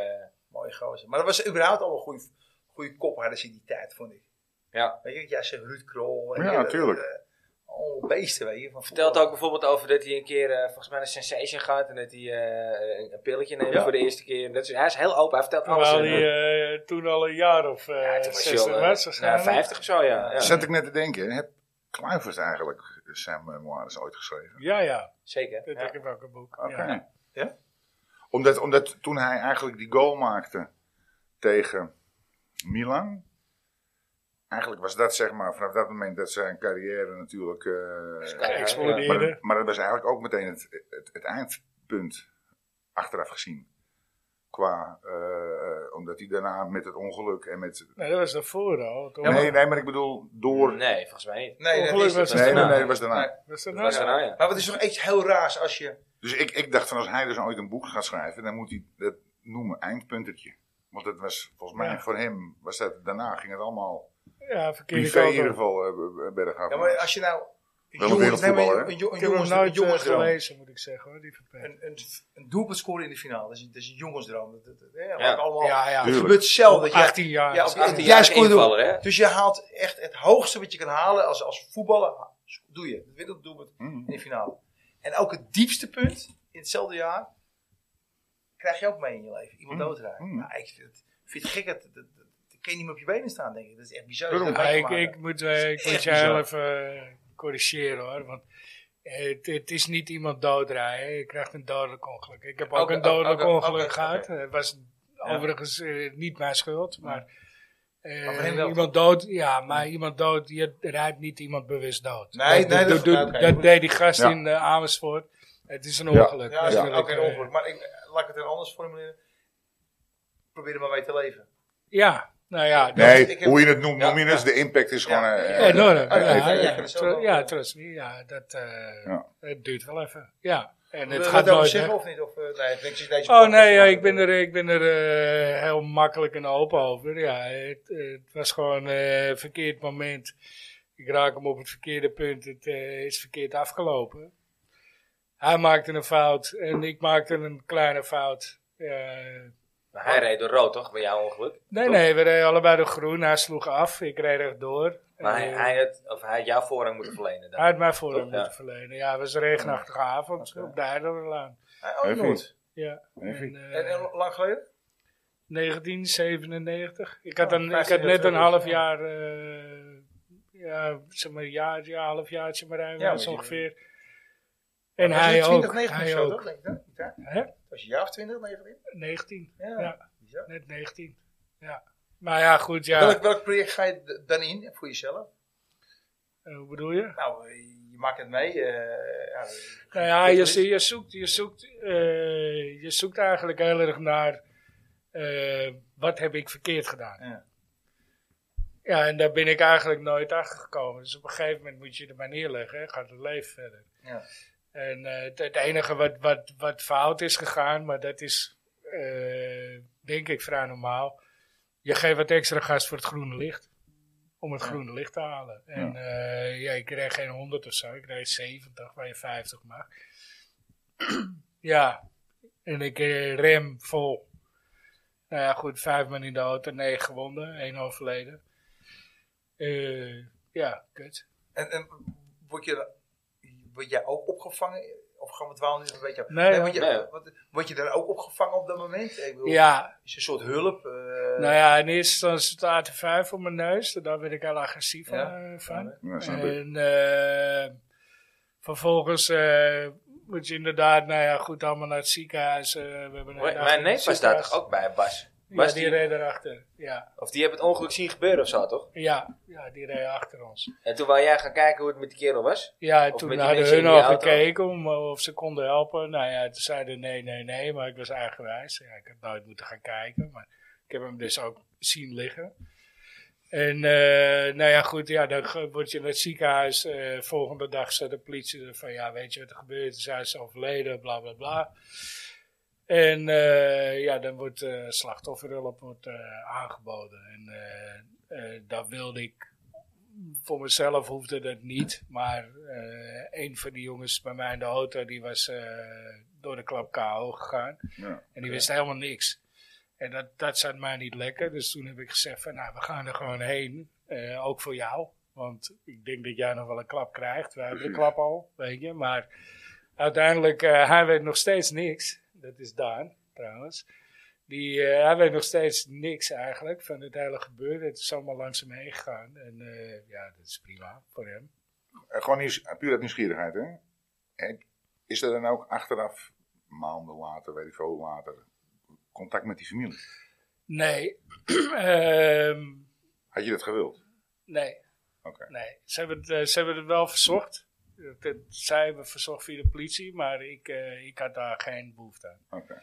Speaker 4: Mooie gozer. Maar dat was überhaupt al een goede, goede kop hadden ze in die tijd, vond ik.
Speaker 1: Ja.
Speaker 4: Weet je, ja, ze Ruud Krol.
Speaker 3: Ja, tuurlijk.
Speaker 4: oh, beesten, weet je. Van
Speaker 1: vertelt ook bijvoorbeeld over dat hij een keer eh, volgens mij een sensation gaat en dat hij eh, een- een pilletje neemt
Speaker 4: Ja.
Speaker 1: voor de eerste keer. En Dat is, hij is heel open, hij vertelt alles.
Speaker 2: Terwijl
Speaker 1: in-
Speaker 2: hij eh, toen al een jaar of eh
Speaker 1: ja, toen was hij
Speaker 2: 60
Speaker 1: al, eh,
Speaker 2: was.
Speaker 1: nou,
Speaker 2: waarschijnlijk.
Speaker 1: 50 of zo, ja. ja.
Speaker 3: Dus Zat ik net te denken, heb Kluivert eigenlijk zijn memoires ooit geschreven?
Speaker 2: Ja, ja.
Speaker 1: Zeker.
Speaker 2: Dat
Speaker 1: ja.
Speaker 2: heb ik ook een boek.
Speaker 3: Oké.
Speaker 2: Ja.
Speaker 4: Ja?
Speaker 3: Omdat, omdat toen hij eigenlijk die goal maakte tegen Milan. Eigenlijk was dat zeg maar vanaf dat moment dat zijn carrière natuurlijk. eh,
Speaker 1: Ja, ja.
Speaker 3: maar,
Speaker 2: Geëxplodeerde.
Speaker 3: dat- maar dat was eigenlijk ook meteen het, het, het eindpunt achteraf gezien. Qua, eh, omdat hij daarna met het ongeluk en met.
Speaker 2: Nee, dat was daarvoor al. Toen-
Speaker 3: nee, nee, maar ik bedoel door. Nee,
Speaker 1: Nee, volgens mij niet.
Speaker 4: Nee, dat
Speaker 2: Ongeluk
Speaker 4: is
Speaker 2: was het
Speaker 4: het.
Speaker 3: nee, nee,
Speaker 1: daarna.
Speaker 3: dat was daarna.
Speaker 4: Nee.
Speaker 2: Was dat
Speaker 1: Dat
Speaker 2: nou?
Speaker 1: was daarna, ja.
Speaker 4: Maar het is toch echt heel raars als je...
Speaker 3: Dus ik, ik dacht van als hij dus ooit een boek gaat schrijven, dan moet hij dat noemen, eindpuntertje. Want dat was volgens mij
Speaker 2: Ja.
Speaker 3: voor hem, was dat, daarna ging het allemaal
Speaker 2: nou- Ja, verkeerde
Speaker 3: privé in ieder
Speaker 2: kant op.
Speaker 3: geval eh, bergaf.
Speaker 4: Ja, maar als je nou...
Speaker 3: Wel een
Speaker 4: jongen-
Speaker 3: wereldvoetballer,
Speaker 4: nee, maar
Speaker 3: hè?
Speaker 4: een, jo- een
Speaker 2: Ik heb hem
Speaker 4: jongensdroom-
Speaker 2: nooit
Speaker 4: een
Speaker 2: eh,
Speaker 4: jongensdroom.
Speaker 2: gelezen, moet ik zeggen. hoor, Die verpest.
Speaker 4: Een, een, een doelpunt scoren in de finale, dat is, dat is een jongensdroom. Dat, dat, dat- ja,
Speaker 1: Ja.
Speaker 4: allemaal,
Speaker 2: Ja, ja.
Speaker 4: Het
Speaker 3: Tuurlijk.
Speaker 4: gebeurt zelden. dat je-
Speaker 2: 18 jaar.
Speaker 4: Ja,
Speaker 2: Als
Speaker 4: op-
Speaker 2: jaar.
Speaker 1: 18
Speaker 4: jij
Speaker 1: jaar
Speaker 4: scoorde ook.
Speaker 1: invaller, hè?
Speaker 4: Dus je haalt echt het hoogste wat je kan halen als, als voetballer. Doe je. Dat werelddoelpunt
Speaker 3: Hmm.
Speaker 4: in de finale. En ook het diepste punt in hetzelfde jaar krijg je ook mee in je leven. Iemand
Speaker 3: Mm.
Speaker 4: doodraken.
Speaker 3: Mm.
Speaker 4: Nou, ik vind het, vind het gek. Dat, dat, dat, dat kun je niet meer op je benen staan, denk ik. Dat is echt bizar.
Speaker 3: Waarom?
Speaker 4: Dat
Speaker 2: Ja,
Speaker 4: wij
Speaker 2: ik,
Speaker 4: maken.
Speaker 2: ik moet, eh, ik
Speaker 4: Echt
Speaker 2: moet je
Speaker 4: bizar.
Speaker 2: heel even eh, corrigeren hoor. Want eh, het, het is niet iemand doodrijden. hè. Je krijgt een dodelijk ongeluk. Ik heb ook
Speaker 4: Oké,
Speaker 2: een dodelijk
Speaker 4: oké, oké,
Speaker 2: ongeluk
Speaker 4: oké.
Speaker 2: gehad. Het was overigens eh, niet mijn schuld. Maar, eh,
Speaker 4: Maar voor hem wel.
Speaker 2: iemand dood, ja, maar iemand dood, je rijdt niet iemand bewust dood.
Speaker 4: Nee, nee,
Speaker 2: dat,
Speaker 4: dat-
Speaker 2: doet-
Speaker 4: oké.
Speaker 2: dat deed die gast
Speaker 3: Ja.
Speaker 2: in eh, Amersfoort. Het is een
Speaker 3: Ja.
Speaker 2: ongeluk.
Speaker 4: Ja, dat is
Speaker 3: Ja.
Speaker 4: ook
Speaker 2: natuurlijk,
Speaker 4: een
Speaker 2: eh,
Speaker 4: ongeluk. Maar ik, laat ik het er anders formuleren. Probeer er maar mee te leven.
Speaker 2: Ja, nou ja. dat-
Speaker 3: Nee,
Speaker 4: ik heb-
Speaker 3: hoe je het noemt,
Speaker 4: Ja,
Speaker 3: noem je het, de impact is gewoon...
Speaker 4: Ja.
Speaker 3: eh, eh,
Speaker 2: Enorm.
Speaker 3: eh,
Speaker 2: Ja, Oh, ja,
Speaker 3: even-
Speaker 2: ja,
Speaker 4: ja, dat is wel
Speaker 2: Tru-
Speaker 4: wel-
Speaker 2: ja, trust me. Ja, dat eh,
Speaker 3: Ja.
Speaker 2: het duurt wel even. Ja, en
Speaker 4: Wil
Speaker 2: het gaat
Speaker 4: je wat over
Speaker 2: nooit weg.
Speaker 4: zeggen of niet? Of, eh, nee, ik denk dat je deze
Speaker 2: Oh
Speaker 4: podcast-
Speaker 2: nee, ja, ik ben er, ik ben er eh, heel makkelijk en open over. Ja, het, het was gewoon eh, een verkeerd moment. Ik raak hem op het verkeerde punt. Het eh, is verkeerd afgelopen. Hij maakte een fout en ik maakte een kleine fout. Eh,
Speaker 1: Maar hij reed door rood, toch? Bij jouw ongeluk.
Speaker 2: nee,
Speaker 1: Toch?
Speaker 2: nee, we reden allebei door groen. Hij sloeg af, ik reed rechtdoor.
Speaker 1: Maar hij,
Speaker 2: Eh,
Speaker 1: hij, had, of hij had jouw voorrang moeten verlenen. Dan.
Speaker 2: Hij had mij voor hem
Speaker 1: Ja.
Speaker 2: moeten verlenen. Ja, het was een regenachtige avond op de Heidelaan.
Speaker 4: Ah, Oh,
Speaker 3: Even.
Speaker 4: nooit.
Speaker 2: Ja.
Speaker 3: Even.
Speaker 2: En, eh,
Speaker 4: En, en lang geleden?
Speaker 2: 1997. Ik had,
Speaker 4: Oh,
Speaker 2: een, ik
Speaker 4: 15
Speaker 2: had net een
Speaker 4: jaar
Speaker 2: half
Speaker 4: terug.
Speaker 2: jaar, eh, ja, zeg maar, jaar, ja, half jaartje maar ruim,
Speaker 4: Ja,
Speaker 2: dat is
Speaker 4: maar die-
Speaker 2: ongeveer. En
Speaker 4: Dat was in
Speaker 2: hij ook.
Speaker 4: 20, 19 of
Speaker 2: hij
Speaker 4: zo,
Speaker 2: ook.
Speaker 4: toch? Denk ik dat? Ja.
Speaker 2: Hè?
Speaker 4: Was je jaar of 20, 19?
Speaker 2: 19.
Speaker 4: Ja.
Speaker 2: Ja.
Speaker 4: bizar.
Speaker 2: Net 19. Ja. Maar ja, goed, ja.
Speaker 4: Welk, welk project ga je d- dan in voor jezelf?
Speaker 2: Eh, hoe bedoel je?
Speaker 4: Nou, eh, je maakt het mee. eh, ja,
Speaker 2: Nou ja, je, zo- je zoekt, je, zoekt, eh, je zoekt eigenlijk heel erg naar eh, wat heb ik verkeerd gedaan.
Speaker 4: Ja.
Speaker 2: Ja, en daar ben ik eigenlijk nooit achter gekomen. Dus op een gegeven moment moet je er maar neerleggen. Hè? Gaat het leven verder.
Speaker 4: Ja.
Speaker 2: En eh, het, het enige wat, wat, wat fout is gegaan, maar dat is eh, denk ik vrij normaal. Je geeft wat extra gas voor het groene licht. Om het
Speaker 4: Ja.
Speaker 2: groene licht te halen. En eh, ja, ik kreeg geen 100 of zo. Ik kreeg 70, waar je 50 mag. ja. En ik eh, rem vol. Nou ja, goed, vijf man in de auto, negen gewonden, één overleden. Eh, ja, kut.
Speaker 4: En, en word, je, word jij ook opgevangen? Of gaan we het wel nu een beetje...
Speaker 2: Nee,
Speaker 4: word, je,
Speaker 1: nee.
Speaker 4: Word, word je daar ook opgevangen op dat moment? Ik bedoel,
Speaker 2: Ja,
Speaker 4: Is een soort hulp? eh,
Speaker 2: nou ja, in eerste instantie staat er vijf op mijn neus. en Daar werd ik heel agressief van.
Speaker 4: Ja.
Speaker 2: eh, van.
Speaker 3: Ja, snap ik.
Speaker 2: En eh, vervolgens eh, moet je inderdaad, nou ja, goed, allemaal naar het ziekenhuis. eh, we hebben een dag
Speaker 1: Mijn
Speaker 2: in het
Speaker 1: neef was daar
Speaker 2: ziekenhuis.
Speaker 1: toch ook bij, Bas?
Speaker 2: Ja,
Speaker 1: Bas
Speaker 2: die,
Speaker 1: die,
Speaker 2: reed erachter. Ja,
Speaker 1: of die hebben het ongeluk zien gebeuren of zo, toch?
Speaker 2: ja, ja, die reed achter ons.
Speaker 1: En toen wou jij gaan kijken hoe het met die kerel was?
Speaker 2: Ja, en
Speaker 1: Of
Speaker 2: toen
Speaker 1: met die
Speaker 2: hadden
Speaker 1: mensen
Speaker 2: hun
Speaker 1: in die
Speaker 2: al
Speaker 1: auto.
Speaker 2: gekeken om, eh, of ze konden helpen. Nou ja, toen zeiden nee, nee, nee, maar ik was eigenwijs. Ja, ik had nooit moeten gaan kijken, maar ik heb hem dus ook zien liggen. En eh, nou ja, goed, ja, dan ge- word je naar het ziekenhuis. eh, volgende dag zei de politie er van, ja, weet je wat er gebeurt? Zij is overleden, bla, bla, bla. En eh, ja, dan wordt eh, slachtofferhulp wordt, eh, aangeboden. En eh, eh, dat wilde ik voor mezelf hoefde dat niet. Maar eh, een van die jongens bij mij in de auto, die was eh, door de klap KO gegaan.
Speaker 3: Ja.
Speaker 2: En die wist helemaal niks. En dat, dat zat mij niet lekker. Dus toen heb ik gezegd van, nou, we gaan er gewoon heen. Eh, ook voor jou. Want ik denk dat jij nog wel een klap krijgt. We hebben de klap al, weet je. Maar uiteindelijk, eh, hij weet nog steeds niks. Dat is Daan, trouwens. Die, eh, hij weet nog steeds niks eigenlijk van het hele gebeuren. Het is allemaal langs hem heen gegaan. En eh, ja, dat is prima voor hem.
Speaker 3: Eh, Gewoon nieuws, puur uit nieuwsgierigheid, hè? Heb- Is er dan ook achteraf, maanden later, weet ik veel hoe later, contact met die familie?
Speaker 2: Nee, Ehm,
Speaker 3: Had je dat gewild?
Speaker 2: nee.
Speaker 3: Oké.
Speaker 2: nee. Ze, hebben het, eh, ze hebben het wel verzocht. Het- het- Zij hebben verzocht via de politie, maar ik, eh, ik had daar geen behoefte aan.
Speaker 3: Oké.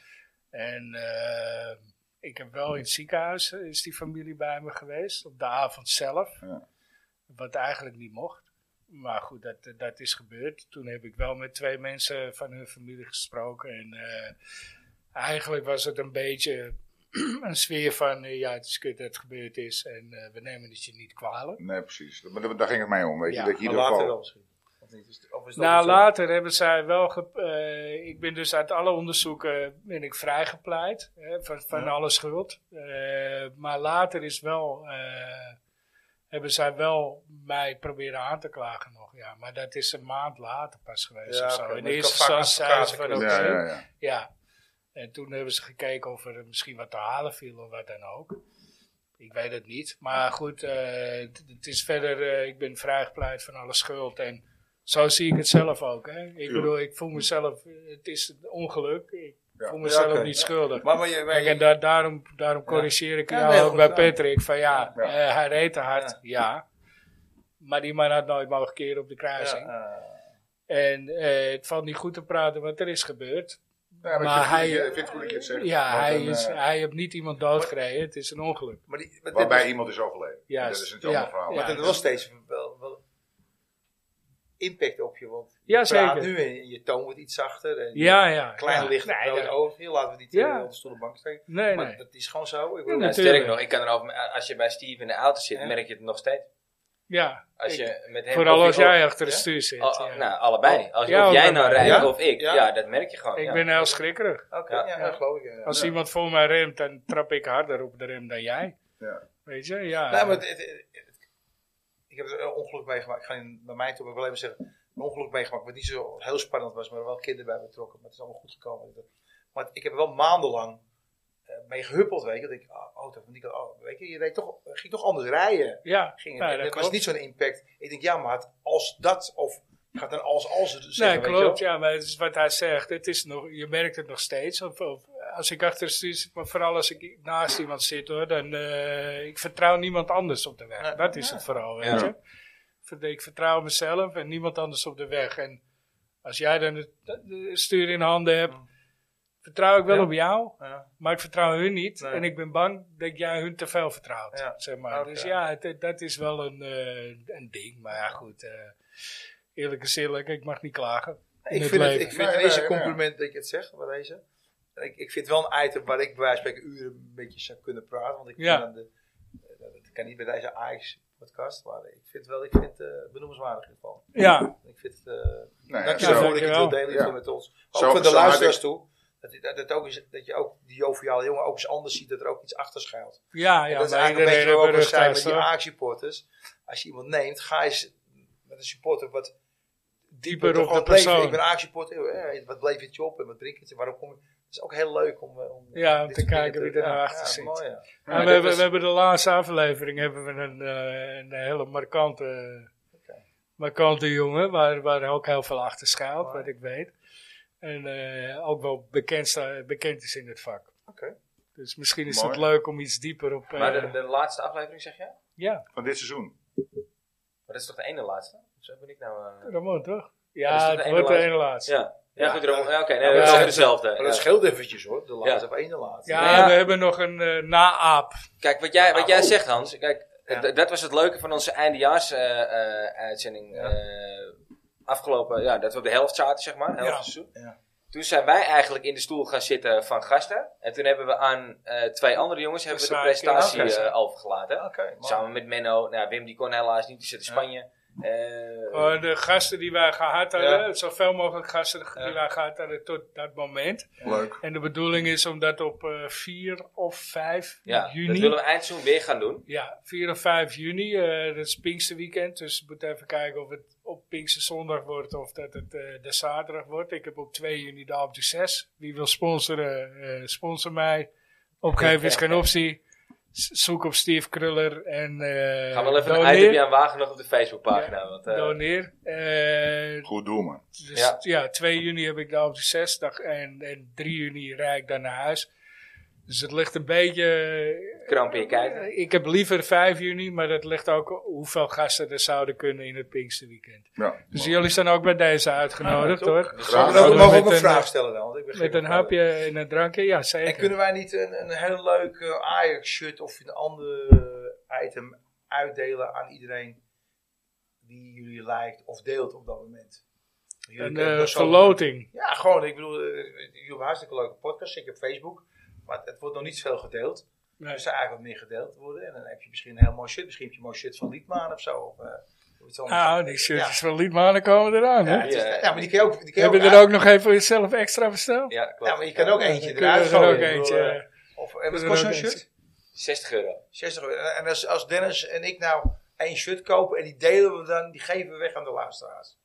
Speaker 2: En eh, ik heb wel in het ziekenhuis eh, is die familie bij me geweest, op de avond zelf.
Speaker 3: Ja.
Speaker 2: Wat eigenlijk niet mocht. Maar goed, dat, eh, dat is gebeurd. Toen heb ik wel met twee mensen van hun familie gesproken. En eh, eigenlijk was het een beetje een sfeer van: eh, ja, het is kut dat het gebeurd is. En eh, we nemen het je niet kwalijk.
Speaker 3: Nee, precies. Maar daar- daar ging het mij om, weet je.
Speaker 2: Ja,
Speaker 3: dat je in
Speaker 4: maar
Speaker 3: ieder
Speaker 4: later
Speaker 3: geval...
Speaker 4: wel misschien. Of niet? Is het- of is het
Speaker 2: Nou,
Speaker 4: altijd zo?
Speaker 2: later hebben zij wel. ge- eh, ik ben dus uit alle onderzoeken ben ik vrijgepleit hè, van, van
Speaker 4: Ja.
Speaker 2: alle schuld. Eh, maar later is wel. eh, hebben zij wel mij proberen aan te klagen nog. Ja, maar dat is een maand later pas geweest.
Speaker 4: Ja,
Speaker 2: of zo.
Speaker 4: oké,
Speaker 2: In
Speaker 4: maar je
Speaker 2: eerste
Speaker 4: kan vaak
Speaker 2: instantie zeiden ze van oké.
Speaker 4: advocaten
Speaker 3: Ja, ja, ja.
Speaker 2: Ja. En toen hebben ze gekeken of er misschien wat te halen viel of wat dan ook. Ik weet het niet. Maar goed, eh, het het is verder, eh, ik ben vrijgepleit van alle schuld. En zo zie ik het zelf ook. Hè? Ik bedoel, ik voel mezelf, het is een ongeluk. Ik
Speaker 3: Ja.
Speaker 2: voel mezelf
Speaker 4: Ja, oké.
Speaker 2: niet schuldig.
Speaker 4: Maar, maar, je- maar
Speaker 2: Kijk,
Speaker 4: je-
Speaker 2: en da- daarom, daarom corrigeer ik
Speaker 4: Ja,
Speaker 2: jou
Speaker 4: nee,
Speaker 2: ook
Speaker 4: goed
Speaker 2: bij
Speaker 4: gedaan.
Speaker 2: Patrick. Van ja,
Speaker 3: Ja.
Speaker 2: eh, hij reed te hard, ja. Maar die man had nooit mogen keren op de kruising.
Speaker 4: ja, eh,
Speaker 2: En eh, het valt niet goed te praten wat er is gebeurd.
Speaker 3: Ja,
Speaker 2: Maar hij-
Speaker 3: Ik vind het goed dat je het zegt.
Speaker 2: Ja,
Speaker 3: Want
Speaker 2: hij,
Speaker 3: dan,
Speaker 2: is,
Speaker 3: eh,
Speaker 2: hij heeft niet iemand doodgereden. Het is een ongeluk.
Speaker 4: maar die, maar dit-
Speaker 3: Waarbij iemand is overleden.
Speaker 2: Juist.
Speaker 3: Dat is een
Speaker 2: Ja,
Speaker 3: ander verhaal.
Speaker 2: ja.
Speaker 4: Maar dat
Speaker 3: Dus-
Speaker 4: wel steeds wel, wel impact op je. Want je
Speaker 2: Ja,
Speaker 4: praat
Speaker 2: zeker.
Speaker 4: nu en, je toon wordt iets zachter. En je
Speaker 2: Ja, ja.
Speaker 4: Klein
Speaker 2: ja.
Speaker 4: licht
Speaker 2: Nee,
Speaker 4: rood
Speaker 2: dat-
Speaker 4: oog. Hier laten we niet
Speaker 2: Ja.
Speaker 4: eh, onder stoel en bank steken.
Speaker 2: Nee,
Speaker 4: maar
Speaker 2: nee.
Speaker 4: dat is gewoon zo. Ik
Speaker 2: Ja,
Speaker 4: bedoel,
Speaker 1: Nou,
Speaker 2: natuurlijk.
Speaker 1: sterker nog, ik kan erover, als je bij Steve in de auto zit,
Speaker 4: Ja.
Speaker 1: merk je het nog steeds.
Speaker 2: Ja.
Speaker 1: Als
Speaker 2: Ik-
Speaker 1: je met hem
Speaker 2: Vooral
Speaker 1: of-
Speaker 2: als jij achter het
Speaker 4: Ja?
Speaker 2: stuur zit.
Speaker 1: Oh, oh,
Speaker 2: ja.
Speaker 1: Nou, allebei. Als
Speaker 2: Ja,
Speaker 1: of jij
Speaker 2: ook
Speaker 1: nou
Speaker 2: allebei.
Speaker 1: rijdt
Speaker 4: Ja?
Speaker 1: of ik.
Speaker 4: Ja.
Speaker 1: Ja. dat merk je gewoon.
Speaker 2: ik
Speaker 1: ja.
Speaker 2: ben heel schrikkerig.
Speaker 4: Oké,
Speaker 1: Ja.
Speaker 4: ja, dat geloof ik. Ja.
Speaker 2: Als
Speaker 3: Ja.
Speaker 2: iemand voor mij remt, dan trap ik harder op de rem dan jij.
Speaker 3: Ja.
Speaker 2: Weet je? Ja.
Speaker 4: Nee, Nou, maar het- het- het- het- ik heb er een ongeluk meegemaakt. Ik ga in- bij mij toe, ik wil even zeggen, een ongeluk meegemaakt. Wat niet zo heel spannend was, maar er wel kinderen bij betrokken. Maar het is allemaal goed gekomen. Dat- Maar ik heb er wel maandenlang eh, mee gehuppeld, weet je. Dat ik, oh, oh, dat vond ik, oh, weet je, je deed toch, ging toch anders rijden.
Speaker 2: ja.
Speaker 4: ging.
Speaker 2: Nee,
Speaker 4: het
Speaker 2: dat
Speaker 4: dat was
Speaker 2: klopt.
Speaker 4: niet zo'n impact. Ik denk, ja, maar het- als dat, of je gaat dan als als het zeggen,
Speaker 2: Nee,
Speaker 4: weet
Speaker 2: klopt.
Speaker 4: je wel.
Speaker 2: Ja, maar het is wat hij zegt. Het is nog, je merkt het nog steeds. Of, of als ik achter het stuur zit, maar vooral als ik naast iemand zit hoor, dan eh, ik vertrouw niemand anders op de weg.
Speaker 4: Nee.
Speaker 2: Dat is
Speaker 4: Ja.
Speaker 2: het vooral,
Speaker 1: Ja.
Speaker 2: weet je. Ver- Ik vertrouw mezelf en niemand anders op de weg. En als jij dan het het stuur in handen hebt, vertrouw ik wel
Speaker 4: Ja.
Speaker 2: op jou,
Speaker 4: Ja.
Speaker 2: maar ik vertrouw hun niet.
Speaker 4: Nee.
Speaker 2: En ik ben bang dat jij hun te veel vertrouwt,
Speaker 4: Ja.
Speaker 2: zeg maar.
Speaker 4: Oké.
Speaker 2: Dus ja, het- dat is wel een, eh, een ding. Maar ja, goed, eh, eerlijk is eerlijk, ik mag niet klagen.
Speaker 4: Ik
Speaker 2: het
Speaker 4: vind het,
Speaker 2: leven.
Speaker 4: ik vind
Speaker 3: Nee,
Speaker 4: deze
Speaker 3: nee,
Speaker 4: compliment dat je het zegt, wat deze. En Ik, ik vind wel een item waar ik bij wijze van spreken uren een beetje zou kunnen praten. Want ik
Speaker 2: Ja.
Speaker 4: vind aan de, eh, dat kan niet bij deze Ajax podcast, maar ik vind wel, ik vind het benoemenswaardig in ieder geval.
Speaker 2: Ja,
Speaker 4: Ik vind het, eh,
Speaker 3: Nou ja,
Speaker 4: Dankjewel
Speaker 2: zo.
Speaker 4: voor dat je het wil delen
Speaker 3: Ja.
Speaker 4: hier met ons. Maar
Speaker 3: Zo-
Speaker 4: ook voor de
Speaker 3: zo had
Speaker 4: luisteraars
Speaker 3: ik-
Speaker 4: toe. Dat, je- dat, dat ook is, dat je ook die joviale jongen ook eens anders ziet. Dat er ook iets achter schuilt.
Speaker 2: Ah ja,
Speaker 4: En
Speaker 2: ja.
Speaker 4: dat is
Speaker 2: maar
Speaker 4: eigenlijk een beetje
Speaker 2: iedereen
Speaker 4: waar we ook al
Speaker 2: heeft een
Speaker 4: zijn met die
Speaker 2: rugtas, hoor.
Speaker 4: AAK-supporters. Als je iemand neemt, ga eens met een supporter wat
Speaker 2: Dieper op
Speaker 4: gewoon
Speaker 2: de
Speaker 4: het leven. Ik
Speaker 2: persoon.
Speaker 4: ben AAK-supporter. eh, Wat bleef het je op en wat drink je? Waarom kom je? Het is ook heel leuk om, eh, om
Speaker 2: Ja, om
Speaker 4: dit
Speaker 2: te
Speaker 4: soort dingen
Speaker 2: kijken wie er nou achter zit.
Speaker 4: Mooi, ja.
Speaker 2: Ja,
Speaker 3: Ja,
Speaker 2: we,
Speaker 3: dat
Speaker 2: hebben,
Speaker 3: is-
Speaker 2: we hebben de laatste aflevering hebben we een, eh, een hele markante, markante jongen, waar, waar ook heel veel achter schuilt,
Speaker 4: Mooi.
Speaker 2: wat ik weet. En eh, ook wel bekend, sta- bekend is in het vak.
Speaker 4: Oké.
Speaker 2: Dus misschien is
Speaker 3: Mooi.
Speaker 2: het leuk om iets dieper op. eh,
Speaker 1: Maar de, de laatste aflevering zeg je? Maar
Speaker 2: ja,
Speaker 3: Van dit seizoen.
Speaker 1: dat is toch de ene laatste? Zo ben ik nou... eh,
Speaker 2: Ramon toch?
Speaker 1: dat is
Speaker 2: Ja,
Speaker 1: toch de
Speaker 2: het
Speaker 1: ene
Speaker 2: wordt de
Speaker 1: laatste?
Speaker 2: ene laatste. Ja,
Speaker 1: Ja. Ja,
Speaker 4: Ja.
Speaker 1: goed, Ramon. Ja, oké.
Speaker 4: Ja,
Speaker 1: Nee, dat is
Speaker 2: maar-
Speaker 1: ook dezelfde.
Speaker 4: Maar dat
Speaker 1: ja.
Speaker 4: scheelt eventjes hoor. De laatste of één de laatste.
Speaker 1: Ja.
Speaker 2: we hebben nog een eh, na-aap.
Speaker 1: Kijk, wat jij, wat jij
Speaker 4: Ah, oh.
Speaker 1: zegt, Hans. Kijk,
Speaker 4: Ja.
Speaker 1: d- dat was het leuke van onze eh, eindejaars-uitzending.
Speaker 4: Ja.
Speaker 1: eh, afgelopen, ja, dat we op de helft zaten, zeg maar. Helft
Speaker 2: Ja.
Speaker 1: seizoen.
Speaker 4: Ja.
Speaker 1: Toen zijn wij eigenlijk in de stoel gaan zitten van gasten. En toen hebben we aan eh, twee andere jongens hebben we de
Speaker 2: Saakje.
Speaker 1: presentatie
Speaker 4: Oh, Oké,
Speaker 1: eh, overgelaten.
Speaker 4: Oké, mooi.
Speaker 1: Samen met Menno. Nou, Wim die kon helaas niet, die zit in
Speaker 4: Ja.
Speaker 1: Spanje. Eh,
Speaker 2: Gewoon Oh, de gasten die wij gehad hadden,
Speaker 4: Ja.
Speaker 2: zoveel mogelijk gasten die
Speaker 4: Ja.
Speaker 2: wij gehad hadden tot dat moment.
Speaker 3: Leuk.
Speaker 2: En de bedoeling is om dat op eh 4 of 5
Speaker 1: ja, dat
Speaker 2: juni.
Speaker 1: willen we eindzoen weer gaan doen.
Speaker 2: Ja, 4 of 5 juni. eh, dat is Pinksterweekend. Dus we moeten even kijken of het op Pinkster zondag wordt of dat het eh, de zaterdag wordt. Ik heb op 2 juni de Alp 6. Wie wil sponsoren, eh, sponsor mij. Opgeven is geen optie. S- Zoek op Steve Kruller en eh
Speaker 1: Gaan we wel even
Speaker 2: doneer.
Speaker 1: een itemje aan wagen nog op de Facebookpagina. want, eh,
Speaker 2: Doneer. Eh,
Speaker 3: Goed doel, man.
Speaker 2: dus
Speaker 1: Ja.
Speaker 2: ja. 2 juni heb ik de op de 6 dag en, en 3 juni rijd ik dan naar huis. Dus het ligt een beetje.
Speaker 1: kramp in je kijken.
Speaker 2: eh, Ik heb liever 5 juni, maar dat ligt ook hoeveel gasten er zouden kunnen in het Pinksterweekend.
Speaker 3: Ja.
Speaker 2: Dus jullie zijn ook bij deze uitgenodigd
Speaker 4: Ah,
Speaker 2: Nou, hoor.
Speaker 1: Dus
Speaker 3: Graag.
Speaker 1: we
Speaker 4: we
Speaker 2: Zullen
Speaker 4: mogen ook
Speaker 2: met
Speaker 4: een
Speaker 2: een,
Speaker 4: vraag
Speaker 2: eh,
Speaker 4: stellen dan. want ik begin
Speaker 2: Met een
Speaker 4: wel.
Speaker 2: hapje en een drankje, ja
Speaker 4: En
Speaker 2: zeker.
Speaker 4: kunnen wij niet een, een heel leuk eh, Ajax-shirt of een ander eh, item uitdelen aan iedereen die jullie lijkt of deelt op dat moment? Jullie
Speaker 2: Een
Speaker 4: kunnen
Speaker 2: eh,
Speaker 4: persoonlijk-
Speaker 2: verloting.
Speaker 4: Ja, gewoon. Ik bedoel, eh, jullie hebben hartstikke leuke podcast, zeker op Facebook. Maar het wordt nog niet veel gedeeld.
Speaker 2: Nee.
Speaker 4: Er zou eigenlijk wat meer gedeeld worden. En dan heb je misschien een heel mooi shirt. Misschien heb je een mooi shirt van Liedman of zo. Of, eh, of iets anders.
Speaker 2: Ah, die
Speaker 4: Ja.
Speaker 2: shirtjes van Liedmanen komen eraan.
Speaker 4: Ja,
Speaker 2: hè?
Speaker 4: het is-
Speaker 1: Ja.
Speaker 4: ja, maar die kun je ook... Die kun je
Speaker 2: Hebben
Speaker 4: ook
Speaker 2: er ook nog even voor jezelf extra besteld?
Speaker 1: Ja, klopt.
Speaker 4: Ja, maar je kan ook eentje
Speaker 2: Dan kunnen
Speaker 4: eruit
Speaker 2: we er
Speaker 4: gooien.
Speaker 2: ook
Speaker 4: Ik bedoel,
Speaker 2: eentje.
Speaker 4: eh, Of, en
Speaker 2: Kunnen
Speaker 4: wat
Speaker 2: we
Speaker 4: kost
Speaker 2: er
Speaker 4: zo'n
Speaker 2: ook
Speaker 4: shirt?
Speaker 2: eentje?
Speaker 1: 60 euro.
Speaker 4: 60 euro. En als, als Dennis en ik nou één shirt kopen en die delen we dan, die geven we weg aan de luisteraars.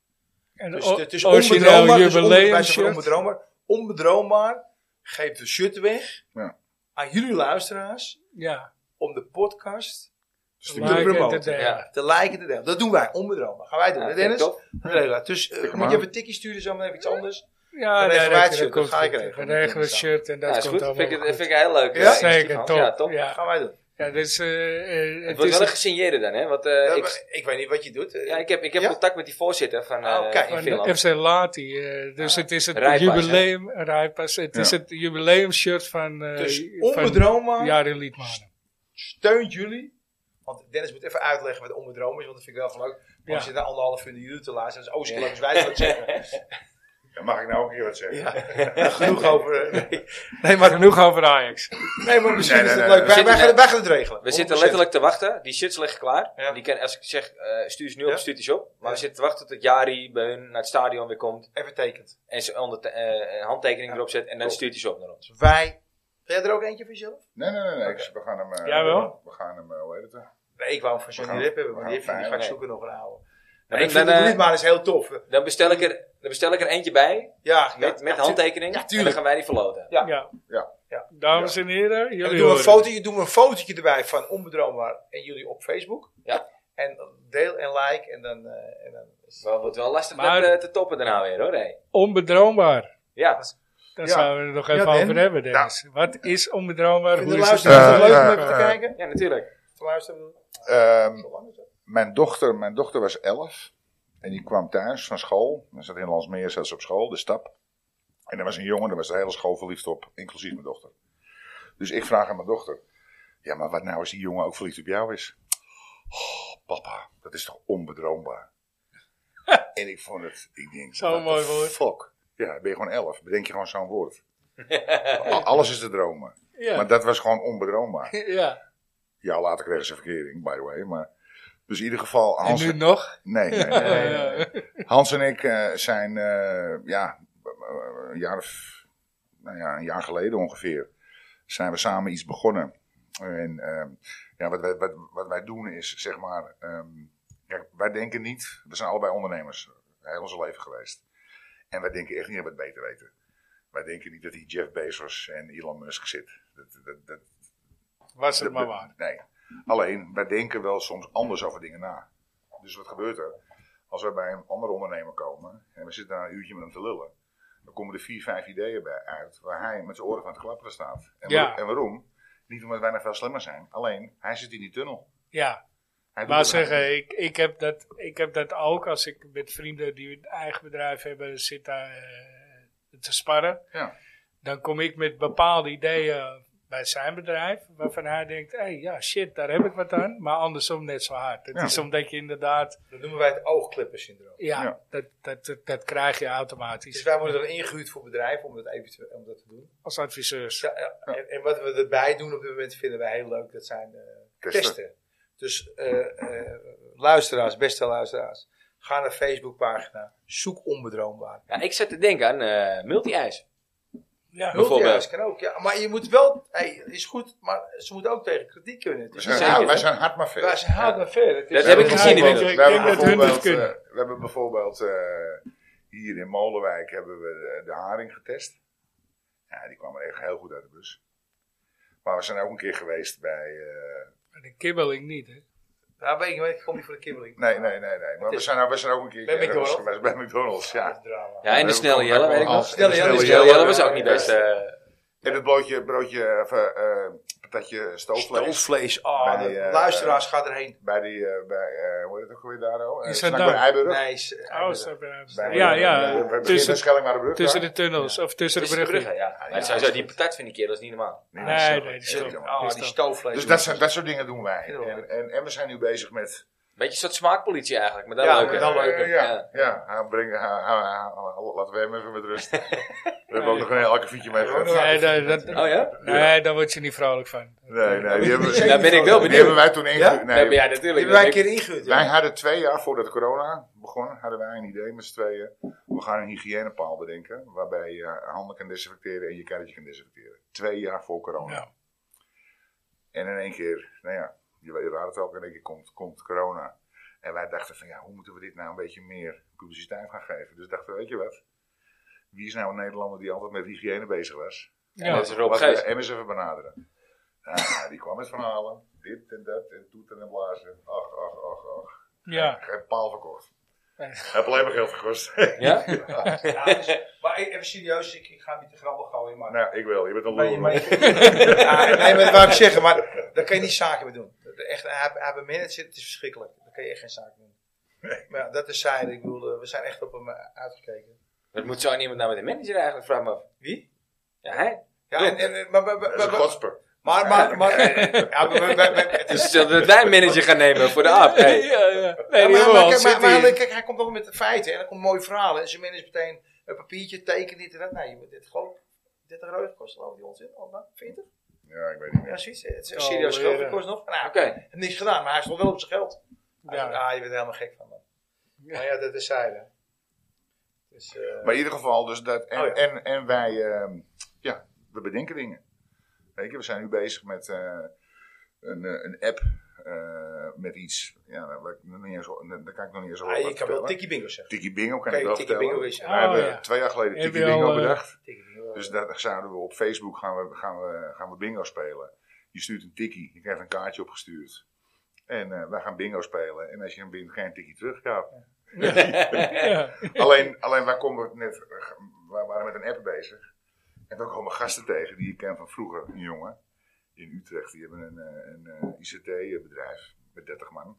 Speaker 2: En
Speaker 4: Dus
Speaker 2: o- nou
Speaker 4: het is
Speaker 2: origineel
Speaker 4: onbedroombaar, dus onder- wij zeggen
Speaker 2: jubileumshirt.
Speaker 4: onbedroombaar. Onbedroombaar, geef de shirt weg
Speaker 3: Ja.
Speaker 4: aan jullie luisteraars
Speaker 2: Ja,
Speaker 4: om de podcast
Speaker 3: Dus
Speaker 4: Like
Speaker 2: like
Speaker 4: promoten.
Speaker 2: it, eh,
Speaker 1: Ja.
Speaker 4: te liken te delen. Dat doen wij, onbedroombaar. Gaan wij doen,
Speaker 1: Ja,
Speaker 4: hè,
Speaker 1: vind ik
Speaker 4: Dennis?
Speaker 1: tof.
Speaker 4: Ja, Dus eh,
Speaker 3: hem
Speaker 4: moet je
Speaker 3: aan.
Speaker 4: even een tikkie sturen, zo maar even iets anders.
Speaker 2: Ja,
Speaker 4: Dan
Speaker 2: nee,
Speaker 4: regelen wij het
Speaker 2: dat,
Speaker 4: shirt,
Speaker 2: dat
Speaker 4: dat
Speaker 2: komt
Speaker 4: ga ik
Speaker 2: goed.
Speaker 4: regelen.
Speaker 2: Dan regelen we het shirt en dat
Speaker 1: Ja, Nou, is
Speaker 2: komt
Speaker 1: goed.
Speaker 2: allemaal
Speaker 1: Vind ik,
Speaker 2: goed.
Speaker 1: vind ik een heel leuk.
Speaker 4: Ja,
Speaker 1: eh, initiatief,
Speaker 2: zeker,
Speaker 1: Hans.
Speaker 2: top.
Speaker 1: Ja, top.
Speaker 2: Ja.
Speaker 4: Gaan wij doen.
Speaker 2: Ja, dus, eh, eh,
Speaker 1: Het
Speaker 2: het
Speaker 1: wordt
Speaker 2: is
Speaker 1: wel een
Speaker 2: een-
Speaker 1: gesigneerde dan, hè? Want eh,
Speaker 4: Ja, maar
Speaker 1: ik,
Speaker 4: ik, weet niet wat je doet. eh,
Speaker 1: ja, ik heb, ik heb
Speaker 4: Ja?
Speaker 1: contact met die voorzitter van, eh
Speaker 4: Oh, kijk,
Speaker 1: in
Speaker 2: van
Speaker 1: Finland.
Speaker 2: de FC Lati. eh, dus het is het
Speaker 1: Rijpas, hè?
Speaker 2: jubileum, rijpas, het is
Speaker 3: Ja.
Speaker 2: het jubileumshirt van, eh
Speaker 4: dus
Speaker 2: van
Speaker 4: onbedroombaar,
Speaker 2: Jari Liedmanen.
Speaker 4: steunt jullie. Want Dennis moet even uitleggen wat onbedroombaar is, want dat vind ik wel van leuk.
Speaker 2: Ja.
Speaker 4: Als je daar anderhalf uur naar jullie te luisteren, dat is oostelijk, dus wij zullen het zeggen.
Speaker 3: Ja, Mag ik nou ook hier wat zeggen?
Speaker 4: Genoeg over... eh,
Speaker 2: Nee, maar genoeg over Ajax.
Speaker 4: Nee, maar misschien
Speaker 3: Nee,
Speaker 4: is
Speaker 3: nee,
Speaker 4: het
Speaker 3: nee.
Speaker 4: leuk.
Speaker 1: We
Speaker 4: Wij, wij,
Speaker 1: zitten
Speaker 4: gaan,
Speaker 1: net-
Speaker 4: wij gaan het regelen.
Speaker 1: we zitten
Speaker 4: 100%.
Speaker 1: letterlijk te wachten. Die shirts liggen klaar.
Speaker 4: Ja.
Speaker 1: Die kan, als ik zeg, eh, stuur ze nu
Speaker 4: Ja.
Speaker 1: op, stuurt die ze op. Maar
Speaker 4: Ja.
Speaker 1: we zitten te wachten tot Jari bij hun naar het stadion weer komt.
Speaker 4: Even tekend.
Speaker 1: En ze onder te- eh, een handtekening
Speaker 4: Ja.
Speaker 1: erop zet. En dan
Speaker 4: Cool.
Speaker 1: stuurt hij ze op naar ons.
Speaker 4: Wij. Ben jij er ook eentje voor jezelf?
Speaker 3: Nee, nee, nee. nee. Ik- We gaan hem... eh,
Speaker 2: Jawel.
Speaker 3: We gaan hem... eh, Hoe heet het? eh,
Speaker 4: Nee, ik wou hem van Johnny
Speaker 3: Ja.
Speaker 4: Rip hebben, maar die,
Speaker 3: Ja,
Speaker 4: heeft- die ga ik
Speaker 1: nee.
Speaker 4: zoeken nog een oude. Nou,
Speaker 1: Dan,
Speaker 4: ik
Speaker 1: dan,
Speaker 4: vind het
Speaker 1: eh,
Speaker 4: niet, maar is heel tof. Ja,
Speaker 1: dan, bestel ik er, dan bestel ik er eentje bij.
Speaker 4: ja,
Speaker 1: Met,
Speaker 4: ja,
Speaker 1: met
Speaker 4: tu-
Speaker 1: handtekening.
Speaker 4: Ja,
Speaker 1: en dan
Speaker 4: tuurlijk.
Speaker 1: gaan wij die verloten.
Speaker 4: Ja.
Speaker 2: Ja.
Speaker 3: Ja.
Speaker 4: Ja.
Speaker 2: Dames en heren,
Speaker 4: En dan
Speaker 2: jullie
Speaker 4: doen we, een
Speaker 2: horen het.
Speaker 4: fotootje, doen we een fotootje erbij van Onbedroombaar en jullie op Facebook.
Speaker 1: Ja.
Speaker 4: En dan deel en like en dan... eh, en dan
Speaker 1: Dus Wel, wordt wel lastig
Speaker 2: Maar-
Speaker 1: dat, eh, te toppen daarna weer hoor. hè.
Speaker 2: Onbedroombaar.
Speaker 1: Ja.
Speaker 2: Daar
Speaker 4: Ja.
Speaker 2: zouden we het nog even
Speaker 4: Ja,
Speaker 2: over
Speaker 4: Den.
Speaker 2: hebben, Dennis. Wat is onbedroombaar?
Speaker 4: Vinden
Speaker 2: Hoe
Speaker 4: de
Speaker 2: is het?
Speaker 4: luisteraars
Speaker 3: Eh,
Speaker 4: het leuk om
Speaker 3: eh,
Speaker 4: even te
Speaker 3: eh.
Speaker 4: kijken?
Speaker 1: Ja, natuurlijk.
Speaker 4: Te luisteren.
Speaker 3: Ehm,
Speaker 4: Zo lang is dat.
Speaker 3: mijn, dochter, mijn dochter was elf. En die kwam thuis van school. Dan zat in Landsmeer, zat ze op school, de stap. En er was een jongen, daar was de hele school verliefd op, inclusief mijn dochter. Dus ik vraag aan mijn dochter: Ja, maar wat nou als die jongen ook verliefd op jou is? Oh, papa, dat is toch onbedroombaar? en ik vond het, ik denk,
Speaker 2: Zo'n
Speaker 3: what the
Speaker 2: mooi woord.
Speaker 3: Fuck. Ja, dan ben je gewoon elf, bedenk je gewoon zo'n woord. Al- Alles is te dromen. Maar
Speaker 2: Ja.
Speaker 3: dat was gewoon onbedroombaar.
Speaker 2: ja.
Speaker 3: Ja, later kregen ze verkering, by the way. Maar, dus in ieder geval,
Speaker 2: En
Speaker 3: Hans,
Speaker 2: nu nog?
Speaker 3: nee, nee, nee, nee, nee. Hans en ik eh, zijn eh, ja, eh, een, jaar of, nou ja, een jaar geleden ongeveer zijn we samen iets begonnen. En ehm, ja, wat, wij, wat, wat wij doen is, zeg maar, ehm, kijk, wij denken niet, we zijn allebei ondernemers, heel ons leven geweest. En wij denken echt niet dat we het beter weten. Wij denken niet dat die Jeff Bezos en Elon Musk zit. Dat, dat, dat,
Speaker 2: Was het maar waar.
Speaker 3: Nee. Alleen, wij denken wel soms anders over dingen na. Dus wat gebeurt er? Als we bij een andere ondernemer komen en we zitten daar een uurtje met hem te lullen, dan komen er vier, vijf ideeën bij uit waar hij met zijn oren van te klapperen staat. En,
Speaker 2: Ja.
Speaker 3: waar- en waarom? Niet omdat wij nog veel slimmer zijn, alleen hij zit in die tunnel.
Speaker 2: Ja.
Speaker 3: Hij doet
Speaker 2: Maar
Speaker 3: het eigenlijk.
Speaker 2: zeggen, ik, ik, heb dat, ik heb dat ook als ik met vrienden die een eigen bedrijf hebben zit daar eh, te sparren.
Speaker 3: Ja.
Speaker 2: Dan kom ik met bepaalde ideeën bij zijn bedrijf, waarvan hij denkt, hé hey, ja shit, daar heb ik wat aan. Maar andersom net zo hard. Het
Speaker 3: Ja.
Speaker 2: is omdat je inderdaad,
Speaker 4: Dat noemen wij het oogklippersyndroom.
Speaker 2: ja,
Speaker 3: Ja.
Speaker 2: Dat, dat, dat, dat krijg je
Speaker 4: Dus
Speaker 2: automatisch
Speaker 4: wij worden dan ingehuurd voor bedrijven om dat, even te, om dat te doen.
Speaker 2: als adviseurs.
Speaker 4: Ja, ja. En, en wat we erbij doen op dit moment vinden wij heel leuk. Dat zijn eh,
Speaker 3: Testen.
Speaker 4: testen. Dus eh, eh, luisteraars, beste luisteraars. Ga naar Facebookpagina. Zoek onbedroombaar.
Speaker 1: Ja, ik zat te denken aan eh multi-ijs.
Speaker 2: Ja.
Speaker 1: Bijvoorbeeld.
Speaker 4: Multi-huis kan ook. Ja. Maar je moet wel... Hey, is goed, maar ze moeten ook tegen kritiek kunnen.
Speaker 3: We
Speaker 4: Dus
Speaker 3: zijn,
Speaker 1: Zeker.
Speaker 3: wij zijn hard maar ver.
Speaker 4: Waar ze haalt naar verder. Het is-
Speaker 1: Dat heb ik
Speaker 3: We
Speaker 1: gezien
Speaker 3: hebben
Speaker 1: inmiddels.
Speaker 2: Ik
Speaker 3: bijvoorbeeld-
Speaker 2: denk dat
Speaker 3: we
Speaker 2: hun
Speaker 3: hebben
Speaker 2: dat kunnen.
Speaker 3: bijvoorbeeld, eh, We hebben bijvoorbeeld eh, hier in Molenwijk hebben we de, de haring getest. Ja, die kwam er echt heel goed uit de bus. Maar we zijn ook een keer geweest bij. eh,
Speaker 2: Maar De kibbeling niet, hè?
Speaker 4: Nou, weet ik, weet ik, ik kom niet voor de kibbeling.
Speaker 3: nee, nee, nee, nee. Maar we
Speaker 4: is-
Speaker 3: zijn, ook- we zijn ook een keer
Speaker 4: Bij
Speaker 3: ergens
Speaker 4: McDonald's?
Speaker 3: geweest bij McDonald's.
Speaker 4: Dat
Speaker 3: Ja.
Speaker 4: is drama.
Speaker 1: Ja, en de
Speaker 3: we
Speaker 1: snelle
Speaker 3: komen
Speaker 1: Jelle,
Speaker 3: bij
Speaker 1: weet ik nog.
Speaker 3: Hans.
Speaker 4: Snelle
Speaker 3: En de
Speaker 1: De
Speaker 4: Jelle,
Speaker 3: snelle
Speaker 1: snelle Jelle
Speaker 4: Jelle
Speaker 1: was ook
Speaker 4: was
Speaker 1: niet
Speaker 4: ook
Speaker 1: best. eh,
Speaker 3: En het broodje, broodje of, eh, eh, patatje stoofvlees.
Speaker 4: Stoofvlees. Ah,
Speaker 3: Bij die, eh,
Speaker 4: luisteraars, ga erheen.
Speaker 3: Bij die, eh, bij, eh, hoe heet het ook alweer daar? oh? Eh,
Speaker 2: Is dat
Speaker 3: Snackbar
Speaker 2: nou-
Speaker 3: Eiburg.
Speaker 4: Nee, ze-
Speaker 2: Oh, snap je.
Speaker 3: Bij-
Speaker 2: ja,
Speaker 3: bij- bij-
Speaker 2: ja.
Speaker 3: bij- bij- bij
Speaker 2: Tussen,
Speaker 3: Schellingmarenbrug,
Speaker 2: tussen
Speaker 3: daar.
Speaker 2: de tunnels of tussen de
Speaker 1: tussen de bruggen,
Speaker 2: bruggen.
Speaker 1: ja. Maar
Speaker 3: ja,
Speaker 1: sowieso,
Speaker 3: dat
Speaker 1: die patat vind ik keer, dat is niet normaal.
Speaker 3: Nee,
Speaker 2: Nee,
Speaker 3: dat is
Speaker 2: nee,
Speaker 3: toch-
Speaker 2: dat is
Speaker 3: dat is
Speaker 2: toch-
Speaker 3: toch-
Speaker 4: Ah, die stoofvlees.
Speaker 3: Dus dat, zijn, dat soort dingen doen wij.
Speaker 4: Heel leuk.
Speaker 3: En, en, en we zijn nu bezig met.
Speaker 1: Beetje een soort smaakpolitie eigenlijk, maar dan
Speaker 4: Ja,
Speaker 1: leuker.
Speaker 4: maar dan
Speaker 3: Eh,
Speaker 4: leuker.
Speaker 3: ja, ja. ha, breng, ha, ha, ha, ha, laten we hem even met rust. we hebben ook nog een heel akkefietje mee gehad.
Speaker 2: Nee, dat, dat-
Speaker 1: Oh ja?
Speaker 2: nee, daar word je niet vrolijk van.
Speaker 3: Nee, nee, die hebben,
Speaker 1: Daar ben ik wel
Speaker 3: die hebben
Speaker 1: benieuwd.
Speaker 3: wij toen ingehuurd.
Speaker 4: Ja?
Speaker 1: Nee, maar
Speaker 3: Nee,
Speaker 1: ja,
Speaker 4: Die
Speaker 1: natuurlijk.
Speaker 4: hebben wij een
Speaker 1: dat ik-
Speaker 4: keer ingehuurd.
Speaker 3: Wij
Speaker 4: ja.
Speaker 3: hadden twee jaar voordat corona begon, hadden wij een idee met z'n tweeën. We gaan een hygiënepaal bedenken, waarbij je handen kan desinfecteren en je karretje kan desinfecteren. Twee jaar voor corona.
Speaker 2: Ja.
Speaker 3: En in één keer, nou ja, je weet- je raadt het ook, in één keer komt, komt corona. En wij dachten van, ja, hoe moeten we dit nou een beetje meer publiciteit gaan geven? Dus dachten we, weet je wat? Wie is nou een Nederlander die altijd met hygiëne bezig was?
Speaker 1: Ja,
Speaker 2: Ja.
Speaker 1: dat is Rob
Speaker 3: Laten we
Speaker 1: Gijs.
Speaker 3: hem eens even benaderen. Ah, die kwam met verhalen. Dit en dat en toeten en blazen. Ach, ach, ach, ach.
Speaker 2: ja.
Speaker 3: Geen paal verkocht.
Speaker 2: Nee.
Speaker 3: Heb alleen maar geld Nou gekost.
Speaker 1: Ja?
Speaker 4: Ja, dus- maar ik- even serieus, ik, ik ga niet te grabbel gooien, maar...
Speaker 3: nou, ik wel. Je bent een
Speaker 4: Maar je-
Speaker 3: lul.
Speaker 4: maar
Speaker 3: hoor.
Speaker 4: je- Ja, nee, maar dat wou ik zeggen, maar daar kan je niet zaken mee doen. Dat- Echt, hij, hij bemint het, het is verschrikkelijk. Daar kan je echt geen zaken mee doen. Maar ja, dat is zijde. Ik bedoel, eh, we zijn echt op hem eh, uitgekeken.
Speaker 1: Dat moet zo iemand nou met de manager eigenlijk vragen, maar... Wie? Ja, hij.
Speaker 4: Ja, en, en- en- maar, maar, maar,
Speaker 3: Dat is een
Speaker 4: maar,
Speaker 3: godsper.
Speaker 4: maar, maar, maar- ja, maar- maar- maar- maar- het is-
Speaker 1: Dus stel dat wij een manager gaan nemen voor de aap.
Speaker 2: Ja,
Speaker 1: Hey.
Speaker 2: ja. Nee,
Speaker 4: Ja,
Speaker 2: die
Speaker 4: maar-
Speaker 2: hebben we al
Speaker 4: maar- maar-
Speaker 2: zitten
Speaker 4: maar
Speaker 2: hier.
Speaker 4: kijk, hij komt wel met de feiten en dan komt mooie verhalen. En zijn man is dus meteen een papiertje, teken dit en dat. Nee, je moet dit gewoon 30 euro kost geloof ik die onzin. Of nou, 40?
Speaker 3: Ja, ik weet niet meer.
Speaker 4: Ja, zoiets. Het is een
Speaker 2: Oh,
Speaker 4: serieus geld,
Speaker 2: leren.
Speaker 4: dat kost nog. Nou,
Speaker 1: Oké.
Speaker 4: En niks gedaan, maar hij stond wel op zijn geld. Hij
Speaker 2: Ja.
Speaker 4: zei, ah, je bent er helemaal gek van, man. Maar ja, dat is zijde. Dus, eh,
Speaker 3: Maar in ieder geval, dus dat, en,
Speaker 4: Oh ja.
Speaker 3: en, en wij, ehm, ja, we bedenken dingen. Weet je, we zijn nu bezig met eh, een, eh, een app eh, met iets. Ja, daar, daar, daar kan ik nog niet eens over
Speaker 4: ah, je kan
Speaker 3: vertellen.
Speaker 4: wel Tikkie Bingo zeggen.
Speaker 3: Tiki Bingo kan
Speaker 4: Oké,
Speaker 3: ik wel
Speaker 4: Tiki
Speaker 3: vertellen.
Speaker 4: Bingo is-
Speaker 3: Wij
Speaker 2: Oh,
Speaker 3: hebben
Speaker 2: ja.
Speaker 3: twee jaar geleden
Speaker 2: Heb
Speaker 3: Tiki
Speaker 2: je al,
Speaker 3: Bingo
Speaker 2: eh,
Speaker 3: bedacht.
Speaker 4: Tikkie Bingo.
Speaker 3: Dus daar zouden we op Facebook gaan we, gaan we, gaan we bingo spelen. Je stuurt een tikkie, je krijgt een kaartje opgestuurd. En eh, wij gaan bingo spelen. En als je hem wint, ga je een tikkie terug. Ja.
Speaker 2: Ja.
Speaker 3: Alleen, alleen wij, komen net, wij waren met een app bezig. heb ook allemaal gasten tegen die ik ken van vroeger. Een jongen in Utrecht. Die hebben een, eh, een, ICT-bedrijf met 30 man.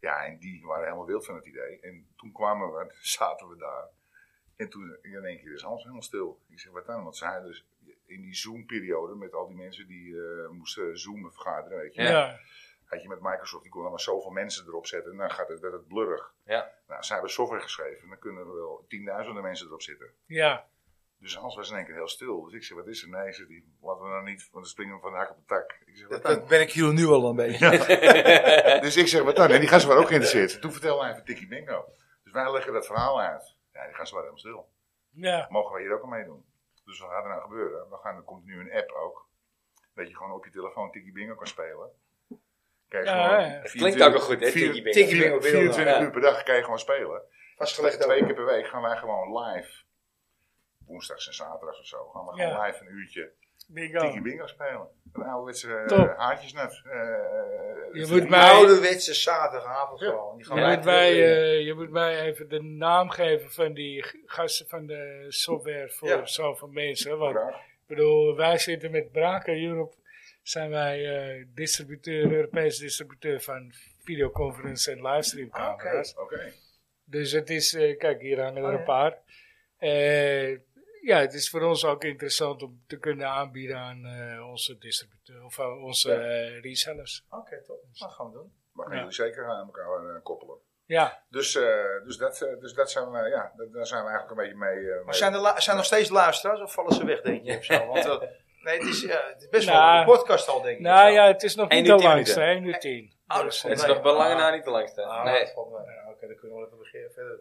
Speaker 3: Ja, en die waren helemaal wild van het idee. En toen kwamen we, zaten we daar. En toen in één keer is Hans helemaal stil. Ik zeg, wat dan? Want zij dus in die Zoom-periode met al die mensen die eh, moesten Zoomen vergaderen, weet je.
Speaker 1: Ja.
Speaker 2: Ja.
Speaker 3: Had je met Microsoft, die kon dan maar zoveel mensen erop zetten. En dan gaat het, werd het blurrig.
Speaker 1: Ja.
Speaker 3: Nou, zij hebben software geschreven. Dan kunnen er wel tienduizenden mensen erop zitten.
Speaker 2: Ja.
Speaker 3: Dus Hans was in één keer heel stil. Dus ik zeg, wat is er? Nee, zegt hij, laten we nou niet, want dan springen we van de hak op de tak. Ik zeg, wat
Speaker 4: Dat,
Speaker 3: dan?
Speaker 4: dat ben ik hier nu al een beetje.
Speaker 3: Dus ik zeg, wat dan? En die gasten waren ook geïnteresseerd. Toen vertelde hij van Tikkie Bingo. Dus wij leggen dat verhaal uit. Ja, die gasten waren helemaal stil.
Speaker 2: Ja.
Speaker 3: Mogen wij hier ook aan meedoen? Dus wat gaat er nou gebeuren? We gaan, er komt nu een app ook. Dat je gewoon op je telefoon Tikkie Bingo kan spelen. Kijk,
Speaker 2: Ja,
Speaker 3: gewoon
Speaker 2: ja.
Speaker 1: Het
Speaker 3: 24
Speaker 1: klinkt ook wel goed, hè?
Speaker 3: vier-
Speaker 1: Tikkie Bingo.
Speaker 4: Tikkie Bingo,
Speaker 3: vier-
Speaker 4: Bingo,
Speaker 3: 24
Speaker 1: ja.
Speaker 3: uur per dag kan je gewoon spelen.
Speaker 4: Vastgelegd
Speaker 3: twee
Speaker 4: ook.
Speaker 3: keer per week gaan wij gewoon live. Woensdags en zaterdags of zo. Gaan we gewoon
Speaker 2: Ja.
Speaker 3: live een uurtje Tikkie
Speaker 2: Bingo.
Speaker 3: Bingo spelen. Een ouderwetse
Speaker 2: Top.
Speaker 3: uh, haartjesnut. eh,
Speaker 2: Je
Speaker 3: eh,
Speaker 2: moet
Speaker 4: Een
Speaker 2: mij-
Speaker 4: ouderwetse zaterdagavond gewoon. Die gaan
Speaker 2: Je
Speaker 1: Ja.
Speaker 4: wij-
Speaker 2: moet, mij, eh, je moet mij even de naam geven van die g- gasten van de software voor
Speaker 4: Ja.
Speaker 2: zoveel mensen. Want
Speaker 3: Graag.
Speaker 2: ik bedoel, wij zitten met Braca Europe, zijn wij eh, distributeur, Europees distributeur van videoconference en
Speaker 4: Ah,
Speaker 2: livestreamcamera's.
Speaker 4: oké.
Speaker 3: Oké.
Speaker 2: Dus het is, eh, kijk, hier hangen er
Speaker 4: Oh,
Speaker 2: een
Speaker 4: ja.
Speaker 2: paar. Eh, ja, het is voor ons ook interessant om te kunnen aanbieden aan eh, onze distributeur of aan onze eh, resellers.
Speaker 4: Oké, top. Dat gaan we doen.
Speaker 3: Maar gaan
Speaker 2: Ja.
Speaker 3: jullie zeker aan elkaar eh, koppelen.
Speaker 2: Ja,
Speaker 3: Dus, eh, dus, dat, eh, dus dat zijn we, ja, dat, daar zijn we eigenlijk een beetje mee. eh,
Speaker 4: Maar
Speaker 3: mee-
Speaker 4: zijn er, la- zijn er nog steeds luisteraars of vallen ze weg, denk je? Of zo? Want, eh, nee, het is, eh, het is best wel
Speaker 2: Nou.
Speaker 4: een podcast al, denk ik. of
Speaker 2: nou
Speaker 4: zo.
Speaker 2: ja, het is nog
Speaker 1: Eén
Speaker 2: niet
Speaker 1: uur
Speaker 2: al
Speaker 1: tien
Speaker 2: langs,
Speaker 1: minuten.
Speaker 2: 1 uur Dus, eh, 10.
Speaker 4: Oh, dat is
Speaker 1: Het is
Speaker 4: Nee.
Speaker 1: nog wel lange na niet te lang staan.
Speaker 4: Ah,
Speaker 1: Nee,
Speaker 4: dat valt mij. Ja, Oké, dan kunnen we wel even beginnen. Verder.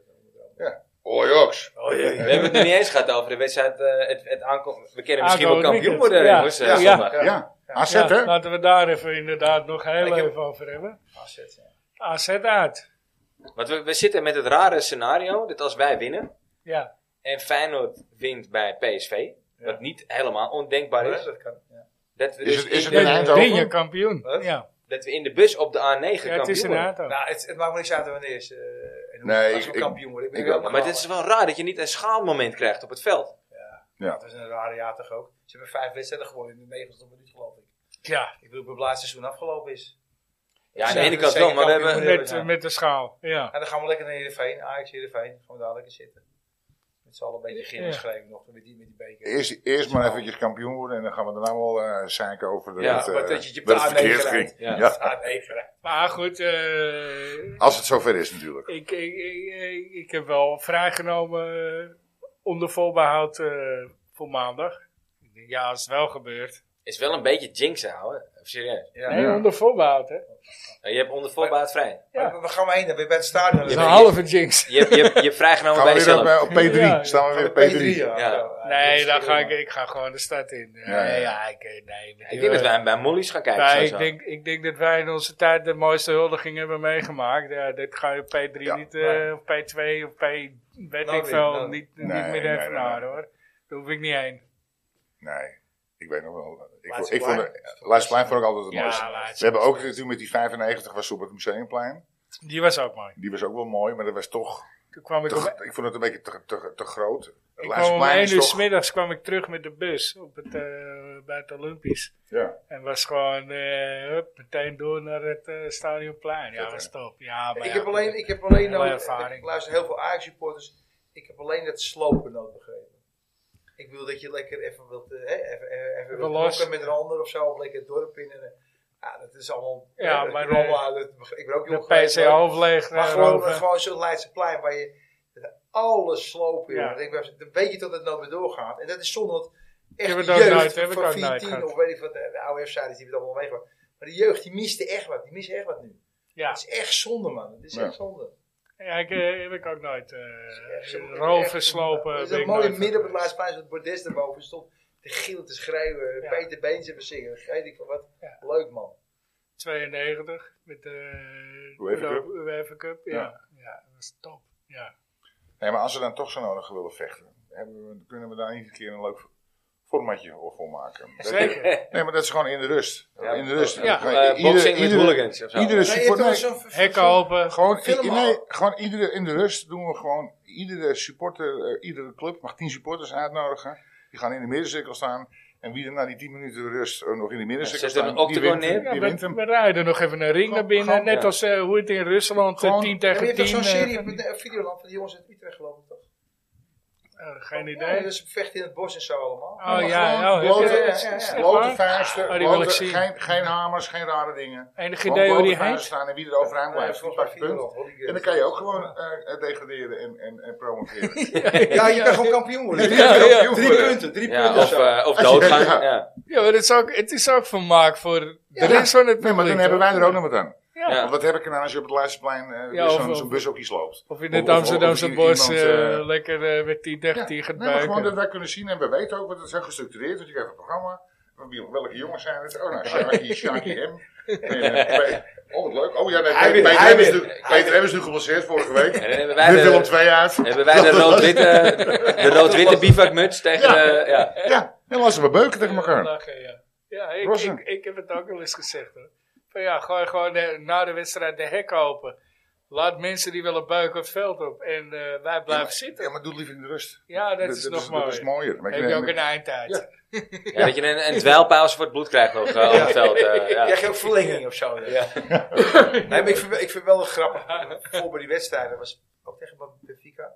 Speaker 3: Ja. Hoi, Joks.
Speaker 4: Oh, jee,
Speaker 1: we
Speaker 4: jee.
Speaker 1: hebben het nog niet eens gehad over de wedstrijd. eh, het, het aankom- we kunnen misschien wel
Speaker 2: Aankomend
Speaker 1: kampioen
Speaker 2: weekend.
Speaker 1: worden,
Speaker 2: Ja.
Speaker 1: jongens. eh,
Speaker 3: Ja.
Speaker 1: zondag.
Speaker 3: Ja, AZ
Speaker 2: Ja,
Speaker 3: hè?
Speaker 2: laten we daar even inderdaad nog heel
Speaker 4: Ik heb-
Speaker 2: even over hebben.
Speaker 4: Afzet, ja.
Speaker 2: AZ uit.
Speaker 1: Want we, we zitten met het rare scenario dat als wij winnen
Speaker 2: Ja,
Speaker 1: en Feyenoord wint bij PSV, wat niet helemaal ondenkbaar
Speaker 4: Ja,
Speaker 1: is,
Speaker 4: dat kan. Ja.
Speaker 1: dat we,
Speaker 3: Is
Speaker 1: dus
Speaker 3: het- is
Speaker 1: in
Speaker 3: het
Speaker 1: de-
Speaker 3: een
Speaker 2: dan
Speaker 3: Eindhoven?
Speaker 2: ben je kampioen.
Speaker 4: Wat?
Speaker 2: Ja.
Speaker 1: dat we in de bus op de A9
Speaker 2: ja, het is
Speaker 1: kampioen
Speaker 2: een
Speaker 1: worden.
Speaker 2: aantal.
Speaker 4: Nou, het, het maakt me niks uit wanneer ze. eh, en hoe,
Speaker 3: Nee,
Speaker 4: als we
Speaker 3: ik- ik-
Speaker 4: kampioen worden. Ik, ben
Speaker 3: ik
Speaker 4: er
Speaker 3: ook.
Speaker 4: wel
Speaker 1: Maar het is wel raar dat je niet een schaalmoment krijgt op het veld.
Speaker 4: Nou, Dat is een rare jaar toch ook. Ze hebben vijf wedstrijden gewonnen in de negentigste minuut, geloof ik.
Speaker 2: Ja,
Speaker 4: Ik bedoel, ik ben blij dat het seizoen afgelopen is.
Speaker 1: Ja, aan de
Speaker 4: Ja,
Speaker 1: ene kant
Speaker 4: zeker
Speaker 1: wel, maar we
Speaker 4: kampioen.
Speaker 1: hebben...
Speaker 2: met,
Speaker 4: ja.
Speaker 2: met de schaal. Ja.
Speaker 4: En dan gaan we lekker naar Heerenveen. Ajax, Heerenveen. Gaan we daar lekker zitten. Met z'n allen een beetje gillen
Speaker 2: Ja.
Speaker 4: schrijven nog. Met die, met die beker.
Speaker 3: Eerst, eerst maar eventjes kampioen worden en dan gaan we daarna wel eh zeiken over de,
Speaker 1: Ja,
Speaker 3: dat, eh,
Speaker 4: maar dat je je op de
Speaker 3: het
Speaker 4: A9
Speaker 3: verkeerd
Speaker 4: rijdt.
Speaker 3: ging.
Speaker 1: Ja.
Speaker 3: Ja.
Speaker 4: Ah, nee, gelijk.
Speaker 2: Maar goed, eh,
Speaker 3: Als het zover is natuurlijk.
Speaker 2: Ik, ik, ik, ik- ik heb wel vrijgenomen eh, onder voorbehoud eh, voor maandag. Ik denk, Ja, als het wel gebeurt.
Speaker 1: is wel een beetje jinxen, houden. Serieus. Nou,
Speaker 4: Ja.
Speaker 2: Nee, onder voorbehoud, hè?
Speaker 1: Je hebt onder voorbaat vrij.
Speaker 2: Ja.
Speaker 4: Maar We gaan maar heen. Dan ben je bij het stadion.
Speaker 2: Dat is
Speaker 1: Ja,
Speaker 2: een
Speaker 1: maar-
Speaker 2: halve jinx.
Speaker 1: Je, je, je hebt vrijgenomen
Speaker 3: Gaan we
Speaker 1: bij
Speaker 3: weer op,
Speaker 1: jezelf.
Speaker 3: eh, op P3?
Speaker 2: Ja.
Speaker 3: Staan we weer
Speaker 4: Van
Speaker 3: op
Speaker 4: de
Speaker 3: P3?
Speaker 4: ja.
Speaker 1: Ja.
Speaker 4: Ja, dat
Speaker 2: Nee,
Speaker 4: is
Speaker 2: dan ga ik,
Speaker 4: helemaal-
Speaker 2: ik ga gewoon de stad in. Nee,
Speaker 3: Ja,
Speaker 2: ja,
Speaker 3: ja.
Speaker 2: ik, eh, nee, met die-
Speaker 1: Ik denk dat wij hem bij Molly's gaan kijken.
Speaker 2: Nee,
Speaker 1: zo,
Speaker 2: ik,
Speaker 1: zo.
Speaker 2: denk, ik denk dat wij in onze tijd de mooiste huldiging hebben meegemaakt. Ja, dit ga je op P3
Speaker 3: Ja.
Speaker 2: niet, eh,
Speaker 4: Nee.
Speaker 2: of P2 of P, weet
Speaker 4: Nou,
Speaker 2: ik veel,
Speaker 4: nou.
Speaker 2: niet,
Speaker 3: Nee,
Speaker 2: niet
Speaker 3: nee,
Speaker 2: meer
Speaker 3: nee,
Speaker 2: even
Speaker 3: nee.
Speaker 2: naar hoor. Daar hoef ik niet heen.
Speaker 3: Nee, ik weet nog wel. Ik, vond-
Speaker 4: Laatste
Speaker 3: ik vond,
Speaker 4: plein.
Speaker 3: de- eh, Laatste Plein vond ik altijd het
Speaker 2: Ja,
Speaker 3: mooiste.
Speaker 2: laatste
Speaker 3: We hebben ook toen met die 95 was op het Museumplein.
Speaker 2: Die was ook mooi.
Speaker 3: Die was ook wel mooi, maar dat was toch...
Speaker 2: Toen kwam ik
Speaker 3: te-
Speaker 2: om
Speaker 3: ik vond het een beetje te, te, te groot. Het
Speaker 2: Ik kwam om
Speaker 3: Leidseplein
Speaker 2: 1
Speaker 3: is
Speaker 2: uur
Speaker 3: toch-
Speaker 2: 's middags kwam ik terug met de bus op het, eh, bij het Olympisch.
Speaker 3: Ja.
Speaker 2: En was gewoon eh, hup, meteen door naar het eh, Stadionplein. Ja,
Speaker 3: Vet,
Speaker 2: was top. Ja, maar
Speaker 4: Ik
Speaker 2: ja,
Speaker 4: heb
Speaker 2: goed.
Speaker 4: alleen, ik heb alleen
Speaker 2: Hele
Speaker 4: nou,
Speaker 2: ervaring.
Speaker 4: ik luister heel veel Ajax supporters. Ik heb alleen dat slopen nodig begrepen. Ik wil dat je lekker even wilt, eh, hè, even, even, even wilt
Speaker 2: los.
Speaker 4: knokken met een ander of zo, of lekker het dorp in. En, eh, ja, dat is allemaal.
Speaker 2: Ja,
Speaker 4: eh, dat
Speaker 2: maar
Speaker 4: je allemaal
Speaker 2: de-
Speaker 4: aan het begre- ik ben ook
Speaker 2: De
Speaker 4: jong geweest,
Speaker 2: PC hoofdleeg.
Speaker 4: Maar gewoon, eh, gewoon zo'n Leidse plein waar je dat alles slopen.
Speaker 2: Ja.
Speaker 4: Ja. Ik ben, dan weet je dat het nooit meer doorgaat. En dat is zonder dat echt
Speaker 2: heb
Speaker 4: de
Speaker 2: het ook nooit-
Speaker 4: jeugd
Speaker 2: heb ik
Speaker 4: van
Speaker 2: ook nooit
Speaker 4: 14
Speaker 2: gehad.
Speaker 4: of weet ik wat, eh, de, de oude F-siders die we dan wel meegemaakt. Maar de jeugd die miste echt wat. Die mist echt wat nu.
Speaker 2: Ja,
Speaker 4: Het is echt zonde, man. Het is
Speaker 3: Ja.
Speaker 4: echt zonde.
Speaker 2: ja ik, eh, heb ik ook nooit. eh
Speaker 4: Echt zo- echt-
Speaker 2: roven, slopen.
Speaker 4: Het
Speaker 2: ben
Speaker 4: is
Speaker 2: ik
Speaker 4: een mooie
Speaker 2: nooit
Speaker 4: midden op het
Speaker 2: geweest.
Speaker 4: laatste plein, zo'n bordes daarboven stond. Te gillen, te schreeuwen,
Speaker 2: Ja.
Speaker 4: Peter Been te zingen. Weet ik van wat.
Speaker 2: Ja.
Speaker 4: Leuk, man.
Speaker 2: 92 met de
Speaker 3: UEFA Cup.
Speaker 2: UEFA Cup. Ja, ja. dat was top. Ja.
Speaker 3: Nee, maar als we dan toch zo nodig willen vechten, hebben we, kunnen we daar niet een keer een leuk formatje voor maken. Dat-
Speaker 2: Zeker.
Speaker 3: Nee, maar dat is gewoon in de rust.
Speaker 1: Ja,
Speaker 3: in de rust.
Speaker 1: ja.
Speaker 3: Gewoon
Speaker 1: Eh, boxing met
Speaker 3: iedere-
Speaker 1: hooligans of zo.
Speaker 3: Iedere
Speaker 4: Nee, je hebt
Speaker 3: support,
Speaker 4: wel
Speaker 3: nee,
Speaker 4: zo'n ver-
Speaker 2: Hekken
Speaker 4: zo'n-
Speaker 2: open.
Speaker 3: gewoon, i-
Speaker 4: Film
Speaker 3: nee,
Speaker 4: al.
Speaker 3: gewoon iedere, in de rust doen we gewoon iedere supporter, eh, iedere club mag tien supporters uitnodigen. Die Die gaan in de middencirkel staan. En wie er na die 10 minuten rust eh, nog in de middencirkel
Speaker 1: Ja, zet er
Speaker 3: staat,
Speaker 1: een
Speaker 3: die
Speaker 1: octagon
Speaker 3: wint, hem,
Speaker 1: neer.
Speaker 3: die
Speaker 2: Ja,
Speaker 3: wint
Speaker 2: we,
Speaker 3: hem.
Speaker 2: we rijden nog even een ring
Speaker 3: Gewoon-
Speaker 2: naar binnen.
Speaker 3: gewoon,
Speaker 2: net
Speaker 1: ja.
Speaker 2: als eh, hoe het in Rusland eh,
Speaker 3: Gewoon-
Speaker 2: 10
Speaker 4: Maar je
Speaker 2: tegen
Speaker 4: hebt toch
Speaker 2: 10.
Speaker 4: zo'n
Speaker 2: eh,
Speaker 4: serie
Speaker 2: van die-
Speaker 4: met een videoland van die jongens uit Utrecht geloof ik toch?
Speaker 2: eh, geen
Speaker 4: Ja,
Speaker 2: idee.
Speaker 4: dat is vechten in het bos en zo allemaal.
Speaker 2: Oh
Speaker 3: maar
Speaker 2: ja, oh,
Speaker 3: gewoon
Speaker 2: heb je-
Speaker 3: blote-
Speaker 2: ja, ja, ja.
Speaker 4: blote
Speaker 2: Echt
Speaker 3: Blote
Speaker 2: waar?
Speaker 3: vuisten,
Speaker 2: Oh, die wil
Speaker 3: blote-
Speaker 2: ik zien.
Speaker 3: geen, geen hamers, geen rare dingen.
Speaker 2: Enig
Speaker 3: Gewoon
Speaker 2: idee hoe
Speaker 3: blote
Speaker 2: die
Speaker 3: vuisten
Speaker 2: heet.
Speaker 3: staan en wie er overeind
Speaker 4: Ja,
Speaker 3: blijft, die pakt het punt. En dan kan je ook gewoon eh, degraderen en, en, en promoveren.
Speaker 4: Ja, je kan gewoon kampioen worden.
Speaker 3: Ja, ja.
Speaker 4: Drie punten, drie
Speaker 1: Ja,
Speaker 4: punten.
Speaker 1: of,
Speaker 4: zo.
Speaker 1: eh, of
Speaker 3: Als je-
Speaker 1: doodgaan.
Speaker 3: ja.
Speaker 1: Ja.
Speaker 2: Ja, maar het is ook, het is ook vermaak voor de
Speaker 3: Ja.
Speaker 2: rest van het
Speaker 3: Nee, maar dan
Speaker 2: publiek,
Speaker 3: hebben
Speaker 2: hoor.
Speaker 3: wij er ook nog wat aan.
Speaker 2: Ja.
Speaker 1: Ja.
Speaker 3: Want wat heb ik er nou als je op het Leidseplein eh
Speaker 2: Ja,
Speaker 3: weer
Speaker 2: of-
Speaker 3: zo'n
Speaker 2: of-
Speaker 3: zo'n bus ook iets loopt?
Speaker 2: Of in
Speaker 3: Of-
Speaker 2: het
Speaker 3: of- of
Speaker 2: Amsterdamse
Speaker 3: iemand,
Speaker 2: bos eh,
Speaker 3: eh,
Speaker 2: lekker eh, met 10 tegen 10 gaat
Speaker 3: nee, maar gewoon dat
Speaker 2: buiken.
Speaker 3: wij kunnen zien en we weten ook, want het zijn gestructureerd, want je krijgt een programma. Van wie- Welke jongens zijn het? Oh, nou, Sjaakje, Sjaakje hem. En, eh, bij- Oh, wat leuk. Oh ja, nee,
Speaker 4: Hij
Speaker 3: Peter-
Speaker 4: wint,
Speaker 3: Peter
Speaker 4: hij
Speaker 3: Hem is
Speaker 4: wint. eh,
Speaker 3: nu- Peter Hem is nu geblesseerd vorige week.
Speaker 1: En dan hebben wij
Speaker 3: Nu Willem
Speaker 1: de,
Speaker 3: 2 uit.
Speaker 1: hebben wij de rood-witte, de rood-witte bivakmuts tegen de... Ja.
Speaker 3: Ja, en laten we beuken tegen elkaar.
Speaker 2: Lachen, ja. Ja, ik,
Speaker 3: Rossen.
Speaker 2: ik, ik heb het ook al eens gezegd hoor. Van ja, gooi gewoon eh, na de wedstrijd de hek open. Laat mensen die willen buiken het veld op. En eh, wij blijven zitten.
Speaker 3: Ja, maar doe het liever in de rust.
Speaker 2: Ja, dat, is nog
Speaker 3: Dat is
Speaker 2: mooi.
Speaker 3: mooier. Maar ik
Speaker 2: Heb je
Speaker 3: ben-
Speaker 2: ook een eindtijd.
Speaker 3: Ja.
Speaker 1: Ja, dat je een, een dweilpaus voor het bloed krijgt nog eh, op het veld. eh,
Speaker 4: Ja,
Speaker 1: ja.
Speaker 4: geen verlenging of zo. Ja. nee, maar ik vind, wel- ik vind wel een grappig. Voor bij die wedstrijden was ook tegen Benfica.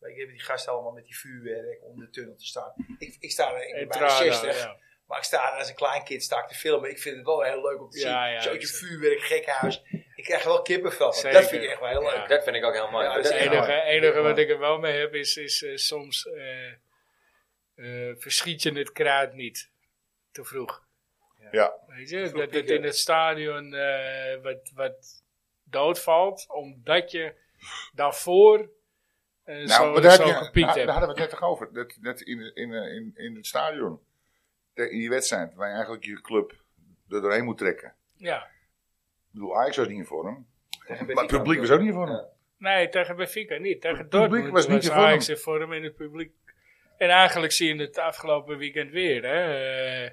Speaker 4: Ik heb die gasten allemaal met die vuurwerk om de tunnel te staan. Ik, ik sta er
Speaker 2: En
Speaker 4: ik ben bijna
Speaker 2: Trada,
Speaker 4: 60.
Speaker 2: ja.
Speaker 4: Maar ik sta er als een klein kind sta ik te filmen. Ik vind het wel heel leuk om te zien.
Speaker 2: Ja, ja,
Speaker 4: Zo'n
Speaker 2: ik zie-
Speaker 4: vuurwerk, gekkenhuis. Ik krijg er wel kippenvel van.
Speaker 2: Zeker.
Speaker 4: Dat vind ik echt wel heel leuk.
Speaker 2: Ja.
Speaker 1: Dat vind ik ook heel mooi.
Speaker 4: Ja,
Speaker 1: Dat
Speaker 4: dat
Speaker 1: is
Speaker 4: is
Speaker 2: Het
Speaker 1: echt
Speaker 4: mooi.
Speaker 1: mooi.
Speaker 2: enige, enige wat
Speaker 4: Ja.
Speaker 2: ik er wel mee heb is, is eh, soms eh, eh, verschiet je het kruid niet te vroeg.
Speaker 3: Ja.
Speaker 2: Weet je,
Speaker 4: vroeg
Speaker 2: dat het
Speaker 4: pieken.
Speaker 2: in het stadion eh, wat, wat doodvalt, omdat je daarvoor eh,
Speaker 3: Nou,
Speaker 2: zo,
Speaker 3: maar daar,
Speaker 2: zo
Speaker 3: heb je-
Speaker 2: gepiekt
Speaker 3: daar, daar
Speaker 2: hebt.
Speaker 3: hadden we het net toch over. Dat, dat in, in, eh, in, in het stadion, de- in die wedstrijd, waar je eigenlijk je club er doorheen moet trekken.
Speaker 2: Ja.
Speaker 3: Ik bedoel, Ajax was niet in vorm.
Speaker 4: Tegen
Speaker 3: Maar het
Speaker 4: Benfica
Speaker 3: publiek was ook niet in vorm.
Speaker 2: Nee, tegen Benfica niet. Tegen
Speaker 3: publiek
Speaker 2: Dortmund
Speaker 3: was
Speaker 2: was,
Speaker 3: niet in vorm.
Speaker 2: Ajax in vorm in het publiek. En eigenlijk zie je het afgelopen weekend weer. Hè. Eh,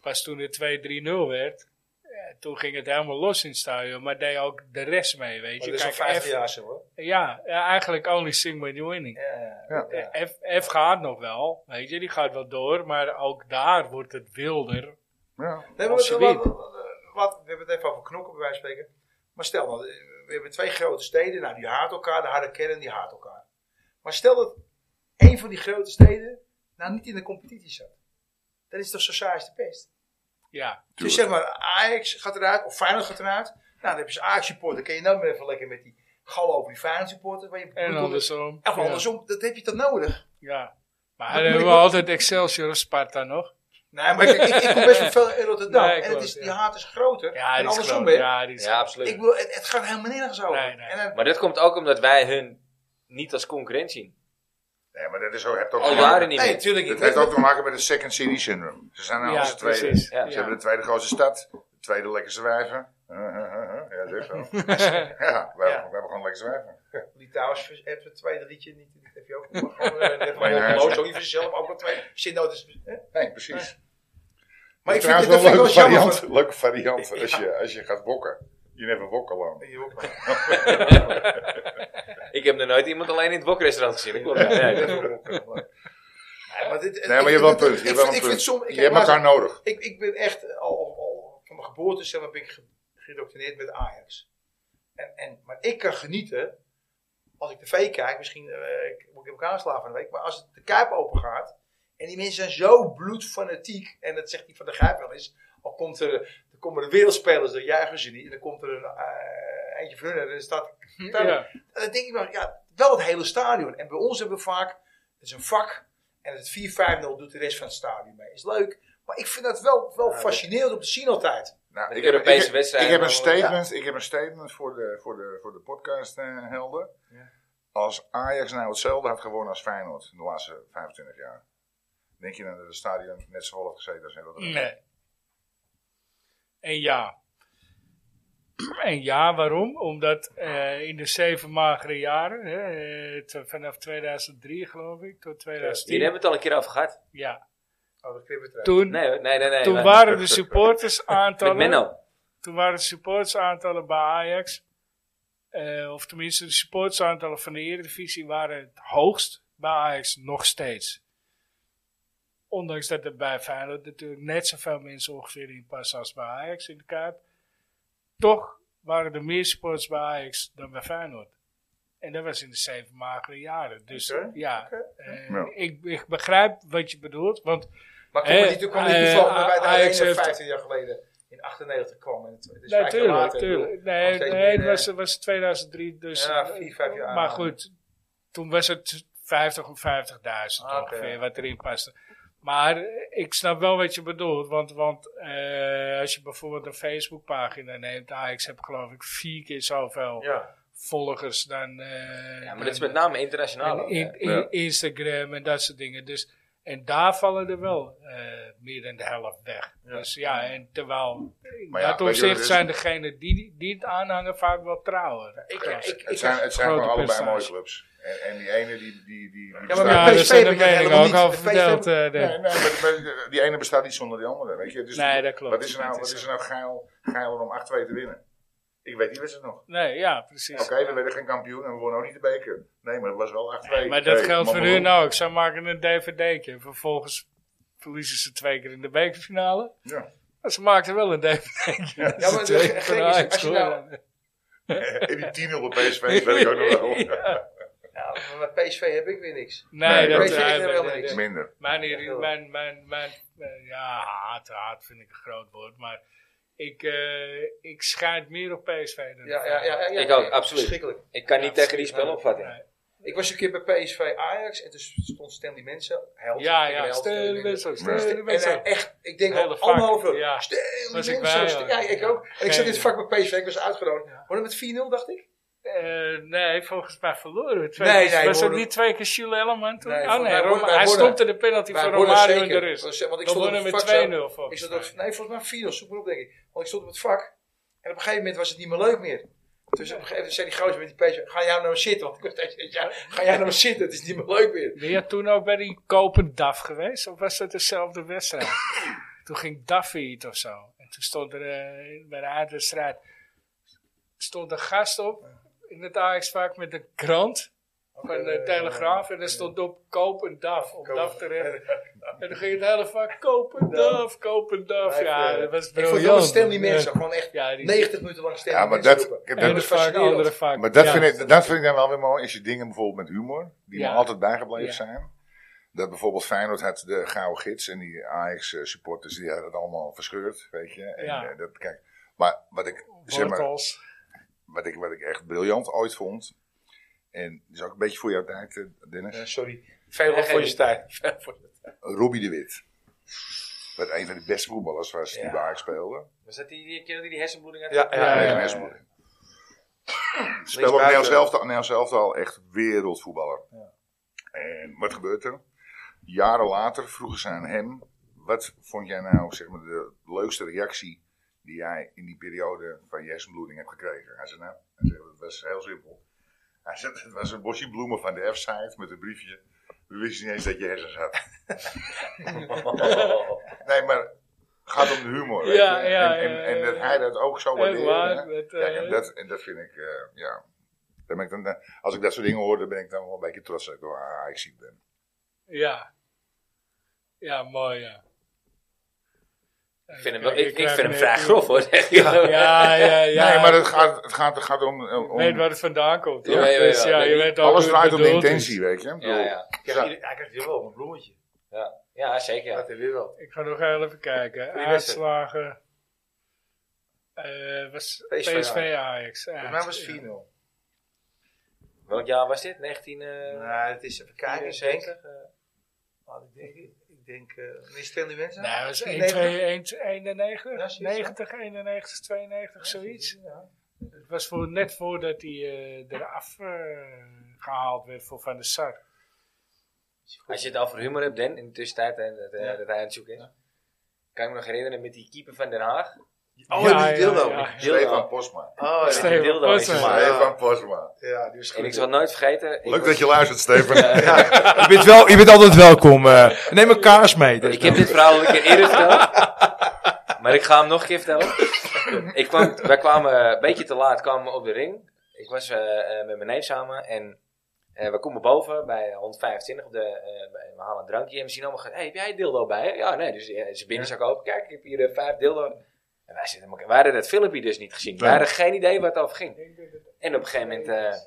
Speaker 2: pas toen het 2-3-0 werd, ja, toen ging het helemaal los in het stadion. Maar deed ook de rest mee, weet
Speaker 4: Maar
Speaker 2: je.
Speaker 4: dat is al
Speaker 2: Kijk,
Speaker 4: 50
Speaker 2: F-
Speaker 4: jaar zo hoor.
Speaker 2: ja, ja, eigenlijk only sing when you're winning.
Speaker 4: Ja,
Speaker 3: Ja.
Speaker 4: ja.
Speaker 2: Eh, F, F gaat nog wel, weet je. Die gaat wel door, maar ook daar wordt het wilder.
Speaker 3: Ja.
Speaker 4: Nee, maar
Speaker 2: Als
Speaker 4: wat,
Speaker 2: je
Speaker 4: wat-
Speaker 2: wint.
Speaker 4: wat- wat- we hebben het even over knokken, bij wijze van spreken. Maar stel, nou, we hebben twee grote steden. Nou, die haat elkaar. De harde kern, die haat elkaar. Maar stel dat één van die grote steden nou niet in de competitie zat. Dan is het toch zo saai als de pest.
Speaker 2: Ja,
Speaker 4: Dus zeg maar, Ajax gaat eruit, of Feyenoord gaat eruit. Nou, dan heb je Ajax supporter. Dan kun je nou maar even lekker met die gal over die Feyenoord supporter. Waar je
Speaker 2: en andersom.
Speaker 4: Of
Speaker 2: Ja.
Speaker 4: andersom, dat heb je toch nodig?
Speaker 2: Ja. Maar dan
Speaker 4: moet ik
Speaker 2: hebben we
Speaker 4: wel-
Speaker 2: altijd Excelsior of Sparta nog.
Speaker 4: Nee, maar ik, ik, ik kom best wel veel in Rotterdam.
Speaker 2: Nee,
Speaker 4: en het
Speaker 2: klopt,
Speaker 4: is, die
Speaker 2: ja.
Speaker 4: haat is groter.
Speaker 2: Ja, die
Speaker 4: en
Speaker 2: is
Speaker 4: andersom
Speaker 2: groot.
Speaker 4: weer.
Speaker 2: Ja, die is
Speaker 1: Ja, absoluut.
Speaker 4: Ik wil, het, het gaat helemaal nergens over.
Speaker 2: Nee, nee.
Speaker 4: En dan,
Speaker 1: Maar dat komt ook omdat wij hun niet als concurrent zien.
Speaker 3: Nee, maar dat is ook, hebt
Speaker 4: Oh,
Speaker 3: ook,
Speaker 1: Al
Speaker 3: te maken-
Speaker 1: jaren niet
Speaker 4: nee,
Speaker 1: meer.
Speaker 4: natuurlijk
Speaker 3: dat
Speaker 4: niet.
Speaker 3: heeft ook te maken met het second city syndrome. Ze zijn nou
Speaker 2: Ja,
Speaker 3: als de tweede.
Speaker 2: precies.
Speaker 1: Ja,
Speaker 3: Ze hebben de tweede grootste stad, de tweede lekkerste wijven. Eh, eh, eh, eh. Ja, dat is zo.
Speaker 2: Ja.
Speaker 3: Ja, we,
Speaker 4: Ja.
Speaker 3: we hebben gewoon lekkerste wijven.
Speaker 4: Litouws heeft het tweede liedje niet. Dat heb je ook. Maar gewoon, eh, net
Speaker 3: Maar ja,
Speaker 4: van Loos, ook niet vanzelf. Ook wel twee. Zit nou, dus, hè?
Speaker 3: Nee, precies.
Speaker 4: Maar ik vind
Speaker 3: Trouwens
Speaker 4: het
Speaker 3: wel
Speaker 4: wel
Speaker 3: een
Speaker 4: wel
Speaker 3: leuke
Speaker 4: jammer.
Speaker 3: variant,
Speaker 4: van-
Speaker 3: leuke variant als, je, als je gaat bokken. Je neemt een wokkelam.
Speaker 4: Nee, joh, maar-
Speaker 1: Ik heb nog nooit iemand alleen in het wokrestaurant gezien. Dat klopt. Ja, ja, dat-
Speaker 4: Nee, maar, dit,
Speaker 3: Nee, maar je hebt wel een punt. Je hebt wel een
Speaker 4: ik vind
Speaker 3: punt.
Speaker 4: soms- ik
Speaker 3: Je
Speaker 4: heb
Speaker 3: hebt elkaar
Speaker 4: laatst-
Speaker 3: nodig.
Speaker 4: Ik, ik ben echt al, al, al van mijn geboorte zeg maar, ben ik ge- gedoctrineerd met Ajax. En, en, maar ik kan genieten als ik tv kijk, misschien eh, ik- moet ik hem aanslaan van de week, maar als de Kuip open gaat en die mensen zijn zo bloedfanatiek, en dat zegt die van de Kuip wel eens, al komt er, dan komen de wereldspelers, dan juichen ze niet, en dan komt er een eh, eindje van hun en dan staat
Speaker 2: Ja.
Speaker 4: en dan denk ik wel, ja, wel het hele stadion. En bij ons hebben we vaak, het is een vak. En het 4-5-0 doet de rest van het stadion mee. Is leuk. Maar ik vind dat wel, wel fascinerend om te zien altijd.
Speaker 3: Nou,
Speaker 1: Met
Speaker 3: ik,
Speaker 1: de
Speaker 3: heb,
Speaker 1: Europese
Speaker 3: ik heb-
Speaker 1: wedstrijden
Speaker 3: ik heb een
Speaker 1: dan wel, ja.
Speaker 3: statement, ik heb een statement voor de, voor de, voor de podcast eh, helden.
Speaker 4: Ja.
Speaker 3: Als Ajax nou hetzelfde had gewonnen als Feyenoord in de laatste 25 jaar. Denk je nou dat het stadion net zo vol had gezeten als in Rotterdam?
Speaker 2: Nee. En ja. En ja, waarom? Omdat eh, in de zeven magere jaren, hè, eh, t- vanaf 2003 geloof ik, tot
Speaker 1: Hier
Speaker 2: 2010.
Speaker 1: hebben we het al een keer over gehad.
Speaker 2: Ja.
Speaker 4: Oh, dat knippen we eruit.
Speaker 2: Toen,
Speaker 1: Nee, hoor. nee, nee. nee
Speaker 2: toen
Speaker 1: maar-
Speaker 2: waren dus de supporters
Speaker 1: Met
Speaker 2: aantallen.
Speaker 1: Menno.
Speaker 2: Toen waren de supporters aantallen bij Ajax. eh, of tenminste, de supporters aantallen van de Eredivisie waren het hoogst bij Ajax nog steeds. Ondanks dat er bij Feyenoord natuurlijk net zoveel mensen ongeveer in passen als bij Ajax in de Kuip. Toch waren er meer supporters bij Ajax dan bij Feyenoord. En dat was in de zeven magere jaren. Dus
Speaker 4: Oké,
Speaker 2: ja,
Speaker 4: oké.
Speaker 2: eh,
Speaker 3: Ja.
Speaker 2: Ik, ik begrijp wat je bedoelt. Want
Speaker 4: Maar kom,
Speaker 2: Eh,
Speaker 4: maar die, toen kwam die
Speaker 2: eh,
Speaker 4: niveau bij de
Speaker 2: Ajax
Speaker 4: Ajax
Speaker 2: heeft-
Speaker 4: 15 jaar geleden. In 98 kwam. En het, het is
Speaker 2: Nee,
Speaker 4: vijf jaar
Speaker 2: tuurlijk,
Speaker 4: later, ik bedoel,
Speaker 2: tuurlijk. Nee,
Speaker 4: nog steeds
Speaker 2: nee, het
Speaker 4: binnen-
Speaker 2: was, het was 2003, dus...
Speaker 4: Ja, vier, vijf jaar.
Speaker 2: Maar goed, toen was het 50 of 50.000
Speaker 4: Ah, oké,
Speaker 2: ongeveer,
Speaker 4: ja.
Speaker 2: wat erin paste. Maar eh, ik snap wel wat je bedoelt, want, want eh, als je bijvoorbeeld een Facebookpagina neemt, Ajax heb geloof ik vier keer zoveel
Speaker 4: Ja.
Speaker 2: volgers dan... eh,
Speaker 1: Ja, maar
Speaker 2: dan-
Speaker 1: dat is met name internationaal.
Speaker 2: en
Speaker 1: ook,
Speaker 2: in,
Speaker 1: hè.
Speaker 2: in-
Speaker 3: Ja.
Speaker 2: Instagram en dat soort dingen. Dus, en daar vallen er wel eh, meer dan de helft weg.
Speaker 4: Ja.
Speaker 2: Dus ja, en terwijl in
Speaker 3: Maar ja,
Speaker 2: dat
Speaker 3: weet je wat
Speaker 2: opzicht
Speaker 3: het
Speaker 2: zijn degenen die, die het aanhangen vaak wel trouwer. dus
Speaker 4: Ik, ik, ik,
Speaker 3: Het zijn, het zijn
Speaker 2: grote
Speaker 3: gewoon allebei
Speaker 2: percentage.
Speaker 3: mooie clubs. En, en die ene die, die, die, die
Speaker 4: maar
Speaker 3: bestaat-
Speaker 4: bij
Speaker 2: Ja,
Speaker 4: PSV
Speaker 2: daar zijn de
Speaker 4: heb ik het
Speaker 2: meningen
Speaker 4: helemaal
Speaker 2: ook al
Speaker 4: niet. PSV
Speaker 2: verdeeld. eh,
Speaker 3: Nee,
Speaker 2: denk ik.
Speaker 3: nee, maar, maar die ene bestaat niet zonder die andere, weet je. Dus
Speaker 2: Nee, dat klopt.
Speaker 3: Wat is er nou,
Speaker 2: Dat
Speaker 3: wat
Speaker 2: is
Speaker 3: is er nou geil, geiler om 8-2 te winnen? Ik weet die wedstrijd nog.
Speaker 2: Nee, ja, precies.
Speaker 3: Oké, we werden geen kampioen en we wonnen ook niet de beker. Nee, maar het was wel 8-2.
Speaker 2: maar dat
Speaker 3: Hey,
Speaker 2: geldt voor
Speaker 3: mannen,
Speaker 2: hun ook. Zij maken een dvd'tje. Vervolgens verliezen ze twee keer in de bekerfinale.
Speaker 3: Ja.
Speaker 2: Maar ze maakten wel een dvd'tje.
Speaker 3: Ja.
Speaker 4: Ja, maar het
Speaker 2: Twee
Speaker 4: gek
Speaker 2: keer
Speaker 4: is,
Speaker 2: van
Speaker 4: als
Speaker 2: Ajax,
Speaker 4: je
Speaker 2: hoor.
Speaker 4: nou,
Speaker 3: En die 10-0 op PSV, dat weet ik ook nog wel.
Speaker 4: nou, maar met PSV heb ik weer niks.
Speaker 2: Nee,
Speaker 3: Nee,
Speaker 2: dat
Speaker 3: weet
Speaker 4: je,
Speaker 2: ja,
Speaker 4: ik wil
Speaker 2: dat-
Speaker 4: helemaal niks.
Speaker 2: dat-
Speaker 3: Minder.
Speaker 2: Mijn, irri- mijn, mijn, mijn, eh, ja, haat, haat vind ik een groot woord, maar ik, eh ik schijnt meer op PSV dan
Speaker 4: Ja, ja, ja, ja, ja.
Speaker 1: Ik ook, absoluut.
Speaker 4: Verschrikkelijk.
Speaker 1: Ik kan niet
Speaker 2: Ja,
Speaker 1: tegen die spel
Speaker 2: precies.
Speaker 1: opvatten.
Speaker 2: Nee.
Speaker 4: Ik was een keer bij PSV Ajax en toen stond Stanley Mensen. Helft,
Speaker 2: Ja,
Speaker 4: ik
Speaker 2: ja,
Speaker 4: ben helft,
Speaker 2: steun
Speaker 4: Stanley
Speaker 2: de
Speaker 4: Mensen.
Speaker 2: wedstrijd,
Speaker 3: Ja.
Speaker 2: steun de
Speaker 4: En hij
Speaker 2: wedstrijd.
Speaker 4: echt, ik denk
Speaker 2: Hele
Speaker 4: wel
Speaker 2: vak,
Speaker 4: anderhalf uur.
Speaker 2: ja.
Speaker 4: Stanley
Speaker 2: Was ik
Speaker 4: Mensen.
Speaker 2: bij,
Speaker 4: Stanley-
Speaker 2: ja.
Speaker 4: ja, ik ook. En ik zat in het vak bij PSV, ik was uitgenodigd.
Speaker 2: Ja.
Speaker 4: Worden met 4-0, dacht ik?
Speaker 2: Eh, nee, volgens mij verloren we twee
Speaker 4: Nee,
Speaker 2: keer.
Speaker 4: nee,
Speaker 2: was
Speaker 4: we
Speaker 2: het
Speaker 4: won-
Speaker 2: niet twee keer Jules Elleman toen?
Speaker 4: Nee,
Speaker 2: oh
Speaker 4: volgens
Speaker 2: nee,
Speaker 4: mij
Speaker 2: Roma-
Speaker 4: wonnen- wij
Speaker 2: hij
Speaker 4: wonnen.
Speaker 2: stopte de penalty
Speaker 4: Wij
Speaker 2: van
Speaker 4: wonnen
Speaker 2: Romario in de
Speaker 4: zeker.
Speaker 2: rust.
Speaker 4: Want ik
Speaker 2: We
Speaker 4: stond op
Speaker 2: wonnen
Speaker 4: het
Speaker 2: met
Speaker 4: vak, zo.
Speaker 2: 2-0
Speaker 4: Ik
Speaker 2: volgens
Speaker 4: zat
Speaker 2: mij.
Speaker 4: op, nee, volgens mij 4 zoek maar op, denk ik. Want ik stond op het vak. En op een gegeven moment was het niet meer leuk meer. Dus op een gegeven moment zei die gozer met die PSV, ga jij nou zitten? Want ik was tegen- ja, ga jij nou zitten, het is niet meer leuk meer.
Speaker 2: Ben je toen ook bij die Kopendaf geweest? Of was dat dezelfde wedstrijd? toen ging Daffy iets of zo. En toen stond er eh, bij de aardwedstrijd... stond een gast op in het ajax vaak met een krant van de Telegraaf. En er stond op Kopendaf, op
Speaker 4: Kopen-
Speaker 2: DAF te redden. En toen ging het hele vaak Kopendaf, Kopendaf. Ja, dat was
Speaker 4: eh, Ik
Speaker 2: briljant.
Speaker 4: vond het wel Stanley
Speaker 2: Ja.
Speaker 4: Mensen, gewoon echt
Speaker 2: Ja, die-
Speaker 4: 90 minuten lang Stanley
Speaker 3: Ja, maar
Speaker 4: Mensen
Speaker 3: dat-
Speaker 4: roepen.
Speaker 3: dat-
Speaker 2: En
Speaker 4: dat
Speaker 2: de
Speaker 4: is
Speaker 2: vaak,
Speaker 4: fascinerend.
Speaker 2: andere vaak.
Speaker 3: Maar dat,
Speaker 2: Ja.
Speaker 3: vind ik, dat vind ik dan wel weer mooi. Als je dingen bijvoorbeeld met humor, die
Speaker 2: Ja.
Speaker 3: me altijd bijgebleven
Speaker 2: Ja.
Speaker 3: zijn. Dat bijvoorbeeld Feyenoord had de gouden gids en die Ajax eh, supporters die hadden het allemaal verscheurd, weet je. En,
Speaker 2: Ja.
Speaker 3: eh, dat, kijk, maar wat ik, zeg maar,
Speaker 2: Wortels.
Speaker 3: wat, ik, wat ik echt briljant ooit vond, en dat is ook een beetje voor jouw tijd, eh, Dennis,
Speaker 4: Ja, sorry. Veel
Speaker 1: voor je
Speaker 4: tijd.
Speaker 3: Robbie de Wit. Wat een van de beste voetballers was die
Speaker 1: Ja.
Speaker 3: bij Ajax speelde.
Speaker 1: Was dat die, die kerel die die hersenbloeding had?
Speaker 4: Ja, ja,
Speaker 2: Ja,
Speaker 3: Nee,
Speaker 2: ja,
Speaker 3: een
Speaker 2: ja.
Speaker 3: hersenbloeding. Spel op
Speaker 1: buiten.
Speaker 3: Nederlands elftal, Nederlands elftal echt wereldvoetballer. En wat gebeurt er? Jaren later vroegen ze aan hem: wat vond jij nou zeg maar, de leukste reactie die jij in die periode van Jason Bloeding hebt gekregen? Hij zei: Nou, hij zei, het was heel simpel. Hij zei: Het was een bosje bloemen van de F-site met een briefje. We wisten niet eens dat je hersens had. Nee, maar het gaat om de humor. weet
Speaker 2: Ja,
Speaker 3: je.
Speaker 2: ja,
Speaker 3: en,
Speaker 2: ja,
Speaker 3: en, en
Speaker 2: ja.
Speaker 3: dat hij dat ook zo
Speaker 2: Echt
Speaker 3: waardeerde.
Speaker 2: waar. met, eh,
Speaker 3: Kijk, en dat, en dat vind ik, eh, ja. Dan ben ik dan, eh, als ik dat soort dingen hoor, dan ben ik dan wel een beetje trots dat ik door Ajax ziek ben.
Speaker 2: Ja. Ja, mooi, ja.
Speaker 1: Ik vind hem, wel, ik, ik vind hem vrij grof hoor. zeg ik.
Speaker 2: Ja, ja, ja.
Speaker 3: nee, maar het gaat, het gaat, het gaat om, eh,
Speaker 2: Je
Speaker 3: om
Speaker 2: weet waar het vandaan komt.
Speaker 1: Ja,
Speaker 2: Ja,
Speaker 1: ja, ja,
Speaker 2: dus, ja,
Speaker 1: ja.
Speaker 2: je weet ook dus-
Speaker 3: alles
Speaker 2: hoe
Speaker 3: draait
Speaker 2: het
Speaker 3: om de
Speaker 2: bedoeld
Speaker 3: intentie, weet je. Ik
Speaker 1: ja,
Speaker 3: bedoel,
Speaker 1: ja.
Speaker 4: Ja,
Speaker 3: Ja.
Speaker 4: ieder- Hij krijgt hier wel een bloemetje.
Speaker 1: Ja. ja, zeker.
Speaker 4: Ja,
Speaker 1: Ja.
Speaker 4: dat heb je wel.
Speaker 2: is. Ik ga nog heel even kijken.
Speaker 1: Goeie wedstrijd.
Speaker 2: Uitslagen. Eh was
Speaker 4: PSV
Speaker 2: PSV, Ajax.
Speaker 4: Voor
Speaker 2: Volgens
Speaker 4: mij was het 4-0.
Speaker 1: Welk jaar was dit? 19... eh
Speaker 4: Nou, het is even kijken. Ik denk,
Speaker 1: 64?
Speaker 4: ah, ik denk, ik denk eh nee, Stanley Mensen.
Speaker 2: Nee, Nou, het was 1,
Speaker 4: 90.
Speaker 2: 2, 1, 91,
Speaker 4: Ja, zoiets, ja.
Speaker 2: 90, 91, 92, zoiets.
Speaker 4: Ja.
Speaker 2: Het was voor, net voordat hij eh, eraf eh, gehaald werd voor Van der Sar.
Speaker 1: Als je het over humor hebt, Dan, in de tussentijd en dat, eh,
Speaker 4: Ja.
Speaker 1: dat hij aan het zoeken is. Kan ik me nog herinneren met die keeper van Den Haag.
Speaker 4: Oh, ja, die dildo.
Speaker 2: ja, ja.
Speaker 3: Stefan Posma.
Speaker 4: Oh, ja.
Speaker 1: Stefan.
Speaker 2: Steven
Speaker 1: dildo in
Speaker 2: Potsen.
Speaker 1: zijn maag.
Speaker 3: Stefan Posma.
Speaker 4: ja, die is
Speaker 1: En ik
Speaker 4: goed.
Speaker 1: zal het nooit vergeten. ik
Speaker 3: Leuk
Speaker 1: was-
Speaker 3: dat je luistert, Stefan.
Speaker 6: Je bent, wel, je bent altijd welkom. eh. neem een kaars mee.
Speaker 1: Dus Ik heb dit verhaal al een keer eerder verteld. Maar ik ga hem nog een keer vertellen. Ik kwam, wij kwamen eh, een beetje te laat kwamen we op de ring. Ik was eh, eh, met mijn neef samen. En Eh, we komen boven bij 125. Op de, eh, bij- we halen een drankje en we zien allemaal. gaan, Hey, heb jij een dildo bij? hè?" Ja, nee. Dus eh, zijn binnenzak open. Kijk, ik heb hier eh, vijf dildo. En wij zitten elkaar. We hadden dat filmpje dus niet gezien. We
Speaker 3: Nee.
Speaker 1: hadden geen idee waar het over ging. En op een gegeven moment. eh,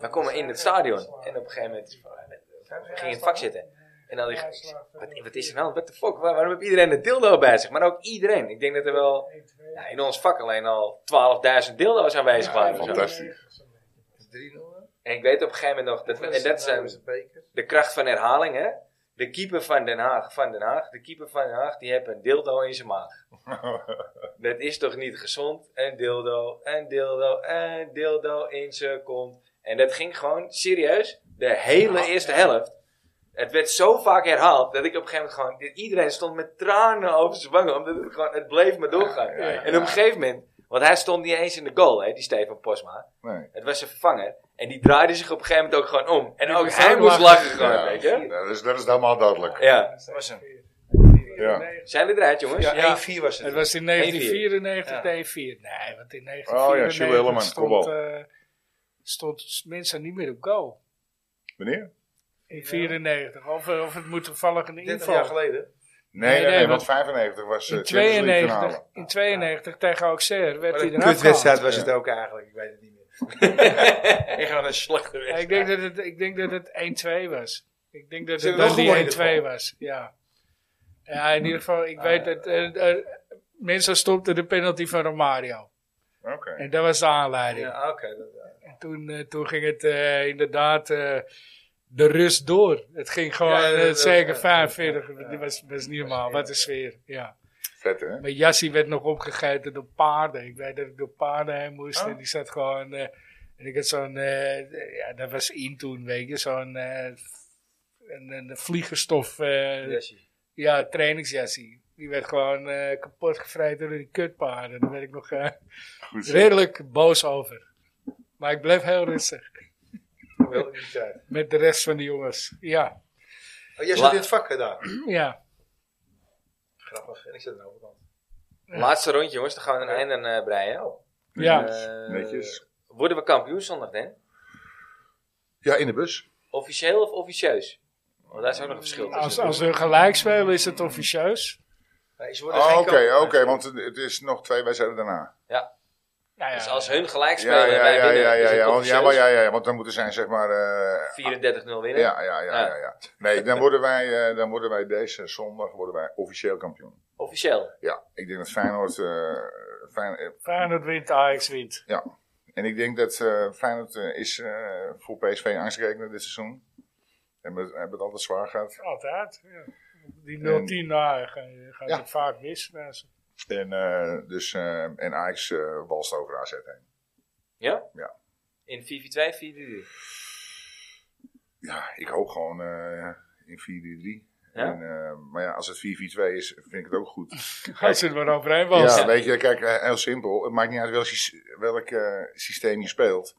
Speaker 1: we komen in het stadion. En op een gegeven moment ging in het vak zitten. En dan dacht ik, wat, wat is er nou? What the fuck? Waar- Waarom heb iedereen een dildo bij zich? Maar ook iedereen. Ik denk dat er wel ja, in ons vak alleen al 12.000 dildo's aanwezig waren. of zo.
Speaker 3: Fantastisch.
Speaker 4: 3-0.
Speaker 1: En ik weet op een gegeven moment nog, dat we- en dat zijn
Speaker 4: is een beker.
Speaker 1: de kracht van herhaling, hè? De keeper van Den Haag, van Den Haag, de keeper van Den Haag, die heeft een dildo in zijn maag. Dat is toch niet gezond? Een dildo, een dildo, een dildo in zijn kont. En dat ging gewoon serieus de hele eerste helft. Het werd zo vaak herhaald dat ik op een gegeven moment gewoon... dit- Iedereen stond met tranen over zijn wangen, omdat het gewoon... Het bleef maar doorgaan.
Speaker 3: Ja, ja, ja.
Speaker 1: En op een gegeven moment... Want hij stond niet eens in de goal, hè, die Stefan Posma.
Speaker 3: Nee.
Speaker 1: Het was zijn vervanger. En die draaide zich op een gegeven moment ook gewoon om. En ook
Speaker 2: moest
Speaker 1: hij
Speaker 2: ook
Speaker 1: moest
Speaker 2: lachen.
Speaker 1: lachen gewoon,
Speaker 3: Ja,
Speaker 1: weet je?
Speaker 3: Dat is, dat is helemaal duidelijk.
Speaker 1: Ja.
Speaker 4: Dat was hem.
Speaker 3: Ja.
Speaker 1: Zijn jullie eruit, jongens?
Speaker 4: Ja,
Speaker 1: Ja.
Speaker 4: 1-4 was het.
Speaker 2: Het was in 1994, nee, 4. Nee, want in 1994
Speaker 3: Oh ja, Sjoerd Helleman,
Speaker 2: stond,
Speaker 3: kopbal.
Speaker 2: eh, stond mensen niet meer op goal.
Speaker 3: Meneer?
Speaker 2: In 94. Of, eh, of het moet toevallig een
Speaker 4: 30 jaar
Speaker 2: inval.
Speaker 4: geleden.
Speaker 3: Nee,
Speaker 2: Nee,
Speaker 3: nee, nee,
Speaker 2: nee,
Speaker 3: want
Speaker 2: want
Speaker 3: 95 was eh,
Speaker 2: In
Speaker 3: Champions League finale.
Speaker 2: 92, in 92 tegen Auxerre werd
Speaker 4: Maar
Speaker 2: hij
Speaker 4: een
Speaker 2: eraf gehaald.
Speaker 4: kutwedstrijd was het ook eigenlijk. Ik weet het niet meer. Ik ga naar een slechte
Speaker 2: Ja,
Speaker 4: wedstrijd.
Speaker 2: Ik denk dat het, ik denk dat het 1-2 was. Ik denk dat
Speaker 4: Ze
Speaker 2: het
Speaker 4: hebben
Speaker 2: dan
Speaker 4: wel gewonnen in
Speaker 2: die
Speaker 4: ieder
Speaker 2: 1-2 was. Ja. ja, in ieder geval, ik weet dat eh, eh, mensen stopten de penalty van Romario.
Speaker 3: Oké.
Speaker 2: En dat was de aanleiding.
Speaker 4: Ja, oké. dat- ja.
Speaker 2: En toen, eh, toen ging het eh, inderdaad eh, de rust door. Het ging gewoon
Speaker 4: Ja, ja,
Speaker 2: eh,
Speaker 4: dat-
Speaker 2: zeker
Speaker 4: ja,
Speaker 2: 45.
Speaker 4: ja, ja.
Speaker 2: Dat was, was niet normaal. Wat een sfeer. Ja.
Speaker 3: Vet, hè?
Speaker 2: Mijn jassie werd nog opgegeten door paarden. Ik weet dat ik door paarden heen moest.
Speaker 4: Oh.
Speaker 2: En die zat gewoon... eh, en ik had zo'n... eh, ja, dat was in toen, weet je. Zo'n... eh, een, een vliegenstof... eh,
Speaker 4: Jesse.
Speaker 2: ja, trainingsjassie. Die werd gewoon eh, kapot gevreten door die kutpaarden. Daar werd ik nog eh,
Speaker 3: Goed. zo.
Speaker 2: redelijk boos over. Maar ik bleef heel rustig.
Speaker 4: Wel in die tijd.
Speaker 2: Met de rest van de jongens. Ja,
Speaker 4: Oh, jij
Speaker 1: La-
Speaker 4: zat in het vak hè, daar.
Speaker 2: ja.
Speaker 4: Grappig. En ik zat aan de overkant.
Speaker 1: Laatste rondje, jongens. Dan gaan we een einde aan eh, breien.
Speaker 2: ja.
Speaker 1: Eh,
Speaker 3: Netjes.
Speaker 1: Worden we kampioen zondag, hè?
Speaker 3: Ja, in de bus.
Speaker 1: Officieel of officieus? Want daar is ook nog een verschil tussen.
Speaker 2: Als, als we gelijk spelen is het officieus.
Speaker 4: Nee, ze worden
Speaker 3: Oh,
Speaker 4: geen
Speaker 3: Oké,
Speaker 4: kampioen.
Speaker 3: oké, want het- het is nog twee wedstrijden daarna.
Speaker 2: Nou ja,
Speaker 1: Dus als hun gelijk spelen,
Speaker 3: Ja,
Speaker 1: en
Speaker 3: ja,
Speaker 1: wij
Speaker 3: ja,
Speaker 1: winnen,
Speaker 3: ja,
Speaker 1: is
Speaker 3: ja,
Speaker 1: het
Speaker 3: ja, want, ja, maar,
Speaker 1: officieus.
Speaker 3: ja, ja, ja, want dan moeten zij zeg maar... eh,
Speaker 1: 34-0 winnen. Ah.
Speaker 3: ja, ja, ja, ja, ja. Nee, dan worden, wij, eh, dan worden wij deze zondag worden wij officieel kampioen.
Speaker 1: Officieel.
Speaker 3: Ja, ik denk dat Feyenoord... eh, Feyenoord eh,
Speaker 2: Feyenoord wint, Ajax wint.
Speaker 3: ja. En ik denk dat eh, Feyenoord eh, is eh, voor PSV angstrekenen dit seizoen. En we hebben het altijd zwaar gehad.
Speaker 2: Altijd. Ja. Die
Speaker 3: En-
Speaker 2: 0-10 na gaan- gaat
Speaker 3: Ja.
Speaker 2: het vaak mis. Nou, ze-
Speaker 3: En, eh, dus, eh, en Ajax eh, walst over AZ heen.
Speaker 1: Ja?
Speaker 3: Ja.
Speaker 1: In 4-4-2, 4-3.
Speaker 3: Ja, ik hoop gewoon eh, in 4-3-3.
Speaker 1: Ja?
Speaker 3: En, eh, maar ja, als het 4-4-2 is, vind ik het ook goed.
Speaker 2: Als ze er maar overheen was.
Speaker 3: Ja, weet je, kijk, eh, heel simpel. Het maakt niet uit welk, sys- welk eh, systeem je speelt.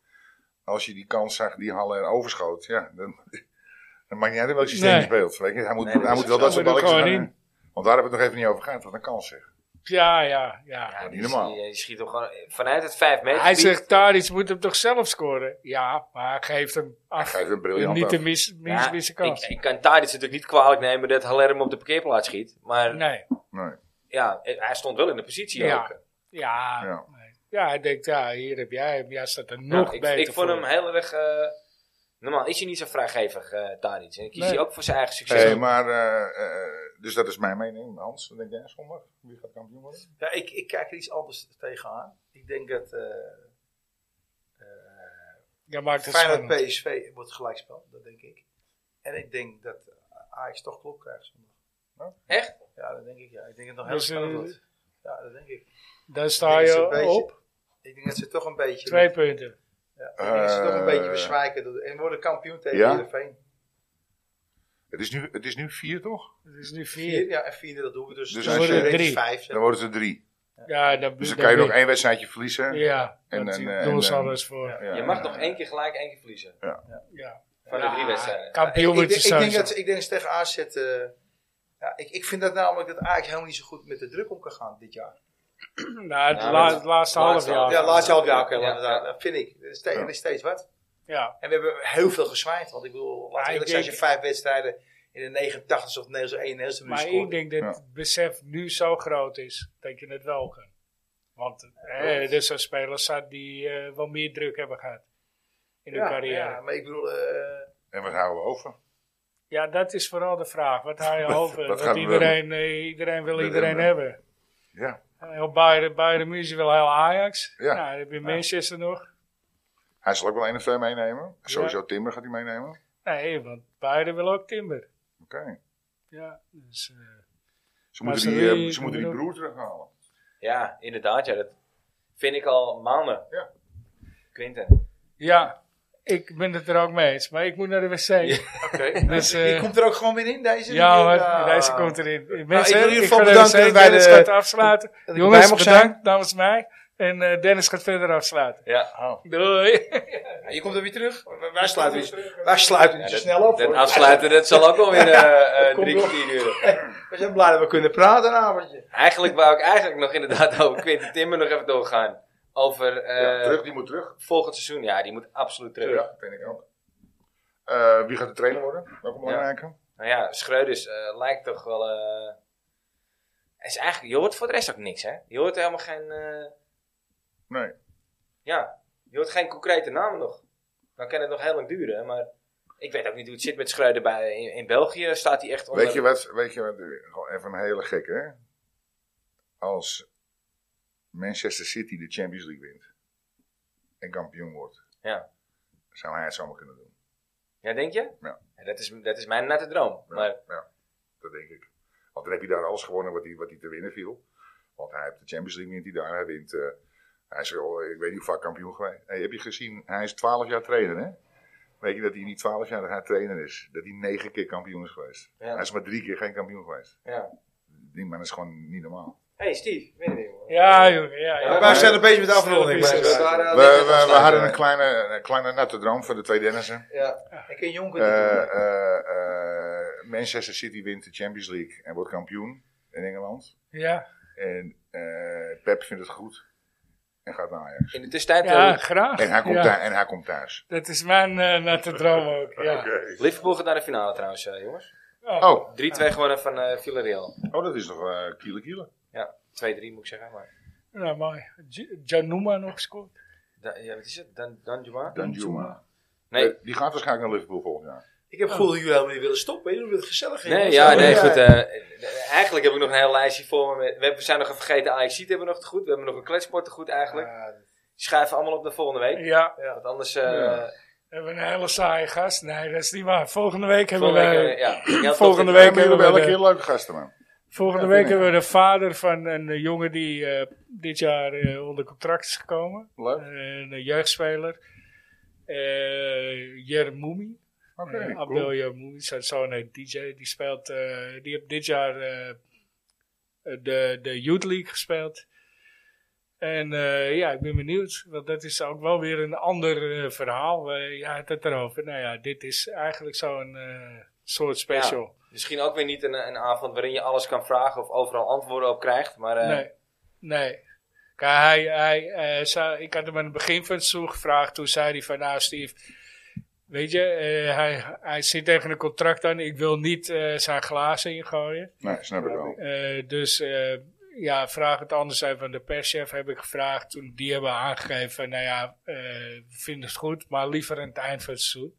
Speaker 3: Als je die kans zag die Haller overschoot, ja, dan, dan maakt niet uit welk systeem
Speaker 2: Nee.
Speaker 3: je speelt. Weet je, hij moet,
Speaker 1: Nee, dat
Speaker 3: hij
Speaker 1: is
Speaker 3: moet
Speaker 1: ook
Speaker 3: wel
Speaker 1: zo.
Speaker 3: dat soort
Speaker 2: Maar doe
Speaker 3: balletjes gaan.
Speaker 2: gewoon in.
Speaker 3: Want daar hebben we het nog even niet over gehad, wat een kans zeg.
Speaker 2: Ja, ja, ja.
Speaker 1: Ja,
Speaker 3: niet
Speaker 1: die,
Speaker 3: normaal.
Speaker 1: die- die schiet hem gewoon vanuit het 5 meter.
Speaker 2: Hij
Speaker 1: gebied.
Speaker 2: zegt, Tadic moet hem toch zelf scoren? Ja, maar hij geeft hem af.
Speaker 3: Hij geeft een briljant
Speaker 2: Niet
Speaker 3: af.
Speaker 2: de mis, mis,
Speaker 1: Ja,
Speaker 2: missen
Speaker 1: ik,
Speaker 2: kans.
Speaker 1: ik kan Tadic natuurlijk niet kwalijk nemen dat Haller hem op de parkeerplaats schiet. Maar
Speaker 2: nee.
Speaker 3: Nee.
Speaker 1: ja, hij stond wel in de positie
Speaker 2: Ja.
Speaker 1: ook.
Speaker 2: Ja,
Speaker 3: Ja.
Speaker 2: nee. ja, hij denkt, ja, hier heb jij hem. Jij staat er nog
Speaker 1: ik,
Speaker 2: beter
Speaker 1: ik vond
Speaker 2: voor.
Speaker 1: hem heel erg... eh, normaal is hij niet zo vrijgevig, eh Tadic. En kiest
Speaker 2: Nee.
Speaker 1: hij ook voor zijn eigen succes.
Speaker 3: Hey, maar, eh, eh, dus dat is mijn mening. Hans, wat denk jij zondag? Wie gaat kampioen worden?
Speaker 4: Ja, ik, ik kijk er iets anders tegenaan. Ik denk dat eh
Speaker 2: Jij maakt het
Speaker 4: Feyenoord
Speaker 2: spannend.
Speaker 4: PSV wordt gelijkspel. Dat denk ik. En ik denk dat Ajax toch klop krijgt zondag.
Speaker 1: Echt?
Speaker 4: Ja, dat denk ik. Ja. Ik denk dat het nog heel
Speaker 2: Dus,
Speaker 4: spannend
Speaker 2: eh,
Speaker 4: wordt. Ja, dat denk ik.
Speaker 2: Daar
Speaker 4: Ik
Speaker 2: sta
Speaker 4: denk dat ze
Speaker 2: je
Speaker 4: een beetje-
Speaker 2: op.
Speaker 4: Ik denk dat ze toch een beetje...
Speaker 2: Twee punten.
Speaker 4: Ja, ik denk dat ze toch een
Speaker 3: Eh,
Speaker 4: beetje bezwijken. door- En worden kampioen tegen
Speaker 3: Ja?
Speaker 4: Heerenveen.
Speaker 3: Het is nu, het is nu vier, toch?
Speaker 2: Het is nu
Speaker 4: Vier,
Speaker 2: vier.
Speaker 4: ja, en vierde, dat doen we dus.
Speaker 3: Dus
Speaker 4: dan
Speaker 3: als je-
Speaker 4: worden er
Speaker 2: drie.
Speaker 4: Vijf, zeg.
Speaker 3: Dan wordt het er drie.
Speaker 2: Ja, dan,
Speaker 3: Dus dan
Speaker 2: dan
Speaker 3: kan je nog
Speaker 2: win-
Speaker 3: één wedstrijdje verliezen.
Speaker 2: Ja,
Speaker 3: en-
Speaker 2: en, dat
Speaker 3: en-
Speaker 2: en,
Speaker 3: en-
Speaker 2: voor. Ja.
Speaker 1: Je mag nog één keer gelijk, één keer verliezen. Van de
Speaker 2: Ja,
Speaker 1: drie wedstrijden.
Speaker 2: Kampioen
Speaker 4: ik,
Speaker 2: wordt
Speaker 4: denk-
Speaker 2: je
Speaker 4: ik denk
Speaker 2: sowieso.
Speaker 4: dat, ze- ik denk dat ze tegen AZ... eh, ja, ik, ik vind dat namelijk dat Ajax helemaal niet zo goed met de druk om kan gaan dit jaar.
Speaker 2: Nou, het
Speaker 1: Ja,
Speaker 2: la-
Speaker 1: maar-
Speaker 2: het laatste
Speaker 1: laatste
Speaker 2: half jaar.
Speaker 4: Ja, laatste half jaar, oké,
Speaker 1: Ja,
Speaker 4: laat het
Speaker 1: ja.
Speaker 4: aan. Dat vind ik. Er is, steeds,
Speaker 3: Ja.
Speaker 4: er is steeds wat.
Speaker 2: Ja,
Speaker 4: En we hebben heel veel gezwaaid. Want ik bedoel, laten we
Speaker 2: ik
Speaker 4: eerlijk zijn, als je
Speaker 2: denk-
Speaker 4: vijf wedstrijden in de 89 of 91 minuut
Speaker 2: maar
Speaker 4: scoort.
Speaker 2: ik denk dat
Speaker 3: Ja.
Speaker 2: het besef nu zo groot is dat je het wel kan. Want eh, er zijn spelers zat die eh wel meer druk hebben gehad in hun
Speaker 4: ja,
Speaker 2: carrière.
Speaker 4: ja,
Speaker 2: Ja.
Speaker 4: maar ik bedoel, eh,
Speaker 3: En wat houden we over?
Speaker 2: dat is vooral de vraag. Wat haal je over?
Speaker 3: wat
Speaker 2: Want
Speaker 3: gaan we
Speaker 2: iedereen, eh, iedereen wil
Speaker 3: met
Speaker 2: iedereen
Speaker 3: hem, eh,
Speaker 2: hebben.
Speaker 3: Ja.
Speaker 2: Heel Bayern, Bayern München wil heel Ajax.
Speaker 3: Ja.
Speaker 2: Nou, dan heb je Manchester nog.
Speaker 3: Hij zal ook wel één of twee meenemen. Sowieso Timber gaat hij meenemen. Oké.
Speaker 2: Nee, want Bayern wil ook Timber. Ja, dus... eh,
Speaker 3: Ze
Speaker 2: Maar
Speaker 3: moeten,
Speaker 2: ze-
Speaker 3: die, eh, ze moeten die
Speaker 2: bedoel-
Speaker 3: broer terughalen.
Speaker 1: Ja, inderdaad. Ja, dat vind ik al maanden.
Speaker 3: Ja.
Speaker 1: Quinten.
Speaker 2: Ja, ik ben het er ook mee eens, maar ik moet naar de wc. Ja,
Speaker 4: oké.
Speaker 2: Dus,
Speaker 4: Die
Speaker 2: eh,
Speaker 4: komt er ook gewoon weer in, deze? Ah.
Speaker 2: ja
Speaker 4: hoor,
Speaker 2: hoor, deze komt erin. Mensen,
Speaker 6: in ieder
Speaker 2: ik
Speaker 6: geval
Speaker 2: ga naar
Speaker 6: bedankt
Speaker 2: wc,
Speaker 6: dat wij
Speaker 2: Dennis
Speaker 6: de-
Speaker 2: gaat afsluiten.
Speaker 6: ik
Speaker 2: Jongens,
Speaker 6: erbij mocht zijn.
Speaker 2: bedankt namens mij. En eh, Dennis gaat verder afsluiten.
Speaker 1: Ja.
Speaker 2: Doei.
Speaker 4: Je komt er weer terug? Wij sluiten niet, wij sluiten niet
Speaker 1: Ja, dat,
Speaker 4: zo snel op.
Speaker 1: dat
Speaker 4: hoor.
Speaker 1: afsluiten, dat zal ook alweer eh eh
Speaker 4: Kom
Speaker 1: drie
Speaker 4: door.
Speaker 1: kwartier duren.
Speaker 4: We zijn blij dat we kunnen praten een avondje.
Speaker 1: Eigenlijk wou ik eigenlijk nog inderdaad over Quinten Timmer nog even doorgaan. Over eh,
Speaker 3: Ja, terug, die moet terug.
Speaker 1: volgend seizoen. Ja, die moet absoluut terug.
Speaker 3: Ja, dat vind ik ook. Eh, wie gaat de trainer worden? Welke belangrijke?
Speaker 1: Nou ja, Schreuders eh, lijkt toch wel... eh, hij is eigenlijk, je hoort voor de rest ook niks, hè? Je hoort helemaal geen... eh,
Speaker 3: Nee.
Speaker 1: ja, je hoort geen concrete namen nog. Dan kan het nog heel lang duren, maar... Ik weet ook niet hoe het zit met Schreuder bij, in, in België. Staat hij echt onder...
Speaker 3: Weet je wat? Weet je wat? eh, Gewoon even een hele gekke. Hè? Als Manchester City de Champions League wint en kampioen wordt,
Speaker 1: Ja.
Speaker 3: zou hij het zomaar kunnen doen.
Speaker 1: Ja, denk je?
Speaker 3: Ja.
Speaker 1: dat, is, dat is mijn natte droom.
Speaker 3: Ja,
Speaker 1: Maar
Speaker 3: ja, dat denk ik. Want dan heb je daar alles gewonnen wat hij, wat hij te winnen viel. Want hij heeft de Champions League wint hij daar. Hij wint. eh, hij is wel, eh, ik weet niet hoe vaak kampioen geweest. Hey, heb je gezien? Hij is 12 jaar trainer, hè? Weet je dat hij niet 12 jaar gaat trainer is? Dat hij 9 keer kampioen is geweest.
Speaker 1: Ja.
Speaker 3: Hij is maar drie keer geen kampioen geweest.
Speaker 1: ja.
Speaker 3: Die man is gewoon niet normaal.
Speaker 1: Hey Steve, winnen we, jongen.
Speaker 2: Ja, jongen, ja. ja.
Speaker 4: Wij zijn een beetje met de afronding.
Speaker 2: Snel
Speaker 4: bezig.
Speaker 2: is het.
Speaker 1: waren,
Speaker 3: We, we, we hadden een kleine, een kleine natte droom van de twee Dennissen.
Speaker 4: Ja. Ik ken Jonker.
Speaker 3: Eh,
Speaker 4: die doen.
Speaker 3: eh, eh, Manchester City wint de Champions League en wordt kampioen in Engeland.
Speaker 2: Ja,
Speaker 3: En eh, Pep vindt het goed en gaat naar Ajax.
Speaker 1: In de tussentijd
Speaker 2: ja,
Speaker 1: eh,
Speaker 2: graag.
Speaker 3: En hij komt,
Speaker 2: Ja,
Speaker 3: thu- en hij komt thuis.
Speaker 2: Dat is mijn eh natte droom ook, ja.
Speaker 1: Liverpool gaat naar de finale trouwens, eh, jongens. 3-2
Speaker 2: Oh,
Speaker 3: Oh,
Speaker 1: gewonnen van eh, Villarreal.
Speaker 3: oh, dat is nog eh kiele kiele.
Speaker 1: Ja, 2-3 moet ik zeggen. Maar.
Speaker 2: nou mooi. J- Januma nog gescoord.
Speaker 1: Da- ja, wat is het? Dan, Danjuma?
Speaker 3: Danjuma.
Speaker 1: Nee,
Speaker 3: Eh, Die gaat waarschijnlijk naar Liverpool volgend jaar.
Speaker 4: Ik heb gevoel dat jullie helemaal niet willen stoppen. Jullie willen het gezellig hebben.
Speaker 1: nee, ja, nee, goed. eh, eh, eigenlijk heb ik nog een heel lijstje voor me. met- We hebben- zijn nog een vergeten ajax hebben we nog te goed. We hebben nog een kletsport te goed eigenlijk. Die schuiven allemaal op naar volgende week.
Speaker 2: Ja,
Speaker 1: Want anders... eh,
Speaker 3: Ja.
Speaker 2: we hebben een hele saaie gast. Nee, dat is niet waar. Volgende week hebben
Speaker 1: volgende
Speaker 2: we...
Speaker 1: week, eh, ja. Heel tof
Speaker 2: volgende
Speaker 1: dit-
Speaker 2: week
Speaker 3: We hebben
Speaker 2: hebben we
Speaker 3: elke
Speaker 2: de-
Speaker 3: keer leuke gasten, man.
Speaker 2: Volgende
Speaker 3: Ja,
Speaker 2: week
Speaker 3: vind ik
Speaker 2: hebben we de vader van een eh, jongen die eh, dit jaar eh, onder contract is gekomen.
Speaker 3: Leuk.
Speaker 2: Eh, een jeugdspeler. Eh Jermoumi.
Speaker 3: Oké,
Speaker 2: Eh, Abdel
Speaker 3: cool.
Speaker 2: Jermoumi, zijn zoon heet DJ. Die speelt, eh, die heeft dit jaar eh, de, de Youth League gespeeld. En eh, ja, ik ben benieuwd, want dat is ook wel weer een ander eh, verhaal. Eh, je had het erover. Nou ja, dit is eigenlijk zo'n eh, soort special.
Speaker 1: Misschien ook weer niet een, een avond waarin je alles kan vragen of overal antwoorden op krijgt. Maar eh,
Speaker 2: Nee, nee. Kijk, hij, hij, eh, zou, ik had hem aan het begin van het seizoen gevraagd. Toen zei hij van, nou Steve, weet je, eh, hij, hij zit tegen een contract aan. Ik wil niet eh, zijn glazen ingooien.
Speaker 3: Nee, snap ik wel.
Speaker 2: Eh, dus eh, ja, vraag het anders even aan de perschef, heb ik gevraagd. Toen die hebben aangegeven, van, nou ja, eh, we vinden het goed, maar liever aan het eind van het seizoen.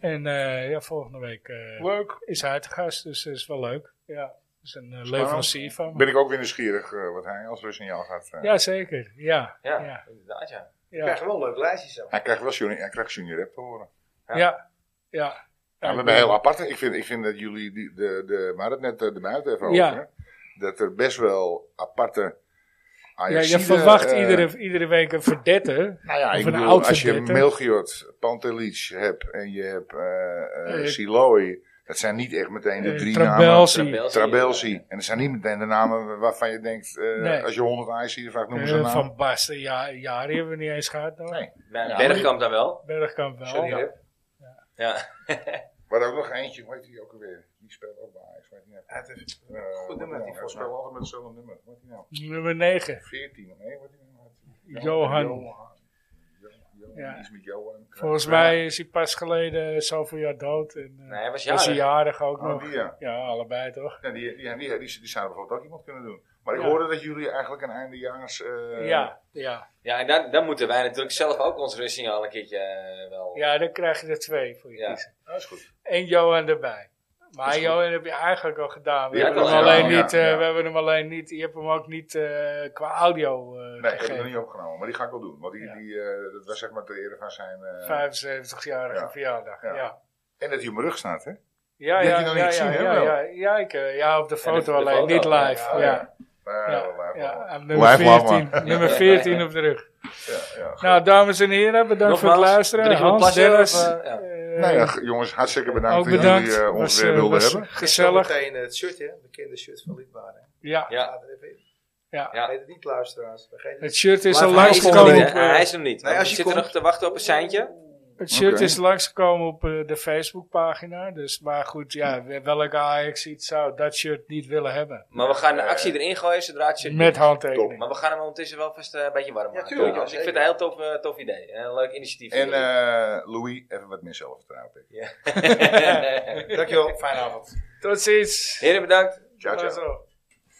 Speaker 2: En eh, ja, volgende week eh,
Speaker 3: Leuk.
Speaker 2: is hij te gast, dus dat is wel leuk. Ja, dat is een eh, leverancier van me.
Speaker 3: Ben ik ook weer nieuwsgierig eh, wat hij als signaal gaat... eh,
Speaker 2: Jazeker, ja.
Speaker 1: ja,
Speaker 2: Ja.
Speaker 1: inderdaad ja.
Speaker 4: Ik
Speaker 2: Ja,
Speaker 4: krijg wel een leuk lijstje zo.
Speaker 3: Hij krijgt wel junior, hij krijgt junior rap te horen.
Speaker 2: ja. ja. ja.
Speaker 3: Ja, we hebben heel apart. Ik vind, ik vind dat jullie, die, de, de, we hadden het net eh, erbuiten even over.
Speaker 2: Ja.
Speaker 3: hè? Dat er best wel aparte
Speaker 2: Ja,
Speaker 3: Ajaxiden,
Speaker 2: je verwacht
Speaker 3: eh,
Speaker 2: iedere, iedere week een verdette.
Speaker 3: Nou ja,
Speaker 2: of
Speaker 3: ik
Speaker 2: een
Speaker 3: bedoel,
Speaker 2: oud
Speaker 3: als je
Speaker 2: verdette.
Speaker 3: Melchior, Pantelic hebt en je hebt eh eh
Speaker 2: Eh,
Speaker 3: Siloy. Dat zijn niet echt meteen de
Speaker 2: Eh,
Speaker 3: drie namen.
Speaker 2: Trabelsi.
Speaker 1: Trabelsi.
Speaker 3: Trabelsi. En dat zijn niet meteen de namen waarvan je denkt, eh,
Speaker 2: Nee.
Speaker 3: als je 100 Ajaxiden vraagt, noem
Speaker 2: eh,
Speaker 3: ze nou. een naam.
Speaker 2: van Basten, ja, jaren hebben we niet eens gehad. nog.
Speaker 3: Nee.
Speaker 1: Nou,
Speaker 3: Ja,
Speaker 1: Bergkamp dan wel.
Speaker 2: Bergkamp wel.
Speaker 1: Sorry,
Speaker 2: ja.
Speaker 1: Rip. Ja.
Speaker 3: Maar ook nog eentje, hoe heet die ook alweer? Die speelt ook bij Ajax, weet je net.
Speaker 4: Ja, het is-
Speaker 3: Eh, wat
Speaker 4: Goed nummer,
Speaker 3: nou?
Speaker 4: die
Speaker 3: Hij
Speaker 4: volgens
Speaker 3: speelt
Speaker 4: mij.
Speaker 3: altijd met hetzelfde nummer. Wat die nou?
Speaker 2: Nummer 9.
Speaker 3: 14, nee, wat die nou? had.
Speaker 2: Johan.
Speaker 3: Johan. Jo- Johan,
Speaker 2: Ja.
Speaker 3: iets met Johan.
Speaker 2: Volgens
Speaker 3: Ja.
Speaker 2: mij is hij pas geleden zoveel jaar dood. En, eh,
Speaker 1: Nee, hij was
Speaker 2: was hij
Speaker 1: jarig.
Speaker 2: jarig ook
Speaker 3: Oh,
Speaker 2: nog.
Speaker 3: die, ja.
Speaker 2: Ja, allebei toch?
Speaker 3: Ja, die, die, die, die, die zouden bijvoorbeeld ook iemand kunnen doen. Maar ik
Speaker 2: Ja.
Speaker 3: hoorde dat jullie eigenlijk een eindejaars... eh,
Speaker 2: ja, ja.
Speaker 1: Ja, en dan, dan moeten wij natuurlijk zelf ook ons rustsignaal een keertje eh, wel...
Speaker 2: ja, dan krijg je er twee voor je
Speaker 1: Ja.
Speaker 2: kiezen.
Speaker 3: Dat is goed.
Speaker 2: En Johan erbij. Maar Johan heb je eigenlijk al gedaan. We,
Speaker 1: Ja,
Speaker 2: hebben,
Speaker 1: dat
Speaker 2: hem
Speaker 1: wel,
Speaker 2: alleen
Speaker 3: ja,
Speaker 2: niet, eh,
Speaker 3: ja.
Speaker 2: we hebben hem alleen niet. Je hebt hem ook niet eh, qua audio eh
Speaker 3: Nee, ik heb het nog
Speaker 2: gegeven.
Speaker 3: niet opgenomen, maar die ga ik wel doen. Want die,
Speaker 2: Ja.
Speaker 3: die, eh, dat was zeg maar de ere van zijn... eh,
Speaker 2: 75-jarige
Speaker 3: Ja.
Speaker 2: verjaardag.
Speaker 3: Ja.
Speaker 2: Ja, ja,
Speaker 3: En dat hij op mijn rug staat, hè?
Speaker 2: ja.
Speaker 3: Die
Speaker 2: ja,
Speaker 3: heb je nog niet
Speaker 2: ja,
Speaker 3: gezien, hè,
Speaker 2: ja,
Speaker 3: wel?
Speaker 2: ja, ja, ik, eh, ja, op de
Speaker 1: de
Speaker 2: foto alleen,
Speaker 1: foto,
Speaker 2: niet
Speaker 1: ja.
Speaker 2: live.
Speaker 1: Ja,
Speaker 2: Ja, ja.
Speaker 3: Maar, eh,
Speaker 2: ja, nummer
Speaker 6: Live, live,
Speaker 2: 14,
Speaker 6: man.
Speaker 2: nummer 14 op de rug.
Speaker 3: ja, ja, goed.
Speaker 2: Nou, dames en heren, bedankt voor het
Speaker 1: Nogmaals,
Speaker 2: luisteren.
Speaker 1: drie keer
Speaker 2: Hans,
Speaker 1: plassen,
Speaker 2: Dennis.
Speaker 1: of, eh, ja.
Speaker 2: eh,
Speaker 3: nou ja, jongens, hartstikke bedankt,
Speaker 2: ook bedankt.
Speaker 3: dat jullie eh, ons
Speaker 2: Was,
Speaker 3: weer
Speaker 2: eh,
Speaker 3: wilden
Speaker 2: was
Speaker 3: hebben.
Speaker 2: Gezellig.
Speaker 4: En meteen het shirt, hè? Het bekende shirt van Lidwaren.
Speaker 2: Ja,
Speaker 1: Ja.
Speaker 4: Ga er even in.
Speaker 1: Ja.
Speaker 4: Vergeet het niet, luisteraars. Vergeet het
Speaker 2: het shirt is
Speaker 1: Maar
Speaker 2: al
Speaker 1: hij is er nog
Speaker 2: langsgekomen.
Speaker 1: niet,
Speaker 2: op,
Speaker 1: hè? Hij
Speaker 2: eh,
Speaker 1: is er nog niet.
Speaker 4: Nee,
Speaker 1: We
Speaker 4: als je
Speaker 1: zitten
Speaker 4: komt-
Speaker 1: nog te wachten op een seintje.
Speaker 2: Het shirt
Speaker 3: Oké.
Speaker 2: is langsgekomen op eh, de Facebookpagina. Dus, maar goed, ja, we- welke Ajax iets zou dat shirt niet willen hebben.
Speaker 1: Maar we gaan de actie erin gooien zodra het zit.
Speaker 2: Met handtekening.
Speaker 1: Maar we gaan hem ondertussen wel vast eh, een beetje warm
Speaker 4: Ja,
Speaker 1: maken.
Speaker 4: tuurlijk, ja,
Speaker 1: dus ik vind
Speaker 4: zeker.
Speaker 1: het een heel tof, eh, tof idee. Een leuk initiatief.
Speaker 3: En eh, Louis, even wat meer zelfvertrouwen. denk ik.
Speaker 4: eh, niet. Dankjewel. Fijne avond.
Speaker 2: Tot ziens.
Speaker 1: Heren, bedankt.
Speaker 3: Ciao, ciao.
Speaker 2: Tot zo.